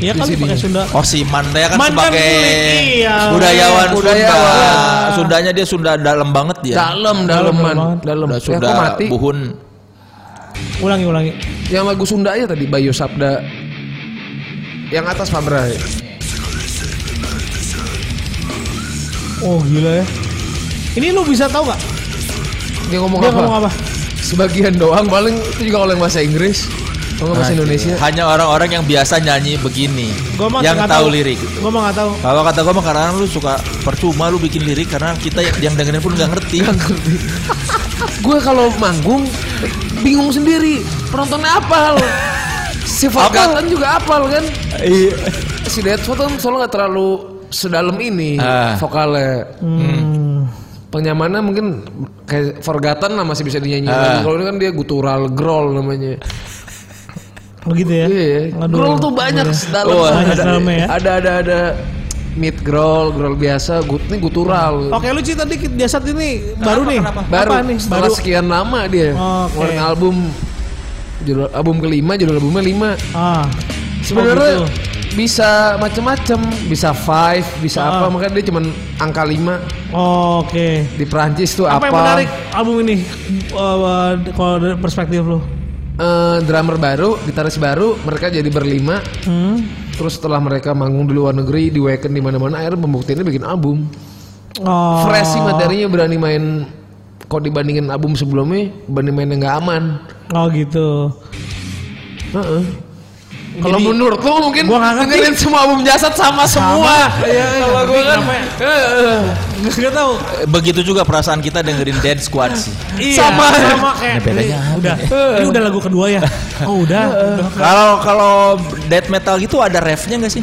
B: Iya
A: Di
B: kan
A: CD-nya.
B: pakai Sunda.
C: Oh si Manda kan
B: Manda
C: sebagai
B: milik, iya.
C: budayawan, Sunda.
A: Budayawan.
C: Sundanya dia Sunda dalam banget dia.
A: Ya. Dalam,
B: Dalem
A: daleman,
B: banget.
A: dalam.
C: Udah
A: Ya,
C: Sunda
A: kok mati?
C: buhun.
B: Ulangi, ulangi.
A: Yang lagu Sunda aja tadi Bayu Sabda. Yang atas Fabra.
B: Oh gila ya. Ini lu bisa tahu nggak
A: Dia ngomong
B: dia
A: apa?
B: ngomong apa?
A: Sebagian doang paling itu juga oleh bahasa Inggris. Kalau
C: Nah,
A: bahasa Indonesia.
C: Hanya orang-orang yang biasa nyanyi begini,
B: Gua mah
C: yang
B: nggak
C: tahu lirik.
B: Gua mah nggak tahu.
C: Kalau kata gue mah kadang lu suka percuma lu bikin lirik karena kita yang dengerin pun nggak ngerti.
A: Gue kalau manggung bingung sendiri. Penontonnya apal. Sifat
C: Apal.
A: Gatan juga apal kan.
C: Iya.
A: Si Deadshot kan soalnya nggak terlalu sedalam ini
C: Ah.
A: vokalnya.
C: Hmm.
B: Hmm.
A: Penyamannya mungkin kayak Forgotten lah masih bisa dinyanyiin.
C: Ah.
A: Kalau ini kan dia gutural growl namanya.
B: Begitu ya.
A: Iya.
B: Aduh. ya.
A: Growl tuh banyak sedalam.
C: Oh,
B: Banyak
A: ada,
B: dalamnya Iya. ya.
A: ada ada ada mid growl, growl biasa, gut ini gutural.
B: Oke lu Ci tadi jasad ini baru nih.
A: Baru
B: Oh, Apa nih?
A: setelah
B: Baru.
A: sekian lama dia.
B: Oke.
A: Keluarin album judul album kelima, judul albumnya lima.
B: Ah.
A: Sebenarnya
B: Oh, gitu.
A: bisa macem-macem, bisa five, bisa
B: Ah.
A: apa. Makanya dia cuman angka lima
B: Oke.
A: di Perancis tuh apa?
B: Apa yang menarik album ini? Eh, kalau dari perspektif lu.
A: Eh, drummer baru, gitaris baru, mereka jadi berlima.
B: Hmm.
A: Terus setelah mereka manggung di luar negeri, di weekend di mana-mana, akhirnya pembuktiannya bikin album.
B: Oh.
A: fresh sih materinya berani main kalau dibandingin album sebelumnya berani main yang nggak aman
B: Oh gitu.
A: Heeh. kalau
B: Jadi,
A: menurut lo mungkin
B: gua nggak ngerti. Iya,
A: dengerin semua album jasad sama semua kalau gue kan
B: ya?
A: heeh.
B: Gak tahu.
C: Begitu juga perasaan kita dengerin Dead Squad sih.
B: Iya,
A: Sama.
B: sama kayak
C: Ini bedanya
B: ini
C: apa
B: udah. Ini udah lagu kedua ya. Oh, udah. udah.
C: Kalau kalau death metal gitu ada refnya nggak sih?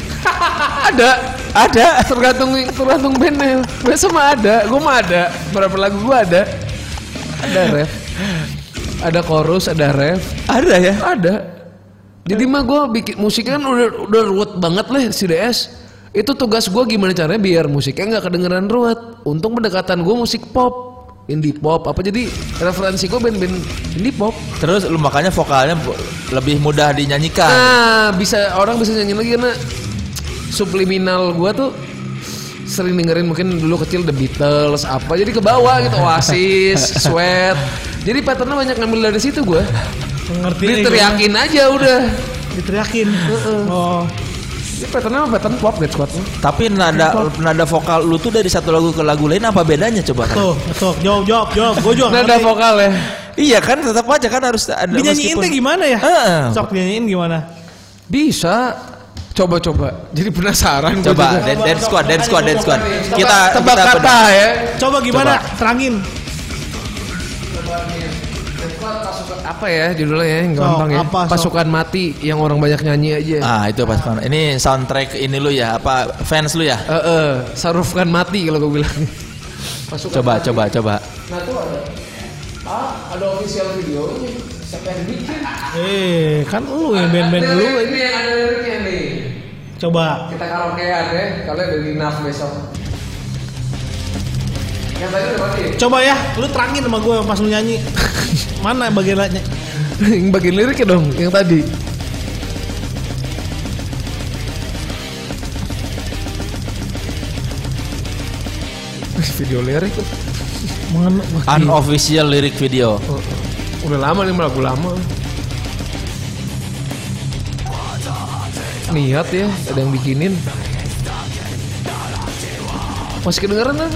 A: ada ada tergantung tergantung bandnya biasa mah ada gue mah ada berapa lagu gue ada ada ref ada chorus ada ref
C: Ada ya.
A: Ada. Jadi mah gue bikin musiknya kan udah udah ruwet banget lah si DS. Itu tugas gue gimana caranya biar musiknya nggak kedengeran ruwet. Untung pendekatan gue musik pop, indie pop apa jadi referensi gue band-band indie pop.
C: Terus lu makanya vokalnya bu- lebih mudah dinyanyikan.
A: Nah bisa orang bisa nyanyi lagi karena subliminal gue tuh sering dengerin mungkin dulu kecil The Beatles apa jadi ke bawah gitu Oasis, Sweat. Jadi patternnya banyak ngambil dari situ gue.
B: Ngerti. nih,
A: Diteriakin aja udah.
B: gua. Diteriakin. Oh.
A: Ini patternnya apa? Pattern pop Dead Squad
C: Tapi nada nada vokal lu tuh dari satu lagu ke lagu lain apa bedanya coba?
B: Tuh, tuh, jawab, jawab, jawab. Gua juga.
A: Nada
B: ngerti.
A: vokal ya
C: Iya kan tetap aja kan harus ada
B: Dinyanyiin
C: meskipun-
B: teh gimana ya?
C: Heeh.
B: Sok dinyanyiin gimana?
A: Bisa Coba-coba Jadi penasaran gua
C: Coba
A: juga.
C: Dead, Dead Squad, Dead Squad, Dead Squad.
A: Tebak-
C: Kita
A: Tebak
C: kita
A: kata ya
B: Coba gimana? Terangin.
A: Apa ya judulnya ya yang
B: Sok,
A: gampang ya
B: apa, sok?
A: Pasukan mati Yang orang banyak nyanyi aja
B: Iya.
C: Ah itu pas Ini soundtrack ini lu ya apa fans lu ya?
A: Eh, eh, sarufkan mati kalau gue bilang. Pasukan
C: Coba
A: mati.
C: coba coba.
A: Nah tuh ada. Ah, ada official videonya. Siapa yang bikin?
B: Eh, kan lu yang band-band
A: Ada
B: lu.
A: liriknya, ada liriknya nih.
B: Coba.
A: Kita karaokean ya. Kalian ada di NAF besok. Yang tadi udah mati. ya?
B: Coba ya, lu terangin sama gue pas lu nyanyi. Mana bagian lainnya?
A: yang bagian liriknya dong yang tadi Wih, video lirik tuh.
B: Mana? Wah, gila.
C: Unofficial lirik video.
A: udah lama nih lagu lama niat ya ada yang bikinin masih kedengeran kan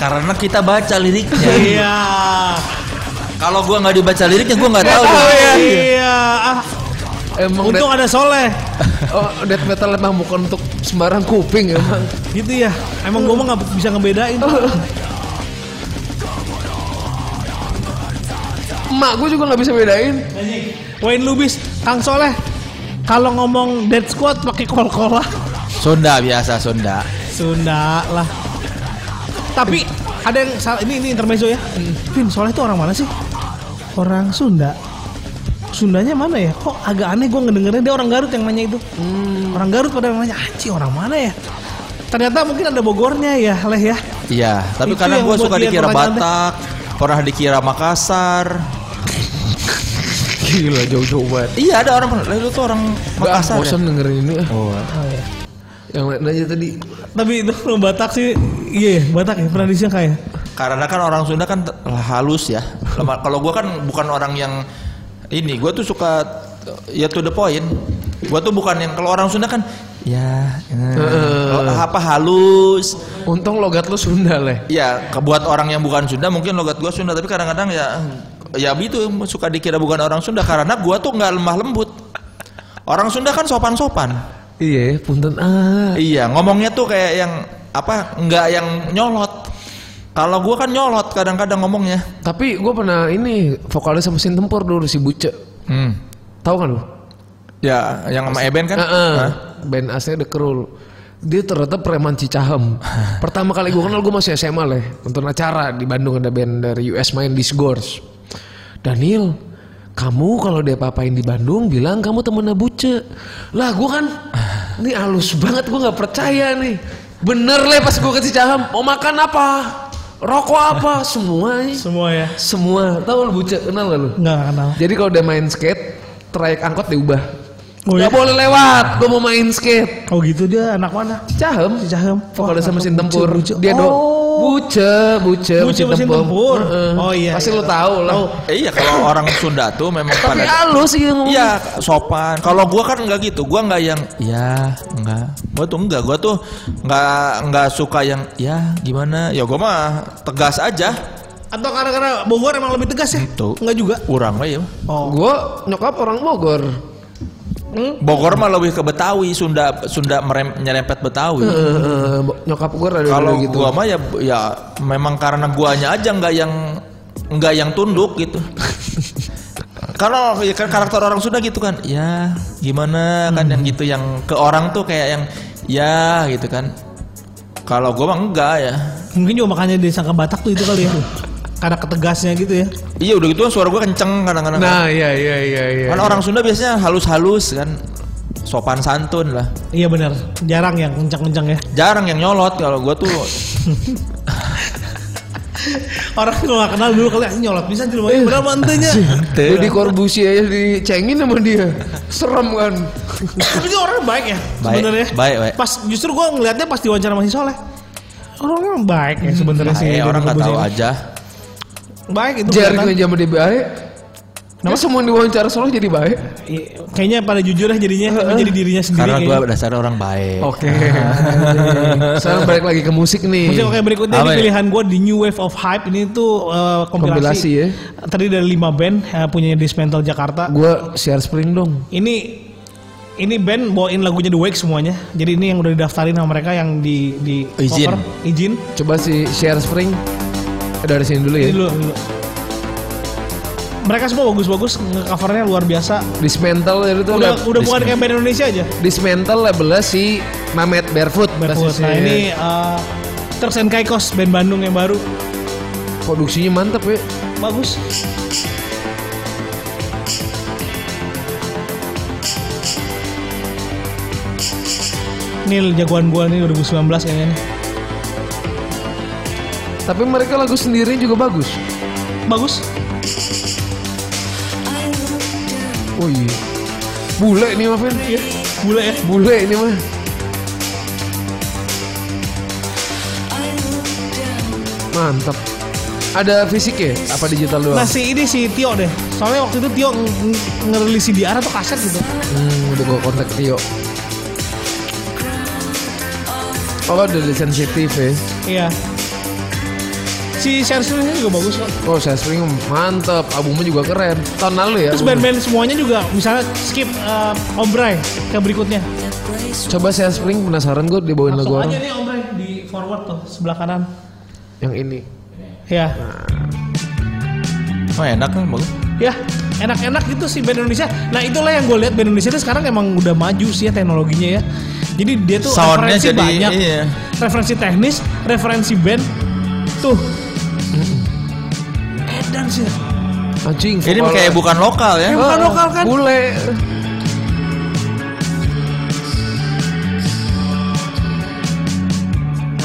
C: Karena kita baca liriknya.
B: Iya.
C: Kalau gua nggak dibaca liriknya gua nggak tahu.
B: Iya. Ah,
A: emang
B: untung
A: death,
B: ada soleh.
A: oh, death metal emang bukan untuk sembarang kuping emang
B: Gitu ya. Emang gue mah nggak bisa ngebedain.
A: emak gue juga nggak bisa bedain
B: Wayne Lubis, Kang Soleh. Kalau ngomong Dead Squad pakai kol-kola
C: Sunda biasa Sunda.
B: Sunda lah. Tapi ada yang salah ini ini intermezzo ya. Vin, Soleh itu orang mana sih? Orang Sunda. Sundanya mana ya? Kok agak aneh gue ngedengernya dia orang Garut yang nanya itu. Orang Garut pada nanya, "Aci, orang mana ya?" Ternyata mungkin ada Bogornya ya, Leh ya.
C: Iya, tapi
B: Itu
C: karena
B: yang
C: gua
B: buat
C: suka
B: dia
C: dikira
B: pertanyaan teh.
C: Batak, pernah dikira Makassar.
A: gila jauh-jauh banget
C: Iya ada orang "Lah, lu tuh orang
A: Gak
C: Makassar. ya?"
A: bosan dengerin ini ah.
C: Oh.
A: Yang lain aja tadi
B: Tapi itu orang Batak sih, iya Batak ya, pernah di Shanghai ya.
C: Karena kan orang Sunda kan te- halus ya. Lama- Kalau gua kan bukan orang yang ini, gua tuh suka ya to the point. Gua tuh bukan yang kalau orang Sunda kan Ya, eh,
A: Heeh.
C: apa halus?
A: Untung logat lu Sunda leh.
C: Ya, ke- buat orang yang bukan Sunda mungkin logat gua Sunda, tapi kadang-kadang ya ya itu suka dikira bukan orang Sunda karena gua tuh nggak lemah lembut. Orang Sunda kan sopan-sopan.
A: Iya, punten ah.
C: Iya, ngomongnya tuh kayak yang apa? nggak yang nyolot. Kalau gua kan nyolot kadang-kadang ngomongnya.
A: Tapi gue pernah ini vokalis sama mesin tempur dulu si Buce.
C: Hmm.
A: Tahu kan lu?
C: Ya, yang sama Eben kan?
A: Heeh.
C: Hah?
A: Band aslinya The Krul. Dia ternyata preman Cicahem. Pertama kali gue kenal gue masih SMA leh. Nonton acara di Bandung ada band dari US main Disgorge. Daniel, kamu kalau dia papain di Bandung bilang kamu temennya Buce. Lah gue kan, ini halus banget gue nggak percaya nih. Bener leh pas gue ke Cicahem, mau makan apa? Rokok apa? Semuanya.
B: Semua ya.
A: Semua. Tahu lu Buce, kenal gak lu?
B: Enggak kenal.
A: Jadi kalau udah main skate, trayek angkot diubah.
B: Oh,
A: Nggak
B: iya?
A: boleh lewat, gua mau main skate.
B: Oh gitu dia anak mana?
A: Cahem.
B: Cahem.
A: Vokalis sama mesin
B: Buce,
A: tempur.
B: Buce.
A: Dia do.
B: Oh.
A: Buce, buce,
B: Buce, mesin tempur.
A: Heeh.
B: Oh, iya,
A: Pasti
B: iya.
A: lu tahu lah.
C: Eh, iya, kalau orang Sunda tuh memang
A: Tapi
C: pada
A: halus sih ngomong.
C: Iya, sopan. Kalau gua kan nggak gitu. Gua nggak yang ya, enggak. Gua tuh enggak. Gua tuh nggak nggak suka yang ya gimana. Ya gua mah tegas aja.
B: Atau karena karena Bogor emang lebih tegas ya?
C: Itu.
B: Enggak juga.
C: Kurang lah ya.
B: Oh.
A: Gua nyokap orang Bogor.
C: Bogor mah lebih ke Betawi, Sunda Sunda merem, nyerempet Betawi.
A: Heeh, bo- nyokap gua rada
C: Kalau
A: gitu.
C: gua mah ya ya memang karena guanya aja nggak yang nggak yang tunduk gitu. Kalau ya kan karakter orang Sunda gitu kan, ya gimana kan
A: Hmm.
C: yang gitu yang ke orang tuh kayak yang ya gitu kan. Kalau gua mah enggak ya.
B: Mungkin juga makanya dia sangka Batak tuh itu kali ya. karena ketegasnya gitu ya.
C: Iya udah gitu kan suara gua kenceng kadang-kadang. kan.
A: Nah, iya iya iya iya.
C: Karena orang Sunda biasanya halus-halus kan, sopan santun lah.
B: Iya benar. Jarang yang kencang-kencang ya.
C: Jarang yang nyolot kalau gua tuh
B: Orang kalau nggak kenal dulu kali "Ini nyolot bisa di
C: Iya.
B: rumahnya. Berapa antenya?
A: Jadi korbusi aja dicengin sama dia. Serem kan.
B: Tapi dia orang baik ya
C: Baik,
B: sebenarnya.
C: baik, baik.
B: Pas justru gue ngelihatnya pas diwawancara masih soleh. Orang baik ya sebenarnya sih.
C: eh,
B: Deddy
C: orang nggak
B: Corbuzier.
C: tahu aja.
B: Baik itu
A: Jaring
B: kelihatan.
A: aja sama dia baik. Nah, semua yang diwawancara soalnya jadi baik.
B: Iya, Kayaknya pada jujur ya jadinya menjadi dirinya sendiri.
C: Karena gua
B: kayaknya.
C: dasarnya orang baik.
A: Oke. Sekarang balik lagi ke musik nih.
B: Musik oke berikutnya ini
C: Apa ya?
B: pilihan gue di New Wave of Hype ini tuh eh, kompilasi,
A: Kompilasi ya.
B: Terdiri dari 5 band eh, punyanya Dismantle Jakarta.
A: Gue share spring dong.
B: Ini ini band bawain lagunya The Wake semuanya. Jadi ini yang udah didaftarin sama mereka yang di di
C: Izin.
B: cover. izin.
A: Coba si share spring Eh, dari sini dulu ya.
B: Ini dulu, dulu. Mereka semua bagus-bagus, covernya luar biasa.
A: Dismantle dari itu
B: Udah,
A: lab-
B: udah bukan kayak band Indonesia aja.
A: Dismantle labelnya si Mamet Barefoot.
B: Barefoot.
A: basisnya.
B: Nah ini eh, Turks and Caicos band Bandung yang baru
A: produksinya mantep ya.
B: bagus. Ini jagoan gua nih 2019 kayaknya nih.
A: Tapi mereka lagu sendiri juga bagus.
B: Bagus.
A: Oh iya. Bule nih maafin.
B: Iya. Bule ya.
A: Bule ini mah. Mantap. Ada fisik ya? Apa digital doang?
B: Nah si ini si Tio deh. Soalnya waktu itu Tio ng- ng- ngerilis di Ara tuh kaset gitu.
A: Hmm, udah gue kontak Tio. Oh, udah sensitif ya.
B: Iya. Si Sersul ini juga bagus kok.
A: Oh, saya spring mantep. Albumnya juga keren. Tahun lalu ya.
B: Terus
A: albumnya.
B: band-band semuanya juga misalnya skip eh, Om Bray ke berikutnya.
A: Coba saya spring penasaran gue dibawain lagu
B: Langsung aja
A: orang.
B: nih Om Bray di forward tuh sebelah kanan.
A: Yang ini.
B: Ya.
C: Oh enak kan bagus.
B: Ya, enak-enak gitu sih band Indonesia. Nah, itulah yang gue lihat band Indonesia itu sekarang emang udah maju sih ya teknologinya ya. Jadi dia tuh
C: Soundnya
B: referensi
C: jadi-
B: banyak.
C: iya.
B: Referensi teknis, referensi band. Tuh. Edan sih.
A: Anjing.
C: Ini
A: vokal-
C: kayak bukan lokal ya.
B: bukan lokal kan?
A: Bule.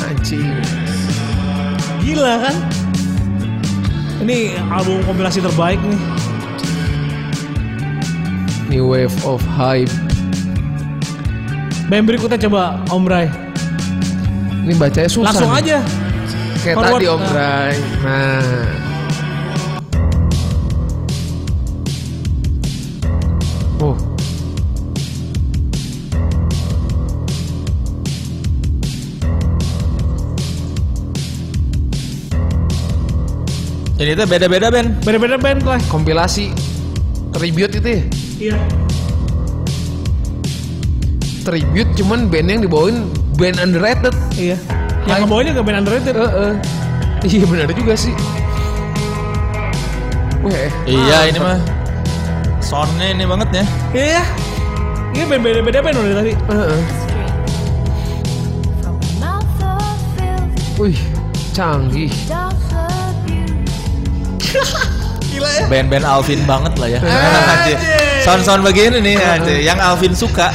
A: Anjing.
B: Gila kan? Ini album kompilasi terbaik nih.
A: New wave of hype.
B: Band berikutnya coba Om Rai.
A: Ini bacanya susah.
B: Langsung
A: nih.
B: aja.
A: Kayak
B: Forward.
A: tadi Om Bray. Nah. Oh.
C: Ini tuh beda-beda Ben.
B: Beda-beda band lah.
A: Kompilasi tribute itu ya.
B: Iya.
A: Tribute cuman band yang dibawain band underrated.
B: Iya. Yang
A: Hai.
B: ngebawainnya gak band underrated.
A: Eh, eh. Iya benar juga sih. Weh,
B: Ah,
C: Iya ini mah. Soundnya ini banget ya.
B: Iya ya. Ini band beda-beda band udah tadi.
A: eh, eh.
F: From the mouth of filth,
A: Wih, canggih.
F: dogs abuse.
C: Band-band Alvin banget lah
B: Eh,
C: ya. Anjir. Sound-sound begini nih, anjir. yang Alvin suka.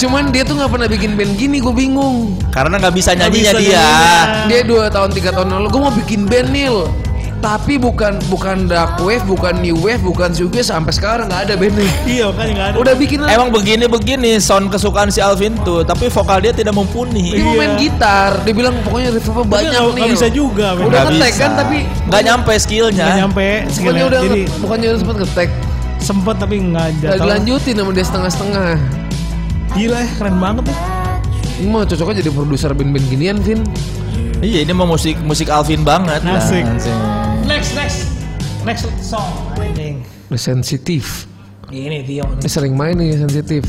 A: Cuman dia tuh nggak pernah bikin band gini, gue bingung.
C: Karena nggak bisa nyanyinya
B: bisa
C: dia.
B: nyanyinya.
A: Dia dua tahun tiga tahun lalu gue mau bikin band Nil. Tapi bukan bukan dark wave, bukan new wave, bukan juga sampai sekarang nggak ada bandnya.
B: Iya makanya gak ada.
A: Udah bikin lagi.
C: Emang begini-begini sound kesukaan si Alvin tuh, tapi vokal dia tidak
A: dia
C: mumpuni.
A: mau
B: Iya.
A: main gitar, dia bilang pokoknya reverbnya
B: Tapi
A: banyak
B: nggak-
A: nih.
B: nggak bisa juga. men.
A: Udah
C: Nggak
A: kan
C: bisa.
A: tag kan tapi
C: Nggak nyampe skillnya.
B: Nggak nyampe.
A: bukannya
B: skillnya.
A: udah
B: Jadi
A: bukannya udah sempet ngetek
B: sempet tapi nggak ada.
A: nggak dilanjutin sama dia setengah-setengah.
B: Gila ya keren banget ya.
A: Ini mah cocoknya jadi produser band-band ginian, Vin.
C: Iya ini mah musik musik Alvin banget.
A: Nah,
C: lah,
B: Asik.
C: anjing.
B: Next next next song. Anjing.
A: Udah sensitif.
B: Ini Tion.
A: Ini sering main nih sensitif.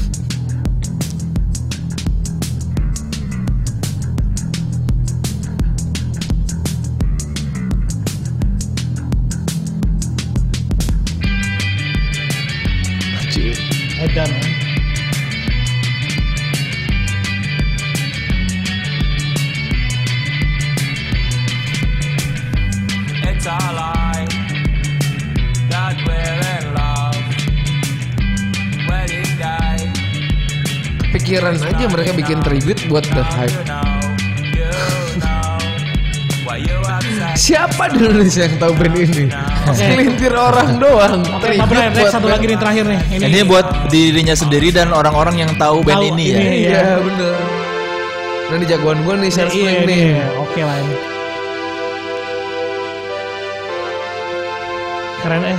B: Edan.
E: It's a lie that we're in love. When you die,
A: Pikiran aja mereka bikin tribute buat The Hype.
E: you know, you know why you upset.
A: Siapa di Indonesia yang tahu band ini? Selintir orang doang.
B: Oke, Pak Brian, next satu lagi nih terakhir nih.
C: Ini buat dirinya sendiri dan orang-orang yang tahu band
B: Tahu
C: ini
B: ini.
C: ya.
A: Iya, bener. Nah, ini jagoan gue nih, share
B: Iya,
A: screen
B: ini.
A: nih.
B: Oke lah ini. Keren eh.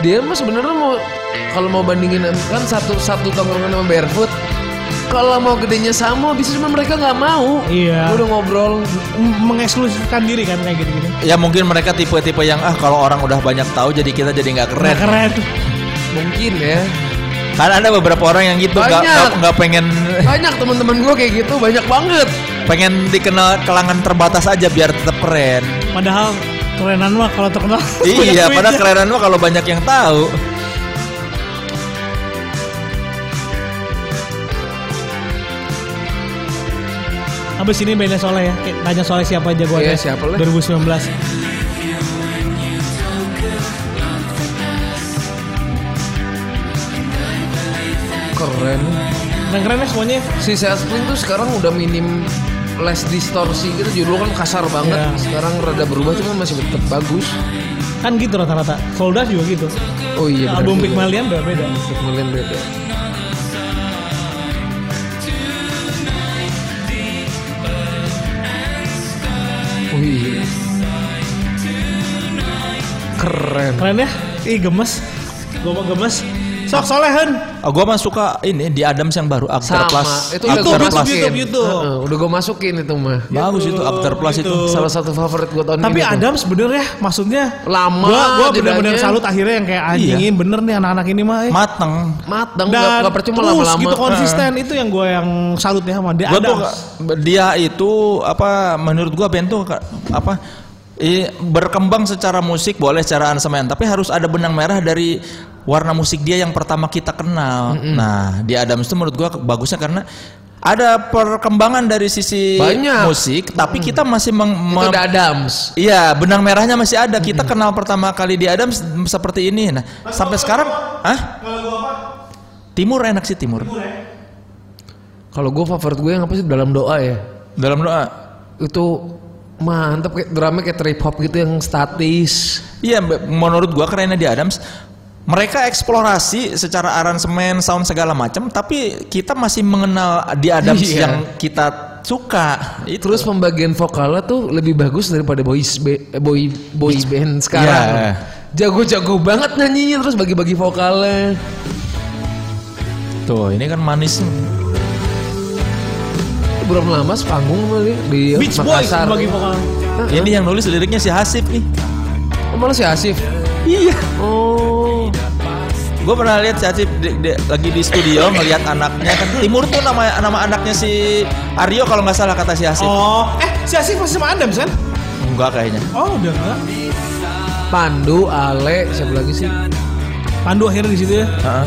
A: Dia mah sebenarnya mau kalau mau bandingin kan satu satu tongkrongan sama Barefoot. Kalau mau gedenya sama, bisa cuma mereka nggak mau.
B: Iya.
A: Gua Udah ngobrol.
B: M- Mengeksklusifkan diri kan kayak gitu-gitu.
C: Ya mungkin mereka tipe-tipe yang ah kalau orang udah banyak tahu jadi kita jadi nggak
B: Nah,
C: keren.
B: keren.
A: Mungkin ya.
C: Karena ada beberapa orang yang gitu nggak
A: Banyak.
C: nggak- nggak pengen
A: Banyak teman-teman gue kayak gitu, banyak banget.
C: pengen dikenal kelangan terbatas aja biar tetap keren.
B: Padahal kerenan mah kalau terkenal.
C: iya,
B: Banyak
C: padahal
B: duitnya.
C: kerenan mah kalau banyak yang tahu.
B: Habis ini bandnya Soleh ya. Kayak Tanya Soleh siapa jagoannya.
A: Iya, siapa lah.
B: 2019.
A: Keren.
B: Keren keren ya semuanya.
A: Si Splint tuh sekarang udah minim less distorsi gitu. Dulu kan kasar banget.
B: Iya.
A: Sekarang rada berubah cuman masih tetap bagus.
B: Kan gitu rata-rata. Soldas juga gitu.
A: Oh iya. bener
B: Album
A: juga.
B: Pygmalion beda-beda.
A: Pygmalion beda. Wih. Keren.
B: Keren ya. Ih gemes. Gue mau gemes. Sok Solehen.
C: Oh, gua mah suka ini di Adams yang baru After
A: Sama.
C: Plus.
A: Itu udah gue
B: YouTube,
C: After
B: YouTube,
C: Plus.
A: masukin.
B: YouTube, gitu. YouTube.
A: Heeh, udah gue masukin itu mah.
C: Bagus itu After Plus itu.
A: Salah satu favorit gue tahun
B: Tapi
A: ini. tuh.
B: Adam sebenarnya maksudnya
A: Lama
B: Gua, gua
A: jedanya.
B: bener-bener salut akhirnya yang kayak anjingin bener nih anak-anak ini mah. eh.
C: Mateng.
A: matang nggak nggak percuma
B: terus
A: lama-lama.
B: gitu konsisten itu yang gue yang salut ya sama dia.
C: Gua tuh
B: Adams.
C: dia itu apa menurut gua band tuh ka- apa eh, berkembang secara musik boleh secara aransemen tapi harus ada benang merah dari warna musik dia yang pertama kita kenal. Nah, di Adams itu menurut gua ke- bagusnya karena ada perkembangan dari sisi
A: Banyak.
C: musik tapi kita masih meng,
A: Itu
C: mem-
A: udah Adams.
C: Iya, benang merahnya masih ada. Kita kenal pertama kali di Adams seperti ini. Nah, sampai sekarang, ah? Timur enak sih timur.
A: Kalau gue favorit gue yang apa sih dalam doa ya?
C: Dalam doa.
A: Itu mantep kayak drumnya kayak trip hop gitu yang statis.
C: Iya, Mbak, menurut gua kerennya di Adams mereka eksplorasi secara aransemen, sound segala macam, tapi kita masih mengenal di Adams
A: Iya.
C: yang kita suka. Itu.
A: Terus pembagian vokalnya tuh lebih bagus daripada boys ba- eh, boy boy band
C: Iya.
A: sekarang. Jago-jago banget nyanyinya terus bagi-bagi vokalnya.
C: Tuh, ini kan manis.
A: berapa lama sepanggung sama dia di
B: Beach Boys
A: Makassar.
B: bagi vokal.
C: Ini yang nulis liriknya si Hasib nih.
A: Oh, malah si Asif.
C: Iya.
A: Oh.
C: Gue pernah lihat si Hasib di- di- lagi di studio melihat anaknya kan Timur tuh nama nama anaknya si Aryo kalau nggak salah kata si Hasib.
B: Oh, eh si Asif masih sama Adams kan?
C: Enggak kayaknya.
B: Oh, udah enggak.
A: Pandu, Ale, siapa lagi sih?
B: Pandu akhirnya di situ ya.
C: Heeh.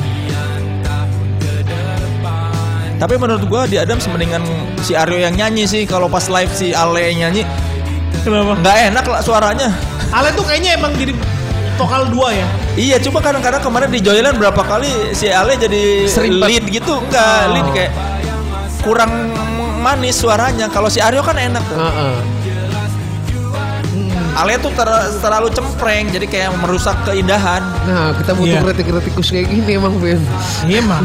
C: Tapi menurut gua di Adams mendingan si Aryo yang nyanyi sih kalau pas live si Ale yang nyanyi
B: Kenapa?
C: nggak enak lah suaranya.
B: Ale tuh kayaknya emang jadi vokal dua ya.
C: Iya, cuma kadang-kadang kemarin di Joyland berapa kali si Ale jadi
A: Serimpet.
C: lead gitu, enggak lead kayak kurang manis suaranya. Kalau si Aryo kan enak tuh.
A: Heeh.
C: Ale tuh ter- terlalu cempreng, jadi kayak merusak keindahan.
A: Nah, kita butuh
B: Iya.
A: kritik-kritikus kayak gini emang, Vin.
B: Iya mah.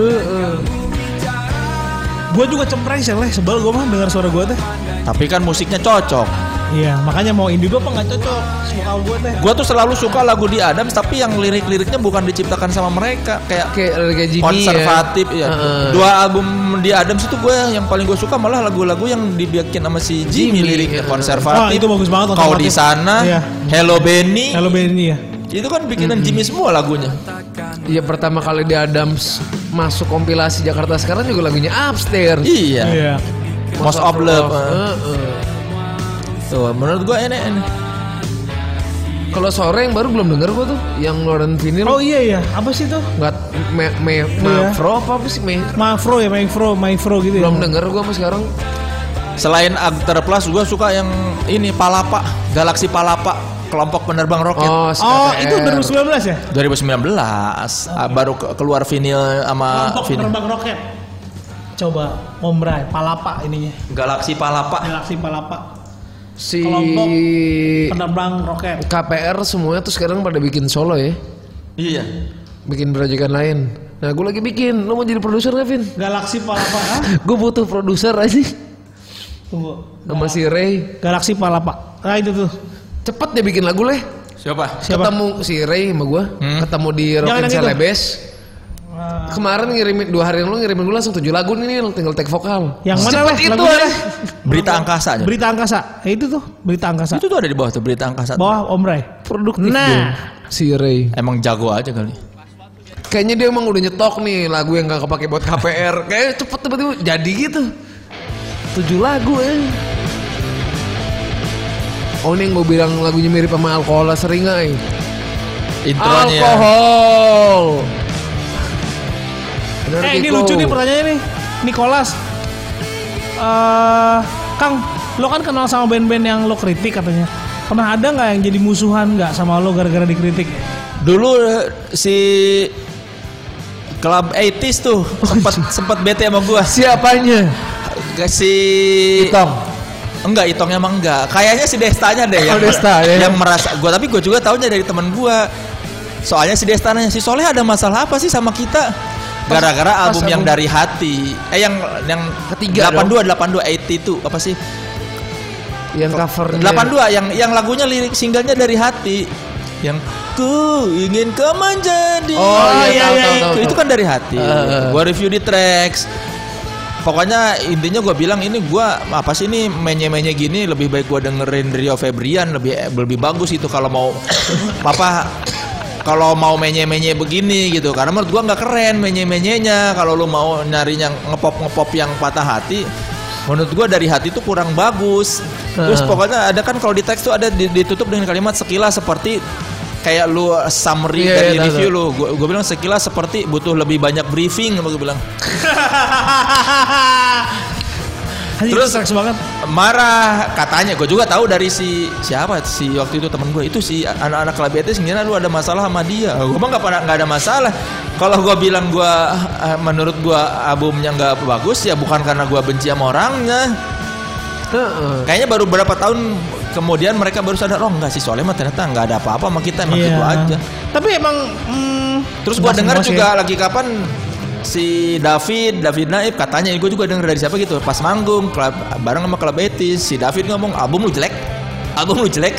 A: Heeh.
B: Gue juga cempreng sih leh, sebel gue mah dengar suara gue teh.
C: Tapi kan musiknya cocok.
B: Iya, makanya mau indigo apa nggak cocok vokal gue teh.
C: Gua tuh selalu suka lagu di Adams, tapi yang lirik-liriknya bukan diciptakan sama mereka, kayak
A: Kayak kayak
C: ya.
A: Jimmy
C: konservatif ya.
A: Heeh.
C: Dua album di Adams itu gue yang paling gue suka malah lagu-lagu yang dibikin sama si Jimmy,
A: Jimmy, iya.
C: liriknya konservatif.
B: Wah, Ah, itu bagus banget
C: Kau
B: konservatif.
C: di sana,
B: Iya.
C: Hello Benny.
B: Hello Benny ya.
C: Itu kan bikinan Jimmy semua lagunya.
A: Iya pertama kali di Adams masuk kompilasi Jakarta sekarang juga lagunya Upstairs.
C: Iya.
B: Iya. ah.
C: Most of Love. eh.
A: Heeh.
C: Tuh, menurut gue enak enak.
A: Kalau sore yang baru belum denger gua tuh, yang Lauren Vinyl.
B: Oh iya ya, apa sih tuh?
A: nggak me, me, Mavro apa, apa sih me?
B: Mafro ya, Mafro, Mafro gitu ya.
A: Belum denger gua sama sekarang.
C: Selain Agter Plus, gue suka yang ini Palapa, Galaxy Palapa, kelompok penerbang roket.
A: Oh,
B: Oh,
A: SKTR.
B: itu 2019 ya?
C: 2019 ah, baru ke- keluar vinil
A: Ah,
C: sama
B: Kelompok
C: vinil.
B: penerbang roket. Coba Om Bray, Palapa ininya.
C: Galaxy Palapa.
B: Galaksi Palapa.
A: si
B: kelompok
A: Iya.
B: Penerbang roket.
A: KPR semuanya tuh sekarang pada bikin solo ya,
C: Iya.
A: bikin proyekan lain. Nah, gua lagi bikin. Lu mau jadi produser nggak, Vin?
B: Galaksi Palapa. Hah?
A: Gua butuh produser aja
B: Tunggu. Oh.
A: sama si Ray.
B: Galaksi Palapa. Nah itu tuh.
A: Cepet deh bikin lagu leh.
C: Siapa?
B: Siapa?
A: Ketemu si Ray sama gua,
C: Hmm.
A: ketemu di
B: Jangan
A: Rockin
B: yang itu. Ah.
A: Celebes. Kemarin ngirimin dua hari yang lalu ngirimin gue langsung tujuh lagu nih Nil, tinggal tag vokal.
B: Yang mana,
A: Secepat
B: Leh?
A: itu eh.
B: Lagunya,
A: Leh.
B: Leh?
C: Berita angkasa aja.
B: Berita angkasa. Ya, itu tuh, berita angkasa.
C: Itu tuh ada di bawah tuh berita angkasa.
B: Bawah Om Ray.
A: Produktif
B: Nah.
A: dong, si Ray.
C: Emang jago aja kali.
A: Kayaknya dia emang udah nyetok nih lagu yang gak kepake buat KPR. Kayaknya cepet tiba-tiba jadi gitu. Tujuh lagu ya. Oh ini yang gue bilang lagunya mirip sama alkohol sering nggak, eh?
B: ya.
C: Intronya.
A: Alkohol. gitu.
B: Eh ini lucu nih pertanyaannya nih. Nicholas. Eh, Kang, lo kan kenal sama band-band yang lo kritik katanya. Pernah ada nggak yang jadi musuhan nggak sama lo gara-gara dikritik?
C: Dulu eh, si Club 80s tuh sempat sempat bete sama gua.
A: Siapanya?
C: Si
A: Itong.
C: Enggak, Itongnya emang enggak. Kayaknya si Destanya deh yang,
A: Oh, Desta, ya.
C: yang merasa gua tapi gua juga taunya dari teman gua. Soalnya si Desta nanya si Soleh ada masalah apa sih sama kita? Gara-gara
A: pas
C: album yang
A: album-
C: dari hati. Eh yang yang
A: Ketiga
C: 82 82 itu apa sih?
A: Yang covernya.
C: 82 yang yang lagunya lirik singlenya dari hati. Yang ku ingin kau menjadi.
A: Oh, iya, tahu, tahu, tahu,
C: Itu
A: tahu.
C: kan dari hati.
A: Eh.
C: Gua review di tracks. Pokoknya intinya gua bilang ini gua apa sih ini menye-menye gini lebih baik gua dengerin Rio Febrian lebih lebih bagus itu kalau mau apa kalau mau menye-menye begini gitu karena menurut gua nggak keren menye-menyenya kalau lu mau nyari yang ngepop-ngepop yang patah hati menurut gua dari hati itu kurang bagus terus
A: Heeh.
C: pokoknya ada kan kalau di teks tuh ada di- ditutup dengan kalimat sekilas seperti kayak lu summary
A: Iya,
C: dari
A: iya, tahu,
C: review lu gua, gua bilang sekilas seperti butuh lebih banyak briefing apa gua bilang
B: Terus
C: Terus-
B: seks banget.
C: marah katanya gue juga tahu dari si siapa si waktu itu temen gue itu si anak-anak labiatis ngira lu ada masalah sama dia gue mah nggak pernah nggak ada masalah kalau gue bilang gue eh, menurut gue albumnya nggak bagus ya bukan karena gue benci sama orangnya
A: Heeh.
C: kayaknya baru berapa tahun kemudian mereka baru sadar oh enggak sih soalnya mah ternyata nggak ada apa-apa sama kita emang gitu aja
B: Iya. Tapi emang mm,
C: terus gue dengar
B: bas-bas
C: juga
B: ya.
C: lagi kapan si David David Naib katanya gue juga dengar dari siapa gitu pas manggung klub, bareng sama klub Betis si David ngomong album lu jelek album lu jelek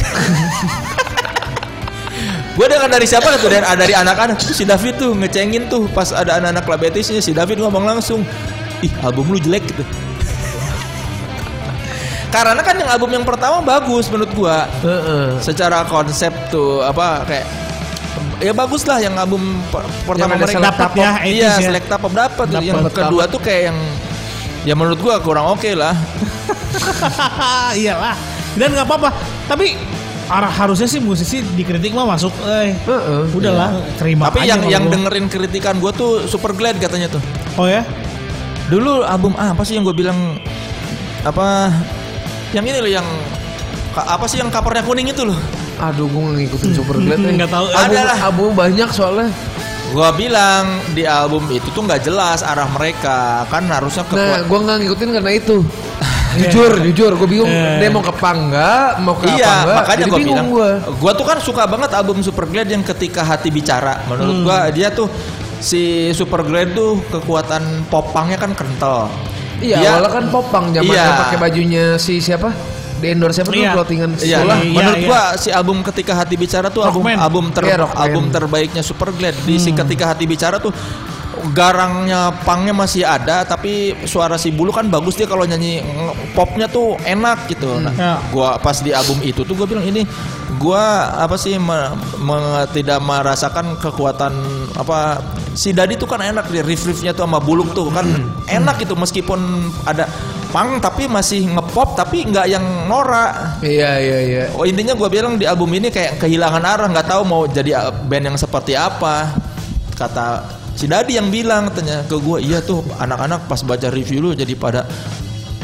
C: gue dengar dari siapa tuh dari, dari anak-anak Terus si David tuh ngecengin tuh pas ada anak-anak klub Betisnya si David ngomong langsung ih album lu jelek gitu karena kan yang album yang pertama bagus menurut gua
A: Heeh.
C: secara konsep tuh apa kayak ya bagus lah yang album per- pertama
A: ada
C: mereka
A: select
B: Dapat ya, 80s
C: iya
B: ya.
C: selekta pop dapat
A: Dapat,
C: yang
A: dapat.
C: kedua tuh kayak yang ya menurut gua kurang oke lah
B: iyalah dan nggak apa-apa tapi arah harusnya sih musisi dikritik mah masuk eh
A: Heeh.
B: udahlah terima
C: Iya. tapi
B: aja
C: yang
B: kalau
C: yang
B: gua.
C: dengerin kritikan gua tuh super glad katanya tuh
B: oh ya
C: dulu album apa sih yang gua bilang apa yang ini loh yang ka- apa sih yang covernya kuning itu loh
A: Aduh, gue nggak ngikutin Super Glad. eh.
B: nggak tahu
A: Album-
C: Ada lah.
A: Album banyak soalnya.
C: gua bilang di album itu tuh nggak jelas arah mereka kan
A: Nah,
C: harusnya kekuat
A: gue nggak ngikutin karena itu. jujur, jujur, gue bingung.
B: Eh.
A: Dia mau ke pangga, mau ke apa
C: Iya,
A: enggak.
C: makanya
A: Jadi
C: gue
A: bingung
C: bilang.
A: gue.
C: Gue tuh kan suka banget album Superglad yang ketika hati bicara. Menurut
A: Hmm.
C: gua dia tuh si Superglad tuh kekuatan popangnya kan kental.
A: Iya,
C: Dia-
A: awalnya kan popang zamannya
C: Iya.
A: pakai bajunya si siapa? Di endorse siapa
B: Iya.
A: tuh clothingan
C: Iya,
A: sekolah.
B: Iya,
C: menurut
B: iya.
C: gua si album Ketika Hati Bicara tuh album
B: Rockman. Hmm.
C: album ter
A: Iya, Rockman.
C: album terbaiknya Superglad. Di si Ketika Hati Bicara tuh garangnya pangnya masih ada tapi suara si bulu kan bagus dia kalau nyanyi nge- popnya tuh enak gitu. Nah,
B: Ya.
C: gua pas di album itu tuh gua bilang ini gua apa sih me- me- tidak merasakan kekuatan apa si Dadi tuh kan enak di riff riffnya tuh sama buluk tuh kan
B: Hmm.
C: enak gitu meskipun ada pang tapi masih ngepop tapi nggak yang norak
A: Iya, iya, iya.
C: Oh intinya gue bilang di album ini kayak kehilangan arah, nggak tahu mau jadi uh, band yang seperti apa. Kata si Dadi yang bilang katanya ke gue, iya tuh anak-anak pas baca review lu jadi pada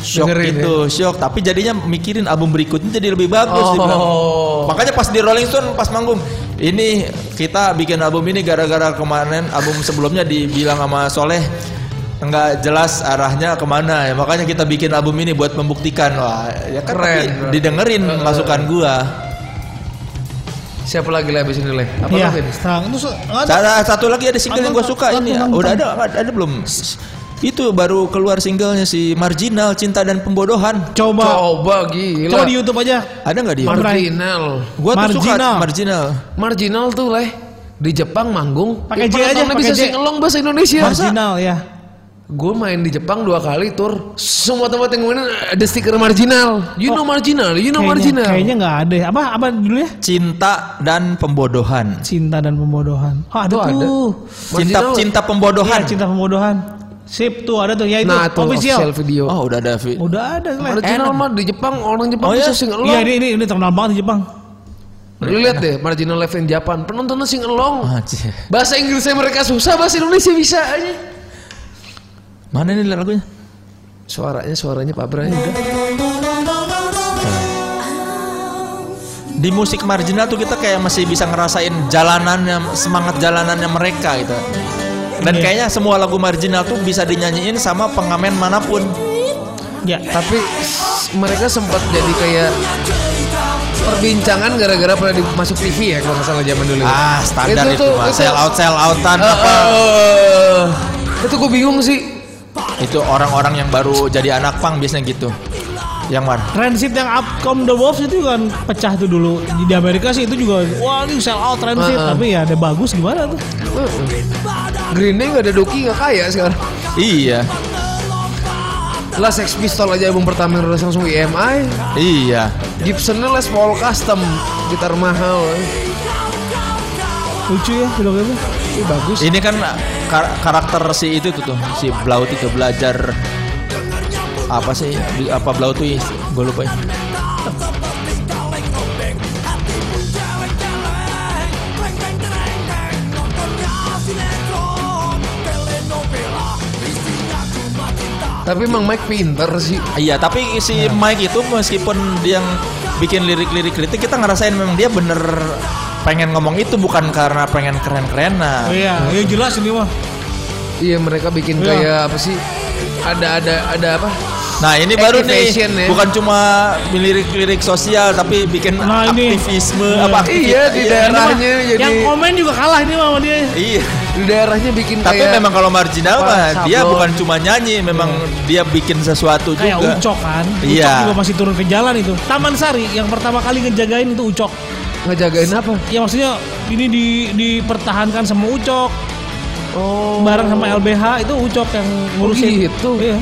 C: shock
A: Dengerin ya?
C: gitu, shock. Tapi jadinya mikirin album berikutnya jadi lebih bagus. dia bilang.
A: Oh.
C: Makanya pas di Rolling Stone pas manggung, ini kita bikin album ini gara-gara kemarin album sebelumnya dibilang sama Soleh nggak jelas arahnya kemana ya makanya kita bikin album ini buat membuktikan wah ya kan
A: Keren.
C: tapi didengerin masukan gua
A: Siapa lagi lah abis ini Le? Apa
B: iya
A: lu, Vin?
B: Nah, terus nggak ada.
C: Cara satu lagi ada single yang gue suka
B: Nonton,
C: ini ya.
B: nonton.
C: Udah ada ada, ada belum? Itu baru keluar singlenya si Marginal Cinta dan Pembodohan.
B: coba
A: Coba gila. Iya,
B: coba di YouTube aja
C: Ada nggak dia?
B: Mar-
A: Marginal.
C: Gue tuh suka
B: Marginal.
C: Marginal.
A: Marginal tuh Le. Di Jepang manggung.
B: Pakai J aja,
A: penontonnya
B: pakai
A: bisa
B: J.
A: singelong bahasa Indonesia.
B: marginal ya
A: Gue main di Jepang dua kali tur. Semua tempat yang gue mainin ada stiker marginal. You know
C: Oh.
A: marginal, you know
B: kayaknya
A: marginal.
B: kayaknya nggak ada ya. apa apa dulu ya
C: Cinta dan Pembodohan.
B: cinta dan pembodohan oh ada
A: Tuh ada.
B: tuh
C: Cinta
A: Marginal.
C: Cinta
B: Iya,
C: Pembodohan.
B: cinta pembodohan sip tuh ada tuh ya itu
A: Nah, tuh
B: official
A: official video.
C: Oh udah ada Vi.
B: udah ada kan
A: Marginal mah di Jepang orang Jepang
C: Oh,
A: bisa
C: ya?
A: sing along.
B: iya ini ini ini terkenal banget di Jepang
A: Lu lihat deh Marginal Live in Japan, penontonnya sing along.
C: Anjir.
A: Bahasa Inggrisnya mereka susah, bahasa Indonesia bisa aja.
C: Mana nih lagunya?
A: Suaranya suaranya Pak Bray.
C: Di musik marginal tuh kita kayak masih bisa ngerasain jalanannya, semangat jalanannya mereka gitu. Dan
B: Iya.
C: kayaknya semua lagu marginal tuh bisa dinyanyiin sama pengamen manapun.
B: ya
A: Tapi s- mereka sempat jadi kayak perbincangan gara-gara pernah di- masuk TV ya kalau nggak salah zaman dulu.
C: Ah, standar itu, mah. Sell out, sell outan
A: Eh,
C: apa.
A: eh, itu gue bingung sih.
C: Itu orang-orang yang baru jadi anak pang biasanya gitu. Yang mana?
B: Transit yang Upcom the Wolves itu kan pecah tuh dulu di Amerika sih itu juga wah ini sell out transit
A: Heeh.
B: tapi ya ada bagus gimana tuh
A: Green Day gak ada Doki gak kaya sekarang
C: Iya.
A: Lah Sex Pistol aja album pertama yang rilis langsung EMI
C: Iya.
A: Gibsonnya Les Paul Custom Gitar mahal
B: lucu ya video itu
A: Ini bagus
C: Ini kan kar- karakter si itu tuh, tuh, si Blau itu belajar apa sih? Di- Apa Blau tuh? Gue lupa. ya.
A: Tapi emang Mike pinter sih
C: Iya, tapi si Mike itu meskipun dia yang bikin lirik-lirik kritik, kita ngerasain memang dia bener pengen ngomong itu bukan karena pengen keren-kerenan.
B: iya ya jelas ini mah
A: Iya mereka bikin
B: Iya.
A: kayak apa sih Ada ada ada apa
C: Nah ini baru nih
A: Activation ya.
C: bukan cuma lirik-lirik sosial tapi bikin
B: Nah, ini.
C: aktivisme
B: Iya.
C: apa aktivi-
A: Iya di daerahnya jadi
B: yang komen juga kalah ini mah sama dia
C: Iya.
A: Di daerahnya bikin
C: Tapi
A: kayak
C: memang kalau marginal
A: Iya. Pak
C: mah dia
A: Sablon.
C: bukan cuma nyanyi, memang dia bikin sesuatu
B: kayak
C: juga.
B: Ucok kan Ucok
C: Iya.
B: juga masih turun ke jalan itu Taman Sari yang pertama kali ngejagain itu Ucok
A: Ngejagain apa
B: ya maksudnya ini di, dipertahankan sama Ucok
A: Oh
B: bareng sama LBH itu Ucok yang ngurusin
A: gitu.
B: iya.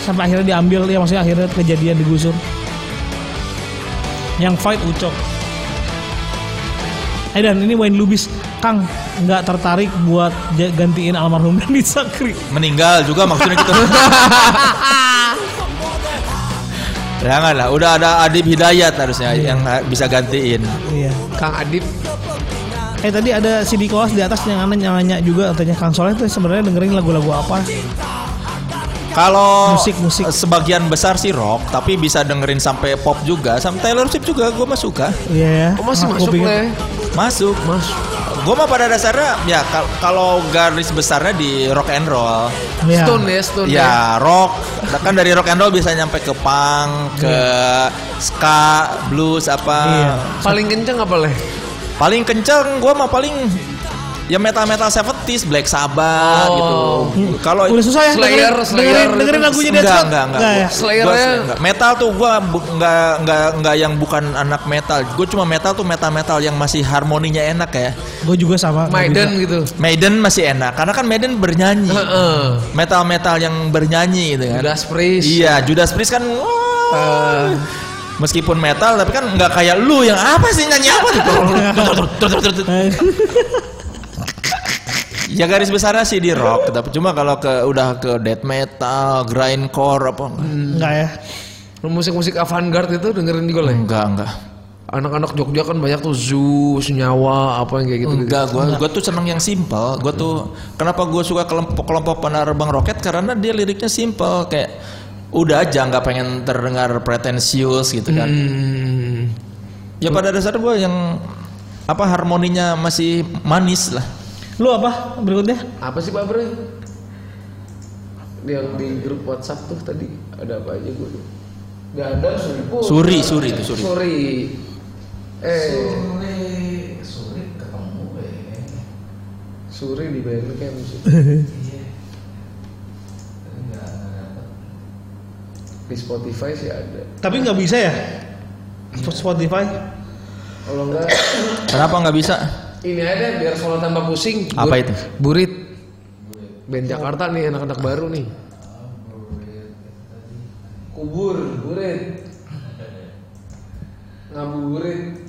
B: sampai akhirnya diambil ya maksudnya akhirnya kejadian digusur Yang fight Ucok. Eh dan ini Wayne Lubis, Kang nggak tertarik buat ja- gantiin almarhum Dani Sakri.
C: meninggal juga maksudnya gitu. Janganlah, udah ada Adib Hidayat harusnya yang bisa gantiin.
B: Iya.
A: Kang Adip
B: Eh tadi ada si Nicholas di atas yang nanya nanya juga katanya Kang Soleh tuh sebenarnya dengerin lagu-lagu apa?
C: Kalau
B: Musik, musik.
C: sebagian besar sih rock, tapi bisa dengerin sampai pop juga, sama Taylor Swift juga gue masuk suka.
B: Iya.
A: kok Oh, masih
B: Aku
A: masuk ya?
B: pikir-
A: Le?
C: Masuk.
A: Mas,
C: Gue mah pada dasarnya ya kal- kalau garis besarnya di rock and roll.
B: Iya.
A: Stone ya, Stone ya.
C: Ya rock, kan dari rock and roll bisa nyampe ke punk, ke ska, blues apa.
B: Iya.
A: Paling kenceng apa leh?
C: Paling kenceng gue mah paling ya metal-metal 70s, Black Sabbath
A: Oh.
C: gitu. Kalau
B: Udah susah ya
A: Slayer,
B: dengerin,
A: Slayer
B: dengerin,
A: itu-
B: dengerin lagunya Dead
C: enggak,
B: Slot?
C: enggak, enggak,
B: ya?
C: Gua-
A: Slayer-nya-
C: gua sel- enggak. metal tuh gue enggak, enggak, enggak yang bukan anak metal. Gue cuma metal tuh metal-metal yang masih harmoninya enak ya.
B: Gue juga sama. nggak
A: Maiden
B: bisa.
A: gitu.
C: Maiden masih enak, karena kan Maiden bernyanyi.
A: Heeh.
C: Metal-metal yang bernyanyi gitu kan.
A: Judas Priest.
C: Iya, Judas Priest kan wah,
A: Eh,
C: meskipun metal tapi kan nggak kayak lu yang apa sih nyanyi apa gitu.
B: Eh,
C: Ya garis besarnya sih di rock, tapi cuma kalau ke udah ke death metal, grindcore apa enggak?
B: Enggak ya.
A: musik-musik avant-garde itu dengerin juga leh.
C: Enggak, enggak.
A: Anak-anak Jogja kan banyak tuh Zoo, Senyawa, apa yang kayak gitu.
C: Enggak, gua gua tuh seneng yang simple. Gua tuh kenapa gua suka kelompok-kelompok penerbang roket karena dia liriknya simple kayak udah aja nggak pengen terdengar pretensius gitu kan.
A: Hmm.
C: Ya pada dasarnya gua yang apa harmoninya masih manis lah.
B: Lu apa berikutnya?
A: Apa sih Pak Bro? Yang di grup WhatsApp tuh tadi ada apa aja gue? Gak ada Suri. Oh,
C: Suri, Suri itu Suri.
A: Suri. Eh. Suri, Suri ketemu gue. Suri di Bandcamp sih. Di Spotify sih ada.
B: Tapi nggak bisa ya? Untuk Spotify?
A: Kalau enggak
C: Kenapa nggak bisa?
A: ini aja deh, biar solo tambah pusing.
C: Apa
A: Bur-
C: itu?
A: Burit. Band Jakarta nih anak-anak baru nih. Kubur, burit. Ngabuburit.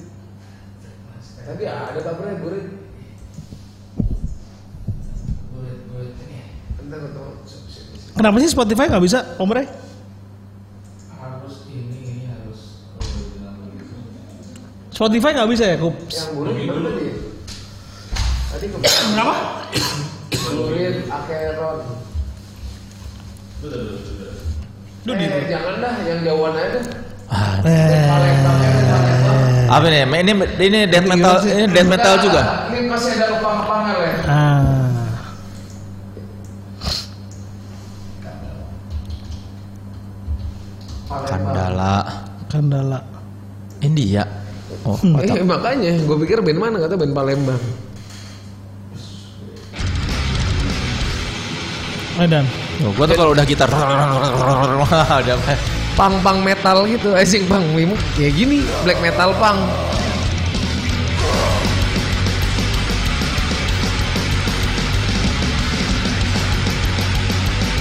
A: Tadi ada kabarnya burit. Bentar, bentar.
B: Kenapa sih Spotify nggak bisa, Om Rey? Spotify nggak bisa ya, Kups?
A: Yang burit baru tadi. Tadi ke
B: Kenapa?
A: burit, akeron.
B: Lu di
A: Eh, jangan dah, yang jauhan aja.
C: Apa nih? Ini ini death metal, ini death metal juga.
A: Ini masih ada upang-upangan ya.
B: Ah.
C: Kandala.
B: Kendala.
C: India. Oh,
A: Eh,
C: otak.
A: makanya gue pikir band mana kata band Palembang.
B: Medan.
C: Oh, gua tuh kalau udah gitar udah
A: Pang-pang metal gitu, asing pang mimu kayak gini, black metal pang.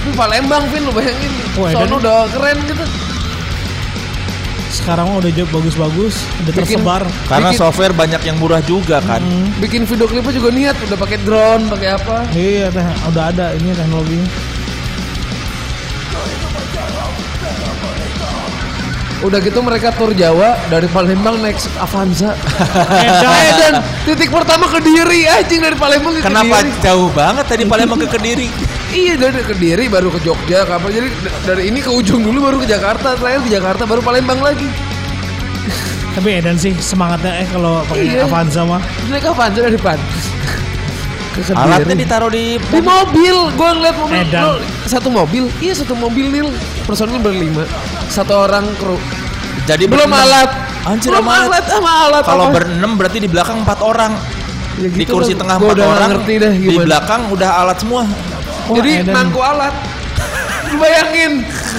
A: Lu Palembang Vin lu bayangin.
B: Wah,
A: Sono
B: dan-
A: udah keren gitu.
B: Sekarang mah udah job bagus-bagus, udah
A: Bikin-
B: tersebar.
C: karena
A: Bikin-
C: software banyak yang murah juga kan.
A: Bikin video klipnya juga niat, udah pakai drone, pakai apa.
B: Iya, teh, udah ada ini teknologinya.
A: Udah gitu mereka tur Jawa dari Palembang naik Avanza.
B: Edan.
A: Edan, titik pertama Kediri anjing dari Palembang ke
C: Kenapa
A: Kediri.
C: jauh banget tadi Palembang ke Kediri?
A: Iya dari Kediri baru ke Jogja apa jadi d- dari ini ke ujung dulu baru ke Jakarta terakhir ke Jakarta baru Palembang lagi.
B: Tapi Edan sih semangatnya eh kalau
A: Iya.
B: pakai Avanza mah.
A: Naik Avanza dari Pan. Ke Kediri.
C: Alatnya ditaruh di
A: di mobil, gua ngeliat mobil
B: Edan.
A: Lo- satu mobil, iya satu mobil nil personil berlima, satu orang kru.
C: jadi
A: Belum
C: berenam.
A: alat,
C: Anjir
A: belum
C: amat.
A: alat sama alat.
C: Kalau
A: apa.
C: berenam berarti di belakang empat orang.
A: Ya
C: di
A: gitu
C: kursi
A: lah,
C: tengah
A: gua
C: empat
A: udah nggak
C: orang.
A: ngerti dah
C: di
A: gimana.
C: belakang udah alat semua.
B: Wah,
A: Jadi
B: Edan.
A: nangku alat. Lu Bayangin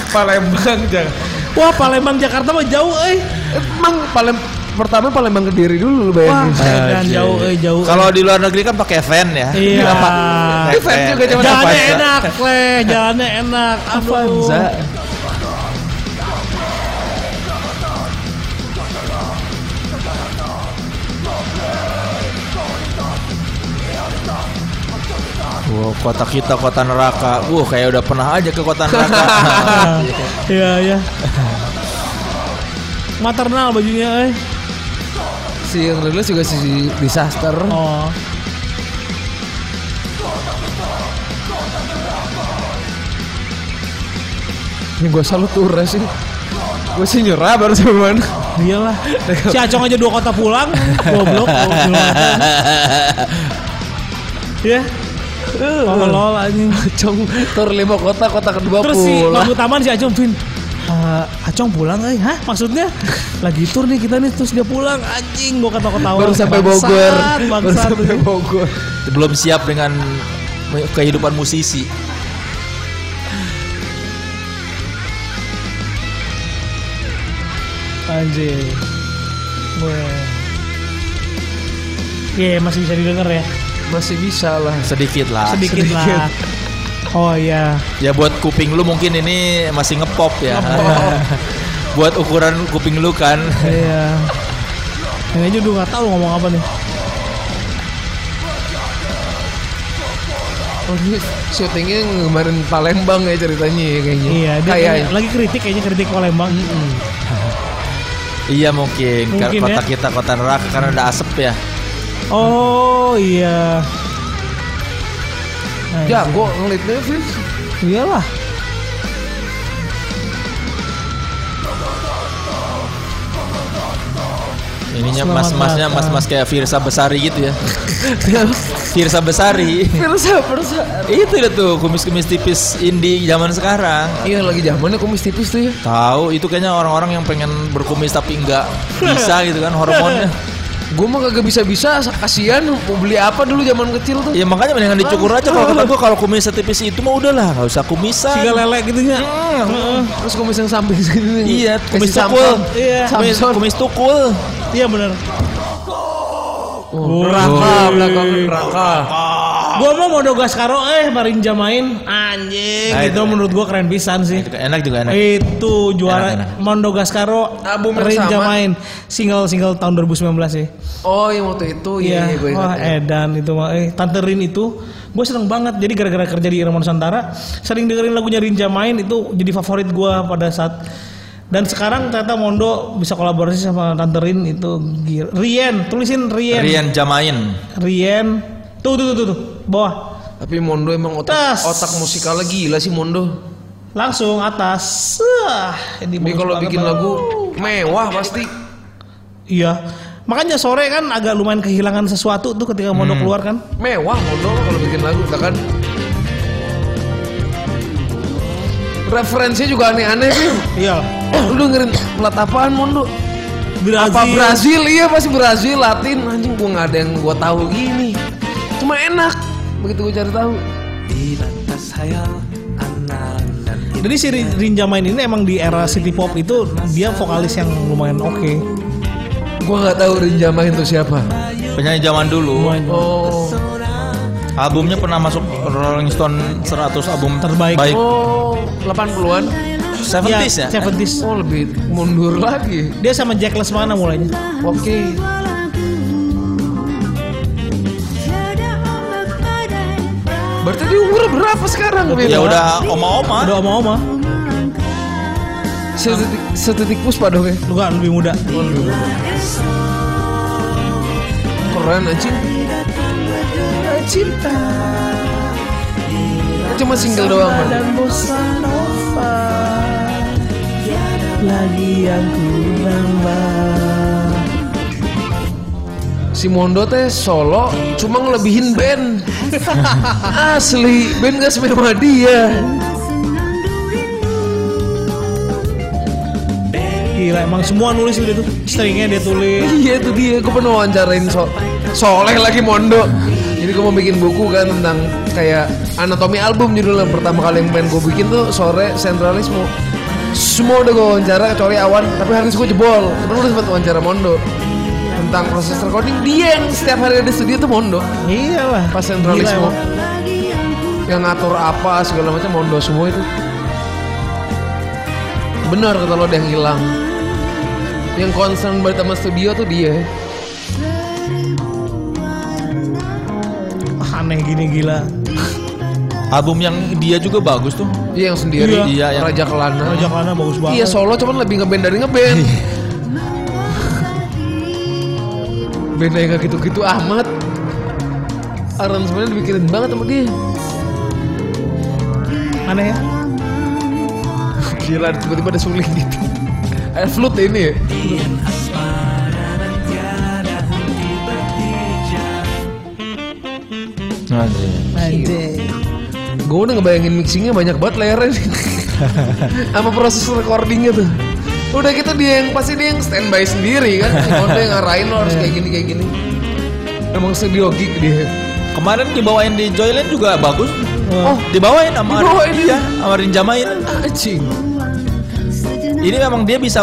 A: Palembang jangan.
B: Wah, Palembang Jakarta mah jauh eh. euy.
A: Emang Palem pertama Palembang Kediri dulu lu
B: Wah,
A: bayangin.
B: Edan
C: Anjir.
B: jauh
A: eh,
B: euy, jauh.
C: Kalau di luar negeri kan pakai van ya.
B: Iya.
C: Apa? Naik
A: Van juga zaman
B: jalannya enak, leh, jalannya enak. Aduh.
C: Avanza. Oh, kota kita kota neraka. Wah, kayak udah pernah aja ke kota neraka.
B: Iya iya. Maternal bajunya eh.
A: Si yang rilis juga si disaster.
B: Oh.
A: Ini gue salut tuh Res ini. Gue sih nyerah baru sama mana.
B: Iyalah. Si Acong aja dua kota pulang, goblok. Oh, goblok. Ya. Tolol anjing.
A: Acong tur lima kota kota kedua
B: Terus si
A: pulang.
B: Bambu Taman si Acong Vin. "Eh, Acong pulang eh Hah maksudnya Lagi tur nih kita nih Terus dia pulang Anjing gua ketawa-ketawa
A: baru sampai
B: Bangsat,
A: Bogor. Baru
B: Bangsat
A: sampai Bogor.
C: Belum siap dengan kehidupan musisi.
B: Anjing Weh. Iya masih bisa didengar ya
A: Masih bisa lah.
C: Sedikit
B: Ah,
C: lah.
B: Sedikit,
A: sedikit.
B: lah Oh iya
C: Ya buat kuping lu mungkin ini masih ngepop ya. buat ukuran kuping lu kan.
B: Iya Yang aja udah gak tau ngomong apa nih
A: Oh, ini syutingnya kemarin Palembang ya ceritanya ya kayaknya.
B: Iya dia
A: Kayak
B: kayaknya lagi kritik kayaknya kritik Palembang
C: Iya mungkin, Karena
B: Mungkin,
C: kota
B: ya.
C: kita kota neraka karena ada asap ya.
B: Oh iya Anjing.
A: ya gue ngelitnya Fis.
B: Iyalah.
C: Ininya
B: Selamat
C: mas-masnya
B: datang.
C: mas-mas kayak Firsa Besari gitu ya. Firsa Besari.
A: Persa persa.
C: Itu dia tuh kumis-kumis tipis indie zaman sekarang.
A: Iya lagi zamannya kumis tipis tuh ya.
C: Tahu itu kayaknya orang-orang yang pengen berkumis tapi nggak bisa gitu kan hormonnya.
A: Gue mah kagak bisa-bisa, kasihan mau beli apa dulu zaman kecil tuh.
C: Ya makanya mendingan dicukur aja kalau kata gue kalau kumis setipis itu mah udahlah nggak usah kumisan.
A: Kan.
B: Siga lele gitu gitunya.
A: Terus kumis yang samping segini.
C: Iya,
A: Kayak
C: kumis
A: si
C: tukul.
A: Samson.
B: Iya.
C: Kumis,
A: Samson.
C: kumis tukul.
B: Iya benar.
A: Oh, iya,
B: Raka,
A: belakang neraka. Ah.
B: Gua mau Modo Gaskaro eh Marinja main anjing.
C: Nah,
B: itu
C: itu.
B: menurut gua keren pisan
A: Nah,
B: sih.
C: Itu enak juga enak.
B: Itu juara
C: Enak, enak.
B: Mondo Gaskaro
A: Album yang
B: Marinja
A: sama.
B: main single-single tahun 2019 sih.
A: Oh, yang waktu itu iya, iya,
B: Iya.
A: gue ingat.
B: Wah, edan itu mah eh Tante Rin itu gue seneng banget. Jadi gara-gara kerja di Irama Nusantara sering dengerin lagunya Rinja main itu jadi favorit gua pada saat dan sekarang ternyata Mondo bisa kolaborasi sama Tante Rin itu gila. Rien, tulisin
A: Iya.
B: Rien.
C: Rian Jamain.
B: Rien. Tuh tuh tuh tuh, tuh. bawah.
A: Tapi Mondo emang otak
B: Tas.
A: otak musikalnya gila sih Mondo.
B: Langsung atas. Sah. Ini
A: Tapi
B: bagus
A: kalau
B: banget,
A: bikin
B: Bang.
A: lagu mewah pasti.
B: Iya. Makanya sore kan agak lumayan kehilangan sesuatu tuh ketika Mondo
A: Hmm.
B: keluar kan.
A: Mewah Mondo kalau bikin lagu, tak kan? Referensinya juga aneh-aneh sih.
B: Iya.
A: Eh, Lu dengerin plat apaan Mondo?
B: Brazil.
A: Apa Brazil? Iya pasti Brazil, Latin. Anjing gua nggak ada yang gua tahu gini. Cuma enak. Begitu gua cari tahu.
B: Jadi si Rin- Rinja main ini emang di era city pop itu dia vokalis yang lumayan oke.
A: Gua nggak tahu Rinjamain itu siapa.
C: Penyanyi zaman dulu.
B: Lumayan.
A: Oh.
C: Albumnya pernah masuk Rolling Stone 100 album
B: Terbaik.
C: Baik.
A: Oh, 80-an.
C: 70s ya.
B: 70s.
A: Oh, lebih mundur lagi.
B: Iya, Dia sama Jack Lesmana mulainya.
A: Oke. Berarti dia umur berapa sekarang? Vin?
C: Ya udah oma-oma.
B: Ada oma-oma.
A: Setitik, setitik puspa dong ya.
B: Lu kan lebih muda.
A: Keren anjing. Cinta. Cuma single doang man.
B: Lagi yang
A: Si Mondo teh solo cuma ngelebihin band. Asli, band gak semewah dia.
B: Gila emang semua nulis udah tuh. Stringnya dia tulis.
A: Iya itu dia, gue pernah wawancarain so Soleh lagi Mondo Jadi gue mau bikin buku kan tentang kayak anatomi album judulnya Pertama kali yang pengen gue bikin tuh sore sentralisme Semua udah gue wawancara kecuali awan Tapi harus gue jebol Tapi gue sempet wawancara Mondo Tentang proses recording Dia yang setiap hari ada di studio tuh Mondo
B: Iyalah.
A: Pas
B: Gila,
A: sentralisme
B: emang.
A: Yang ngatur apa segala macam Mondo semua itu Benar kata lo ada yang hilang Yang concern banget sama studio tuh dia
B: Ah, aneh gini gila.
C: Album yang dia juga bagus tuh.
A: Iya yang sendiri.
C: Iya, yang-
A: Raja Kelana.
B: Raja Kelana bagus banget.
A: Iya solo cuman lebih ngeband dari ngeband.
C: Iya.
A: Bandnya yang gak gitu-gitu amat. Aransemennya dibikin banget sama dia.
B: Aneh ya.
A: Gila tiba-tiba ada suling gitu. Eh flute ini ya. Gue udah ngebayangin mixingnya banyak banget layarnya nih. Sama proses recordingnya tuh Udah gitu dia yang pasti dia yang standby sendiri kan Kalau dia ngarahin lo
B: Iya.
A: harus kayak gini kayak gini Emang studio gig dia
C: Kemarin dibawain di Joyland juga bagus.
A: Oh.
C: dibawain sama
A: Dibawain
C: Iya, sama Rin Jamail.
A: Anjing
C: Ini memang dia bisa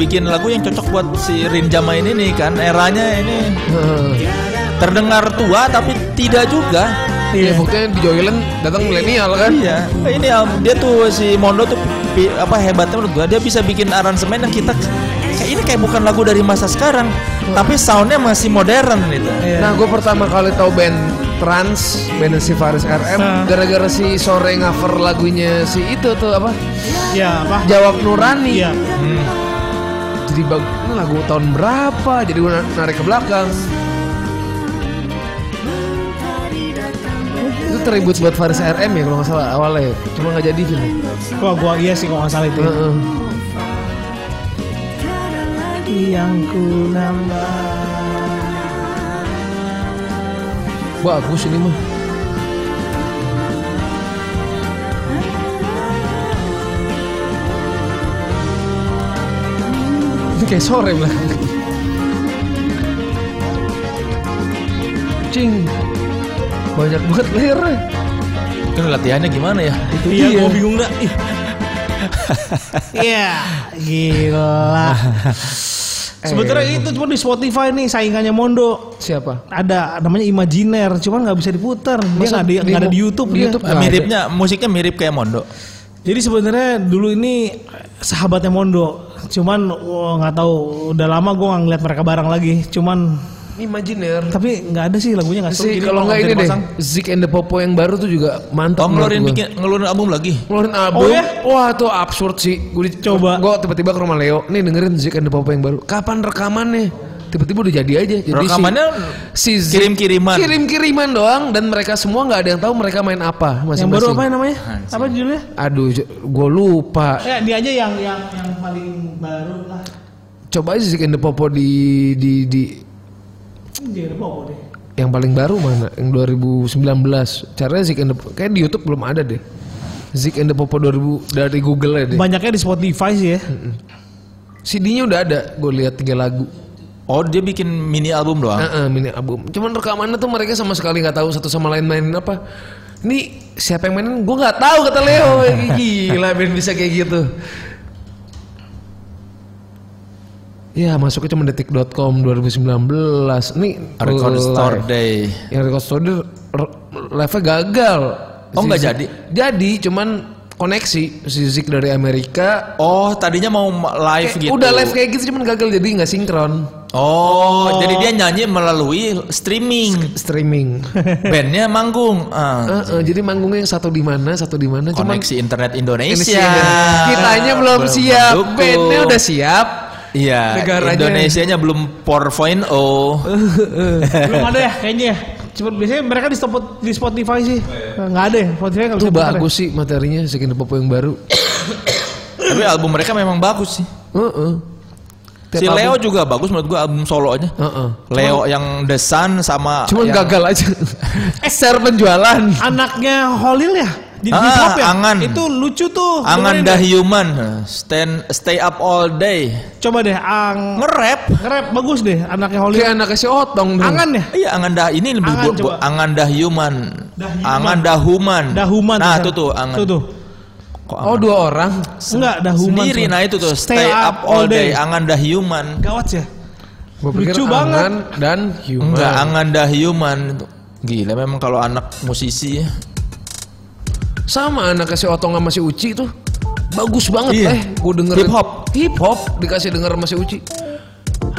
C: bikin lagu yang cocok buat si Rin Jamail ini nih kan eranya ini
A: Heeh.
C: terdengar tua tapi tidak juga.
A: Iya buktinya di Joyland datang milenial kan
C: Iya, ini Al, dia tuh si Mondo tuh pi- apa hebatnya menurut gua dia bisa bikin aransemen yang kita kayak ini kayak bukan lagu dari masa sekarang, tapi soundnya masih modern gitu.
B: Iya.
A: Nah gue pertama kali tahu band trans Band si Faris RM
B: Nah.
A: Gara-gara si Sore cover lagunya si itu tuh apa
B: Iya apa?
A: Jawab Nurani
B: Iya.
A: Jadi bag, ini lagu tahun berapa Jadi gue narik ke belakang Itu tribute buat Faris RM ya kalau nggak salah awalnya Cuma nggak jadi gitu
B: Wah gua iya sih kalau nggak salah itu.
A: Heeh.
B: Yang ku nambah.
A: Bagus ini mah Ini kayak sore lah Cing Banyak banget layarnya
C: Kan latihannya gimana ya?
A: Itu
B: Iya,
A: dia.
B: gua bingung dah. Ih. Iya, gila. Sebetulnya itu cuma di Spotify nih saingannya Mondo.
A: Siapa?
B: Ada namanya Imaginer, cuman nggak bisa diputar. Dia
A: Masa
B: nggak di,
A: di
B: nggak Nah. ada di
A: mo-
B: YouTube.
A: di
B: dia.
A: YouTube? Nggak ada.
C: Nah, Miripnya musiknya mirip kayak Mondo.
B: Jadi sebenarnya dulu ini sahabatnya Mondo. Cuman wah, nggak tahu udah lama gua nggak ngeliat mereka bareng lagi. Cuman
A: Imaginer
B: tapi nggak ada sih lagunya nggak seru.
A: Si
B: Jadi
A: kalau nggak ini deh
B: dipasang-
A: Zik and the Popo yang baru tuh juga mantap
C: Oh ngeluarin
A: menurut gua.
C: bikin ngeluarin album lagi.
A: ngeluarin album
B: Oh ya?
A: wah tuh absurd sih gue
B: Coba.
A: gue tiba-tiba ke rumah Leo nih dengerin Zik and the Popo yang baru kapan rekamannya tiba-tiba udah jadi aja jadi si-
C: Rekamannya
A: si, Zik-
C: kirim-kiriman.
A: kirim-kiriman doang dan mereka semua nggak ada yang tahu mereka main apa
B: Yang
A: masing-masing
B: baru apa namanya? Apa judulnya?
A: aduh gue lupa
B: Ya dia aja yang yang yang paling baru lah.
A: coba aja Zik and the Popo di di di
B: Dia udah bawa deh.
A: yang paling baru mana yang 2019 caranya Zik and the Popo kayak di YouTube belum ada deh Zik and the Popo 2000 dari Google ya deh
B: Banyaknya di Spotify sih ya.
A: CD-nya udah ada gue lihat tiga lagu
C: Oh dia bikin mini album doang.
A: Heeh, mini album. Cuman rekamannya tuh mereka sama sekali nggak tahu satu sama lain mainin apa. Ini siapa yang mainin? Gue nggak tahu kata Leo. Gila, band bisa kayak gitu. Ya masuknya cuma detik.com 2019. Nih
C: Record
A: live.
C: Store Day.
A: Yang record store dia re- live-nya gagal.
C: Oh, nggak
A: Zik-
C: jadi?
A: Jadi cuman koneksi si Zik dari Amerika.
C: Oh tadinya mau live
A: Kayak-
C: gitu.
A: Udah live kayak gitu cuman gagal jadi nggak sinkron
C: Oh, jadi dia nyanyi melalui streaming.
A: streaming.
C: Bandnya manggung. Ah.
A: Heeh, jadi manggungnya yang satu di mana, satu di mana, cuman
C: koneksi internet Indonesia.
A: Indonesia. Kitanya belum, siap,
C: mendukung.
A: bandnya udah siap.
C: Iya,
A: Negaranya.
C: Indonesianya belum 4.0.
B: Belum ada ya kayaknya. ya. Cuma biasanya mereka di, Spot- di Spotify sih.
C: Oh, iya.
B: Nggak ada ya, Spotify nggak
A: Itu
B: bisa putar ya.
A: bagus sih materinya Sekian Popo yang baru.
C: Tapi album mereka memang bagus sih.
A: Heeh. Tiap
C: si
A: album-
C: Leo juga bagus menurut gua album solonya.
A: Heeh.
C: Leo yang The Sun sama
A: Cuman
C: yang,
A: gagal aja. Share penjualan.
B: ya. Anaknya Holil ya? Di, di
C: Ah,
B: Vlog ya?
C: Angan.
B: Itu lucu tuh. dengerin
C: Angan The
B: deh.
C: Human, Stand Stay Up All Day.
B: Coba deh ang
C: Nge-rap.
B: nge-rap bagus deh anaknya Holil.
A: Kayak anaknya si Otong dong.
B: Angan ya?
C: Iya, angan dah ini lebih
B: Angan,
C: bu- bu-
B: coba.
C: angan dah human.
B: Dah human.
C: Angan dah human.
B: Dahuman.
C: Nah,
B: misalnya.
C: itu tuh angan.
B: Tuh tuh.
C: Kok
A: Oh, dua orang.
B: Enggak, Dahuman.
C: sendiri
B: tuh.
C: nah itu tuh stay, up, all day, angan dah human.
B: Gawat ya.
A: Gua pikir
B: Lucu
A: Angan dan Human.
C: Enggak, angan dah human. Gila memang kalau anak musisi ya.
A: Sama anaknya si Otong sama si Uci tuh. Bagus banget
C: Iya.
A: eh. Gue denger
C: Hip hop.
A: Hip hop dikasih denger sama si Uci.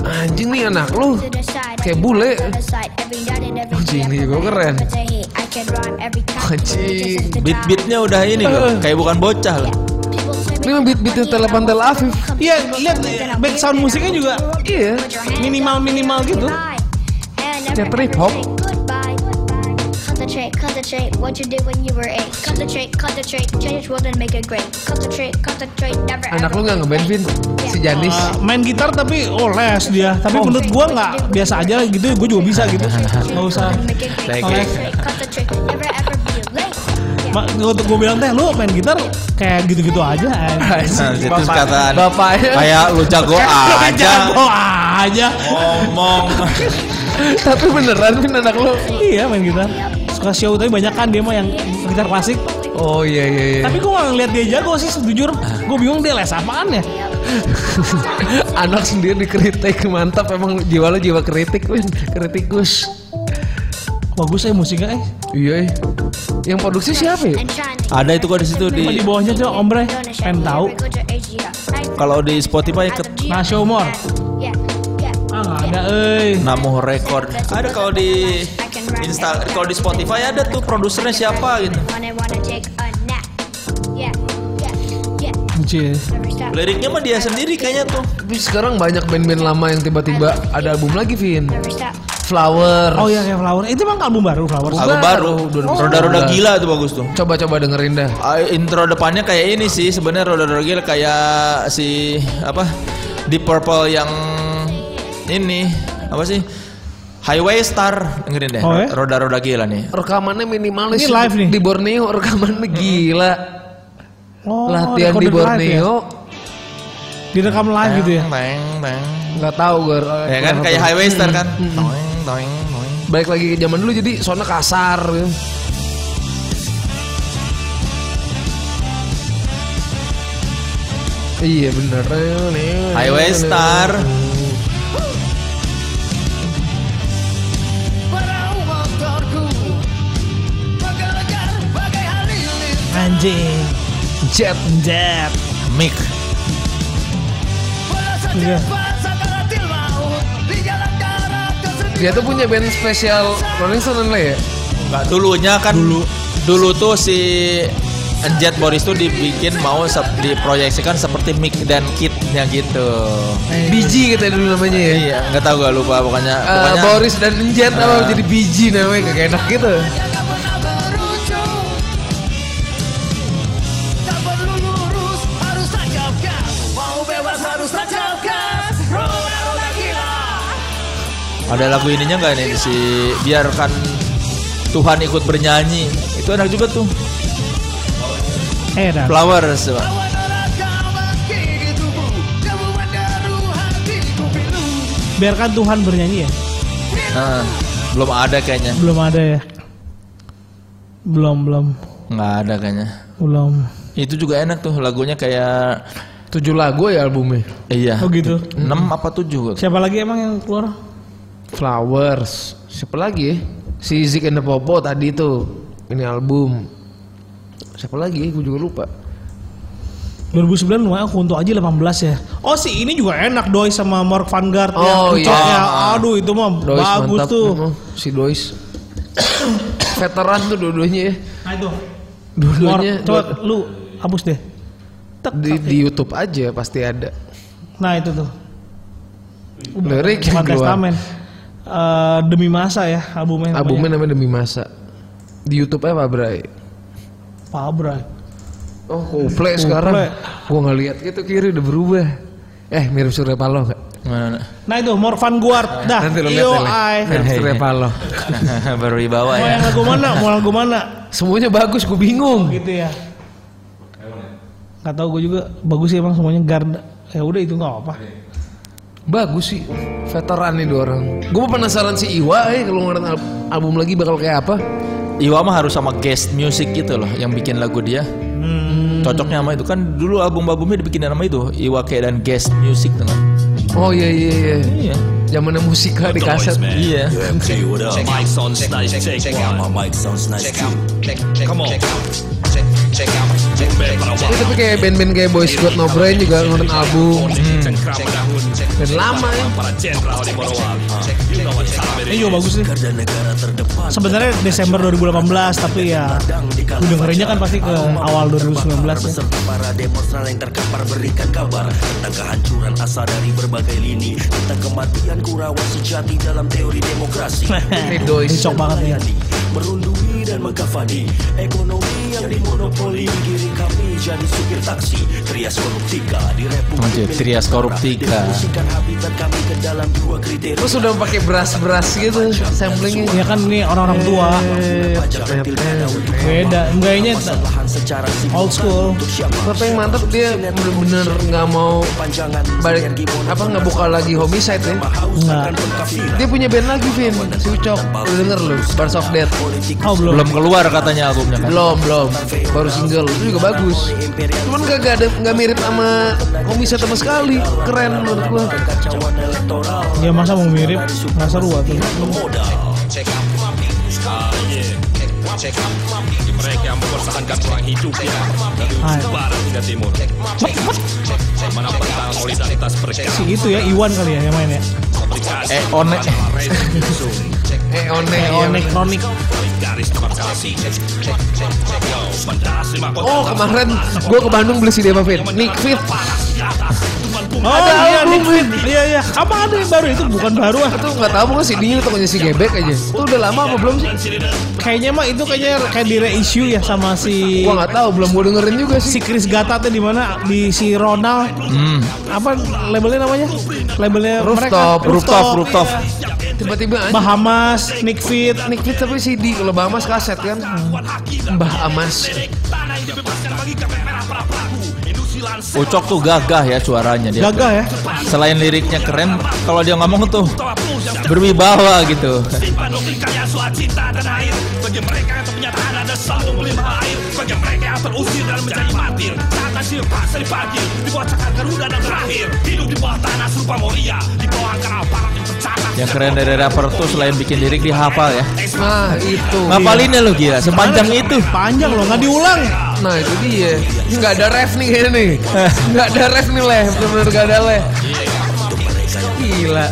A: Anjing nih anak lu.
F: To the side,
A: Uh, Kayak bule.
F: to the side, every night and every
A: Oh,
F: day,
A: Jinny,
F: I put
A: gua
F: my
A: keren.
F: hands up to the head. I
A: Anjing.
C: Beat-beatnya udah ini loh, kayak bukan bocah lah.
A: Ini mah beat-beatnya Tel Aviv, Tel Aviv.
B: Iya, lihat background musiknya juga
A: Iya.
B: minimal-minimal gitu.
A: Ya, tapi hip hop.
F: Concentrate, concentrate, what you did when you were eight. Concentrate, concentrate, change world and make it great. Concentrate, concentrate, never
A: Anak lu nggak ngeband Vin? Si Janis.
B: Uh, main gitar tapi oh les dia tapi menurut gua nggak biasa aja gitu gue juga bisa gitu nggak usah
C: Thank
B: you. Ma, untuk gue bilang teh lu main gitar kayak gitu-gitu aja eh.
C: Nah, itu
A: Bapak-
C: kataan
A: bapaknya.
C: kayak lu jago
B: Lu kan
C: aja
B: jago aja
C: ngomong.
A: Tapi beneran Vin anak lu.
B: iya main gitar suka show tapi banyak kan dia mah yang gitar klasik
A: Oh iya iya iya. Ah.
B: tapi gue nggak ngeliat dia jago sih jujur gue bingung dia les apaan ya
A: Anak sendiri dikritik mantap emang jiwa lu jiwa kritik Vin. Kritikus.
B: bagus ya musiknya eh
A: Iya. iya. Yang produksi siapa ya?
C: Ada itu kok di situ di
B: Apa di bawahnya coba ombre pengen tahu
C: kalau di Spotify ke
B: Nasya Umar ah nggak ada eh
C: Namo Record. Ada kalau di Insta kalau di Spotify ada tuh produsernya siapa gitu.
B: Eh. Anjir.
C: Liriknya mah dia sendiri kayaknya tuh.
A: Tapi sekarang banyak band-band lama yang tiba-tiba ada album lagi Vin. Flower.
B: oh iya kayak Flower itu emang album baru Flower
C: Album baru. Roda-roda gila tuh bagus tuh.
A: Coba-coba dengerin dah.
C: Ah, intro depannya kayak ini sih sebenarnya roda roda gila kayak si apa di purple yang ini apa sih highway star dengerin deh
B: Oh, ya?
C: roda roda gila nih
A: Rekamannya minimalis
B: Ini live nih.
A: di Borneo rekamannya gila.
B: Oh,
A: Latihan di
B: recorded live ya?
A: Borneo Ah.
B: Direkam live gitu ya.
C: teng teng
A: nggak tahu gue.
C: ya kan kayak highway star kan toeng toeng toeng
A: Balik lagi ke zaman dulu jadi soalnya kasar. gitu. Iya bener
C: highway star
B: Anjing.
A: Jet
B: Jep.
C: mic
B: Iya.
A: Dia tuh punya band spesial Rolling Stone
C: Iya.
A: lah ya
C: Nggak, dulunya kan dulu dulu tuh si Jet Boris tuh dibikin mau sep- diproyeksikan seperti mic dan kitnya gitu.
A: Biji kita dulu namanya ya
C: Iya, nggak tahu gak lupa pokoknya.
A: Eh,
C: pokoknya Ah.
A: Boris dan Jet apa jadi biji namanya gak enak gitu
C: Ada lagu ininya nggak nih si biarkan Tuhan ikut bernyanyi itu enak juga tuh
B: Eh, dah.
C: flowers coba.
B: biarkan Tuhan bernyanyi ya.
C: Nah, belum ada kayaknya
B: Belum ada ya. Belum, belum.
C: nggak ada kayaknya
B: Belum.
C: itu juga enak tuh lagunya kayak
A: Tujuh lagu ya albumnya
C: iya
B: Oh gitu.
C: 6 apa 7
B: Siapa lagi emang yang keluar?
A: Flowers. Siapa lagi ya? Si Zik and the Popo tadi itu. Ini album. Siapa lagi? Gue juga lupa.
B: 2009 wah aku untuk aja 18 ya. Oh si ini juga enak Doi sama Mark Van Gaart
A: Oh,
B: yang kucoknya.
A: iya.
B: Aduh itu mah
A: Dois
B: Oh, bagus
A: mantap.
B: tuh.
A: Mm, Si Dois. Veteran tuh dua-duanya ya.
B: Nah itu. Mark,
A: Dua-duanya
B: coba
A: dua-
B: lu hapus deh. Tek,
A: di,
B: tek.
A: di YouTube aja pasti ada.
B: Nah itu tuh.
A: Lirik yang
B: Bukan
A: keluar.
B: testamen. Eh, demi masa ya albumnya. namanya.
A: Albumnya namanya Demi Masa. Di YouTube apa, Bray?
B: Fabra.
A: Oh, Coldplay sekarang. Gua nggak lihat gitu kiri udah berubah. Eh, mirip Surya Paloh nggak?
C: Mana?
B: Nah itu Morvan Guard. Dah.
A: Nanti lu lihat
B: Ah, Yo
A: deh, Le.
B: ai.
A: Mirip Surya Paloh.
C: baru dibawa
B: Mau
C: ya
B: yang lagu mana? Mau lagu mana?
A: Semuanya bagus, gue bingung.
B: Gitu ya. Gak tau gue juga. Bagus sih emang semuanya Guard. Ya udah itu nggak apa.
A: Bagus sih veteran nih dua orang. Gue penasaran si Iwa eh kalau ngeluarin al- album lagi bakal kayak apa.
C: Iwa mah harus sama guest music gitu loh yang bikin lagu dia
B: Hmm.
C: cocoknya sama itu kan dulu album-albumnya dibikin nama itu Iwa kayak dan guest music tuh kan
A: Oh iya iya iya.
C: iya
A: Zamannya musika di kaset.
C: iya
G: MK, what up? Mike's on stage, check, check, out. My mic's on stage check out. Check, check, Come on. Check out. Check, check out. Check, check, check, Iya.
A: Ini tapi kayak band-band kayak Boys Got No Brain juga ngeluarin
H: Hmm.
A: album.
G: check, check, check, check, check, check,
A: Band lama ya.
G: para jenderal di Morowali. You know what time it
B: Ini juga bagus sih. Sebenarnya Desember 2018 tapi ya lu dengerinnya kan pasti ke awal 2019 ya.
H: Serta para demonstran yang terkapar berikan kabar Tentang kehancuran asal dari berbagai lini Tentang kematian kurawan sejati dalam teori demokrasi
A: Ridois.
B: Ini cocok banget ya.
H: Melayani, Merundungi dan mengkavani Ekonomi yang dimonopoli Giring kami jadi supir taksi Trias koruptika di
C: Anjir,
H: Republik
C: trias koruptika.
H: Definisikan habitat kami ke dalam dua kriteria
A: Terus udah pakai beras-beras gitu samplingnya.
B: Ya kan ini orang-orang tua.
H: Pajak dan pilkada untuk
B: Beda, gayanya
H: lahan secara sipil
B: old school.
H: untuk siapa
A: Tapi yang mantap dia bener-bener nggak mau
H: Panjangan
A: balik apa nggak buka lagi homicide ya.
H: kan
B: Enggak.
H: Kafir
A: Dia punya band lagi Vin, si Ucok. Lu denger lu, Bars of Death.
B: Oh belum.
C: Belum keluar katanya albumnya kan.
A: Belum, belum. Baru single, itu juga bagus. Cuman gak, gak ada nggak mirip sama homicide sama sekali. Keren menurut gua.
B: Ya masa mau mirip? Nggak seru tuh.
G: Mereka mempertahankan perang hidupnya dari
B: Ah.
G: ujung barat hingga timur. Mana tentang solidaritas mereka?
B: Si itu ya Iwan kali ya yang main ya.
G: Aplikasi
C: Eh, one.
A: Eh, one,
B: Eonek Kronik.
G: garis demarkasi. Yo, pentas lima kota
A: Oh kemarin gue ke Bandung beli CD apa Vin? Nick Fit
B: Oh iya Nick Fit. Iya iya. Apa ada yang baru itu bukan baru ah.
A: Itu gak tau bukan CD-nya tokonya si Gebek aja Itu udah lama apa belum sih?
B: Kayaknya mah itu kayaknya kayak di reissue ya sama si
A: Gue gak tau belum gue dengerin juga
B: si
A: sih
B: Chris Gata tuh di mana di si Ronald apa labelnya namanya labelnya
A: Hmm. Rooftop,
B: mereka
A: rooftop, rooftop. Iya.
B: iya.
A: Tiba-tiba anjing
B: Bahamas Nick Fit
A: Nick Fit tapi CD Kalau Mbak Amas kaset kan Mbah Amas
C: Ucok tuh gagah ya suaranya dia.
B: gagah ya
C: Selain liriknya keren, kalau dia ngomong tuh berwibawa gitu. Yang keren dari rapper tuh selain bikin lirik dia hafal ya.
A: Nah itu
C: Ngapalinnya lo gila, sepanjang
B: Iya.
C: itu.
B: panjang loh nggak diulang
A: Nah itu dia Gak ada ref nih kayaknya nih Gak ada ref nih leh Bener-bener gak ada leh Gila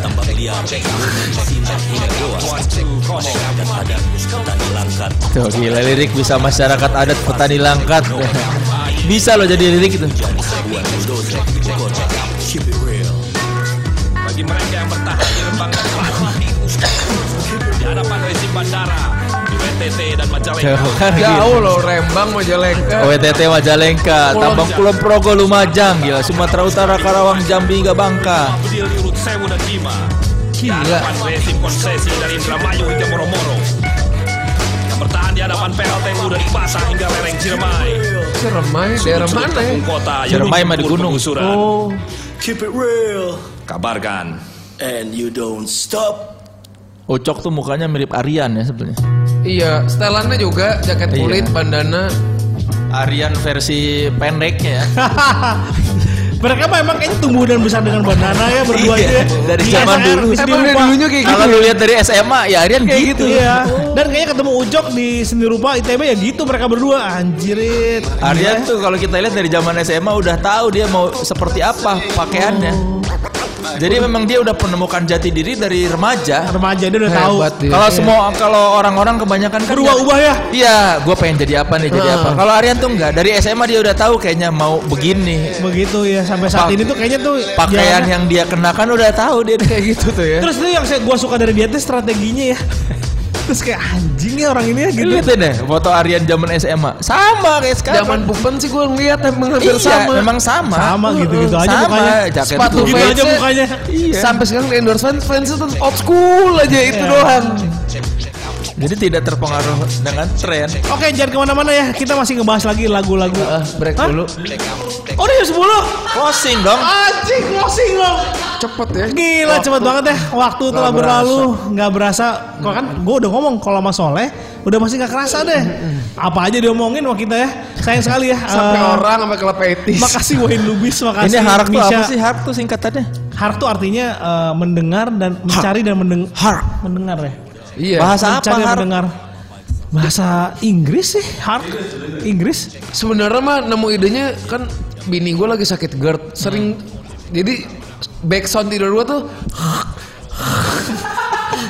C: Tuh gila lirik bisa masyarakat adat petani langkat. Bisa lo jadi lirik itu.
G: bagi mereka yang bertahan di Rembang dan Pati. Di hadapan rezim bandara di WTT dan Majalengka.
C: Tuh kan gila.
A: Jauh loh Rembang Majalengka
C: OTT Majalengka, Tambang Kulon Progo, Lumajang, gila Sumatera Utara, Karawang, Jambi, hingga Bangka.
G: Bedil di Rut Sewu dan Bima. Di
A: Gila.
G: hadapan rezim konsesi dari Indramayu hingga Moro-Moro. Yang bertahan di hadapan PLTU dari Pasar hingga lereng Ciremai.
A: Seremai daerah mana ya?
G: Ujung Kota yang
C: Ciremai mah di
G: menyebut
C: gunung.
G: penggusuran.
A: Oh
H: Keep it real
G: Kabarkan.
H: And you don't stop
C: Ucok tuh mukanya mirip Aryan ya sebetulnya.
A: Iya, setelannya juga jaket kulit,
C: Iya.
A: bandana.
C: Aryan versi pendeknya ya.
B: mereka mah emang kayaknya tumbuh dan besar dengan bandana ya berdua
C: Iya,
B: itu ya
C: dari
B: Di
C: zaman
B: SR,
C: dulu.
B: di sini
A: Emang dari
B: rupa.
A: dulunya kayak gitu.
C: Kalau lu lihat dari SMA ya Aryan
B: kayak
C: gitu.
B: gitu ya dan kayaknya ketemu Ujok di seni rupa ITB ya gitu mereka berdua anjirit Iya.
C: Aryan tuh kalau kita lihat dari zaman SMA udah tahu dia mau seperti apa pakaiannya.
B: Oh.
C: Jadi memang dia udah menemukan jati diri dari remaja.
B: remaja dia udah tahu
A: Hebat dia.
C: Kalau semua kalau orang-orang kebanyakan kan
B: berubah-ubah ya
C: Iya, gue pengen jadi apa nih, jadi
A: Ah.
C: apa. Kalau Aryan tuh enggak, dari SMA dia udah tahu kayaknya mau begini.
B: begitu ya sampai saat
C: Pak-
B: ini tuh kayaknya tuh
C: Pakaian
B: jalannya-
C: yang dia kenakan udah tahu dia kayak gitu tuh ya.
B: Ya. Terus itu yang saya gua suka dari dia tuh strateginya ya. Terus kayak anjing ya orang ini ya gitu.
C: Lihat deh, foto Aryan zaman SMA. Sama kayak sekarang.
A: Zaman Pupen sih gue ngeliat emang hampir
C: Iya,
A: sama.
C: memang sama. Uh-uh.
B: Sama gitu-gitu aja
C: Sama,
B: mukanya.
C: jaket
A: Sepatu
C: kulit.
B: Gitu aja
A: Fansnya-
B: mukanya.
C: Iya.
A: Sampai sekarang di endorse fans, fans itu old school aja itu doang.
C: Jadi tidak terpengaruh dengan tren.
B: Oke, jangan kemana-mana ya. Kita masih ngebahas lagi lagu-lagu.
C: Eh.
A: Ah, break
B: Hah?
A: dulu.
B: Oh, udah jam 10.
C: Closing dong.
B: Anjing, closing loh.
A: Cepet ya.
B: Gila, cepet banget ya. Waktu telah
A: Nggak
B: berlalu. Nggak berasa. Kok kan gue udah ngomong kalau sama Soleh, udah pasti nggak kerasa deh. Apa aja diomongin sama kita ya. Sayang sekali ya.
A: Sampai
B: Eh,
A: orang sampai kelab etis.
B: Makasih Wayne Lubis,
C: Ini
B: makasih
C: harap tuh
B: Misha.
C: apa sih? Harap tuh singkatannya.
B: Hark tuh artinya eh, mendengar dan mencari dan mendeng
C: Hark.
B: mendengar ya.
A: Iya.
C: Bahasa apa
B: Mencari dan
C: harap?
B: mendengar. Bahasa Inggris sih, hark. Inggris.
C: Hmm.
A: Sebenarnya mah nemu idenya kan bini gue lagi sakit GERD. Sering jadi back sound tidur gua tuh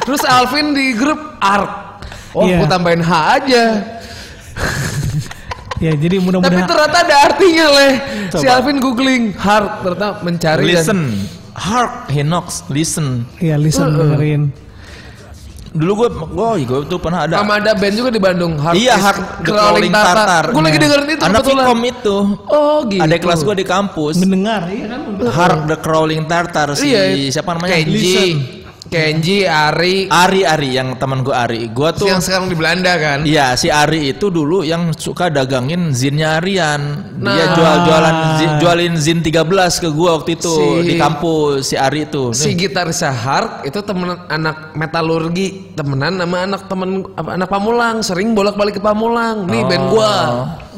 A: terus Alvin di grup ark oh
B: Iya.
A: gua tambahin H aja
B: Ya jadi
A: tapi
B: mudah-mudahan
A: ternyata ada artinya leh si Alvin googling hark ternyata mencari dan
C: Listen. Hark, Hinox, listen.
B: ya listen dengerin.
C: Dulu gue, gue, gue tuh pernah ada.
A: sama ada band juga di Bandung hark
C: iya,
A: is
C: Hark, The
A: Crawling Tartar, Gua lagi
C: Iya.
A: dengerin itu
C: Anak
A: kebetulan.
C: Vicom itu.
A: oh gitu
C: Ada kelas gue di kampus.
B: Mendengar iya kan untuk
C: Hark the Crawling Tartar si
A: Iya,
C: siapa namanya?
A: Kenji Kenji Ari
C: Ari Ari yang teman gue Ari. Gue tuh
A: yang sekarang di Belanda kan
C: Iya, si Ari itu dulu yang suka dagangin zinnya Arian. Dia
A: Nah.
C: jual-jualan zin- jualin zin 13 ke gua waktu itu
A: Si-
C: di kampus si Ari itu.
A: si gitarisnya Hark itu temen anak metalurgi temenan sama anak temen apa, anak Pamulang sering bolak balik ke Pamulang nih band gua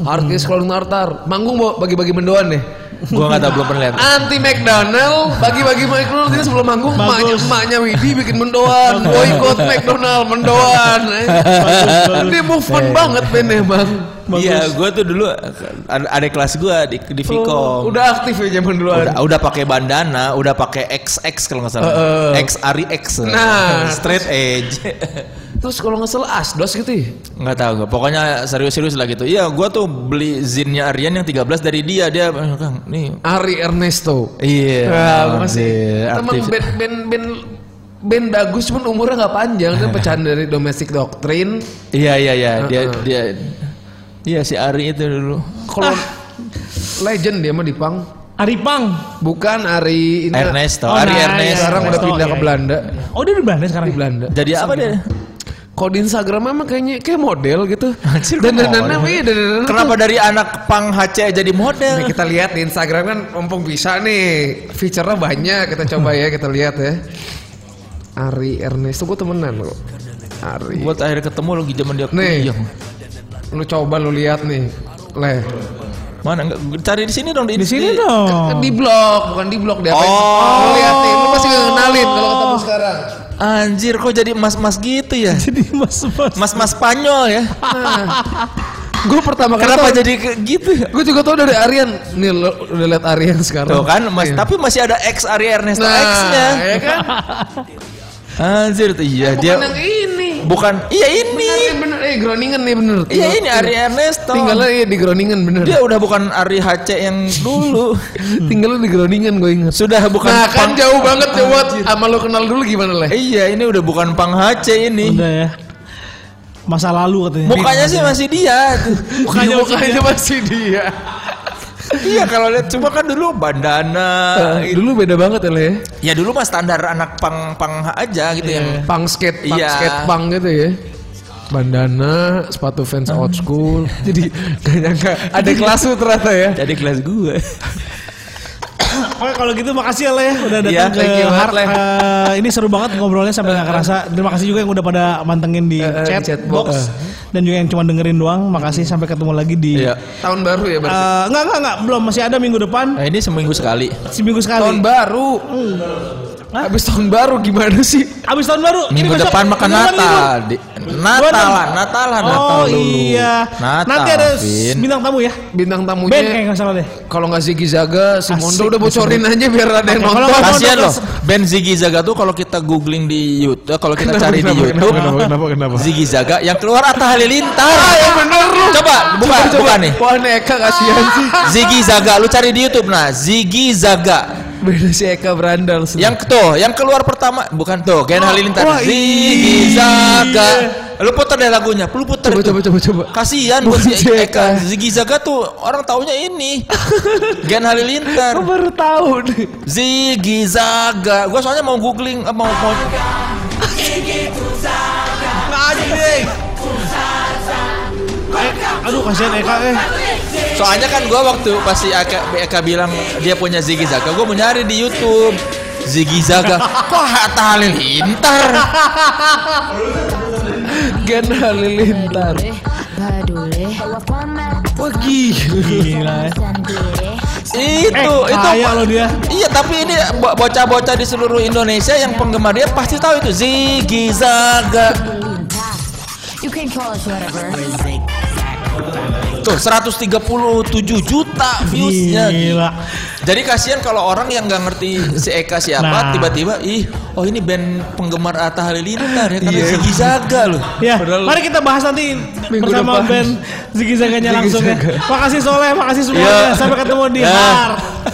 A: Hark is calling Tartar manggung bawa bagi-bagi mendoan deh
C: gua enggak tahu belum pernah lihat.
A: anti McDonald bagi-bagi McDonald dia sebelum manggung emaknya, emaknya Widi bikin mendoan boykot McDonald mendoan eh. dia movement banget band emang
C: Iya, gua tuh dulu ada, ada kelas gua di di Vicom.
A: Oh, udah aktif ya zaman dulu
C: udah, udah pakai bandana, udah pakai XX kalau nggak salah. X Ari X.
A: Uh-uh. Nah,
C: straight edge.
A: terus kalau nggak salah asdos gitu ya
C: Nggak tahu gue. Pokoknya serius-serius lah gitu. Iya, gua tuh beli zinnya Arian yang 13 dari dia. Dia, Kang, nih
A: Ari Ernesto
C: Iya,
A: Ya, gua masih
C: iya,
A: teman
C: aktif.
A: band band band band bagus cuman umurnya nggak panjang dia pecahan dari domestic doctrine
C: Iya iya iya dia
A: Heeh.
C: dia Iya si Ari itu dulu.
A: kalau legend dia mah di punk
B: Aripang.
A: bukan Ari ini
C: Ernesto,
B: Oh,
C: Ari
B: nah,
C: Ernesto.
A: iya, sekarang udah
B: Ernesto,
A: pindah
B: iya,
A: ke
B: iya.
A: Belanda
B: Oh dia di Belanda sekarang.
A: di Belanda
C: Jadi apa dia?
A: kalau di Instagram emang kayaknya kayak model gitu
C: Anjir,
A: dan dan dan
C: model.
A: iya dan dan
C: Kenapa dari anak pang HC jadi model?
A: Nih kita lihat di Instagram kan mumpung bisa nih fiturnya banyak kita coba ya kita lihat ya Ari Ernesto gue temenan kok Ari
C: Buat akhir ketemu lagi zaman dia
A: Nih.
C: kuliah.
A: Lu coba lu lihat nih. Leh.
C: Mana enggak cari di sini dong di,
B: Di sini dong.
A: Di blok, bukan di blok dia. apain?
C: Oh.
A: Lu lihat nih, lu pasti gak kenalin kalau ketemu sekarang.
C: Anjir kok jadi mas-mas gitu ya?
B: Jadi mas mas.
C: Mas-mas Spanyol ya.
A: Gue pertama kali
C: Kenapa
A: tau-
C: jadi ke- gitu? ya?
A: Gue juga tau dari Aryan. Nih lu udah lihat Aryan sekarang.
C: Tuh kan,
A: Iya.
C: mas, tapi masih ada X Ari Ernesto
A: nah,
C: X-nya.
A: ya kan?
C: Anjir tuh
A: Bukan
C: iya dia
A: yang ini.
C: bukan iya ini.
A: Bener, nih, bener. Eh, Groningen nih bener.
C: Iya ini Ari Ernesto.
A: Tinggalnya iya, di Groningen bener.
C: Dia udah bukan Ari HC yang dulu.
A: Tinggalnya di Groningen gue inget.
C: Sudah bukan
A: Nah
C: pang,
A: kan jauh banget
C: Ah,
B: ya,
A: jauh banget. Sama lu kenal dulu gimana leh?
C: Iya, ini udah bukan pang HC ini.
B: Udah ya. Masa lalu katanya.
C: Mukanya sih masih dia.
A: Mukanya Iya, mukanya masih dia.
C: iya kalau lihat cuma kan dulu bandana.
A: Eh, dulu beda banget ya leh.
C: Ya dulu mah standar anak pang pang aja gitu yang
A: punk skate, punk
C: Iya.
A: skate punk gitu ya. Bandana, sepatu fans old school. Jadi gak nyangka ada kelas lu ternyata ya.
C: jadi kelas gue.
B: Oke kalau gitu makasih ya Le udah
C: Iya,
B: datang ke
C: thank you banget,
B: Har.
C: Le.
B: Eh, ini seru banget ngobrolnya sampai nggak kerasa. Terima kasih juga yang udah pada mantengin di
A: Eh, eh, di
B: chat,
A: chat box.
B: box dan juga yang cuma dengerin doang. Makasih sampai ketemu lagi di
C: Iya.
A: Tahun baru ya berarti.
B: Eh, enggak, enggak, enggak, belum masih ada minggu depan,
C: Nah, ini seminggu sekali.
B: seminggu sekali.
A: tahun baru. Habis tahun baru gimana sih?
B: Abis tahun baru. jadi
C: Minggu
B: besok-
C: depan makan
B: minggu depan
C: Natal.
B: libur.
C: Di- Natalan, Natalan, Natal
B: Oh
C: dulu.
B: iya.
C: Natal.
B: Nanti ada
C: Vin.
B: bintang tamu ya.
A: Bintang
B: Ben kayak
A: tamunya
B: nggak salah deh.
A: kalau nggak Ziggy Zaga, si Mondo
B: Asik,
A: udah bocorin aja biar ada yang
B: Kalau
A: nonton.
B: nggak-
C: Kasihan loh, band Ziggy Zaga tuh kalau kita googling di YouTube, eh, kalau kita cari di
A: kenapa,
C: YouTube,
A: kenapa, kenapa, kenapa?
C: Ziggy Zaga yang keluar Atta Halilintar.
A: Ah, ya bener lu.
C: Coba, buka, buka nih.
A: Wah, Eka kasihan sih.
C: Ziggy Zaga, lu cari di YouTube nah, Ziggy Zaga.
A: Beda si Eka berandal. sih.
C: Yang tuh, yang keluar pertama bukan tuh, Gen Halilintar.
A: Ah, wah, iya.
C: Ziggy Zaga. Lu puter deh lagunya, lu puter.
A: coba
C: itu.
A: coba coba coba.
C: Kasihan buat si
A: Bukan si Eka.
C: Eka. Ziggy Zaga tuh orang taunya ini. Gen Halilintar.
A: Aku baru tahu nih.
C: Ziggy Zaga. Gua soalnya mau googling eh, mau mau Anjing.
B: Eh, aduh kasihan Eka eh.
C: Soalnya kan gua waktu pas si Eka, Eka bilang dia punya Ziggy Zaga, gua mau nyari di YouTube. Ziggy Zaga. Kok Hatta Halilintar?
A: Gen Halilintar.
F: Badule,
A: Wah gila.
B: Gila ya.
F: Sandile,
B: Eh,
C: Itu, Oh, itu.
B: kaya loh dia.
C: Iya, tapi ini bo- bocah-bocah di seluruh Indonesia yang penggemar dia pasti tahu itu Ziggy Zaga.
F: You can call us whatever.
C: Tuh 137 juta viewsnya.
B: Gila.
C: Jadi kasihan kalau orang yang nggak ngerti si Eka
B: Nah.
C: siapa tiba-tiba ih oh ini band penggemar Atta Halilintar
B: Iya.
C: ya karena Ziggy Zaga loh.
B: Ya,
A: Padahal-
B: mari kita bahas nanti
A: Minggu
B: bersama
A: depan.
B: band Ziggy Zaganya
A: Ziggy
B: langsung ya.
A: Zaga. Ya.
B: Makasih Soleh, makasih semuanya.
C: Iya.
B: Sampai ketemu di
C: Ya.
B: Har.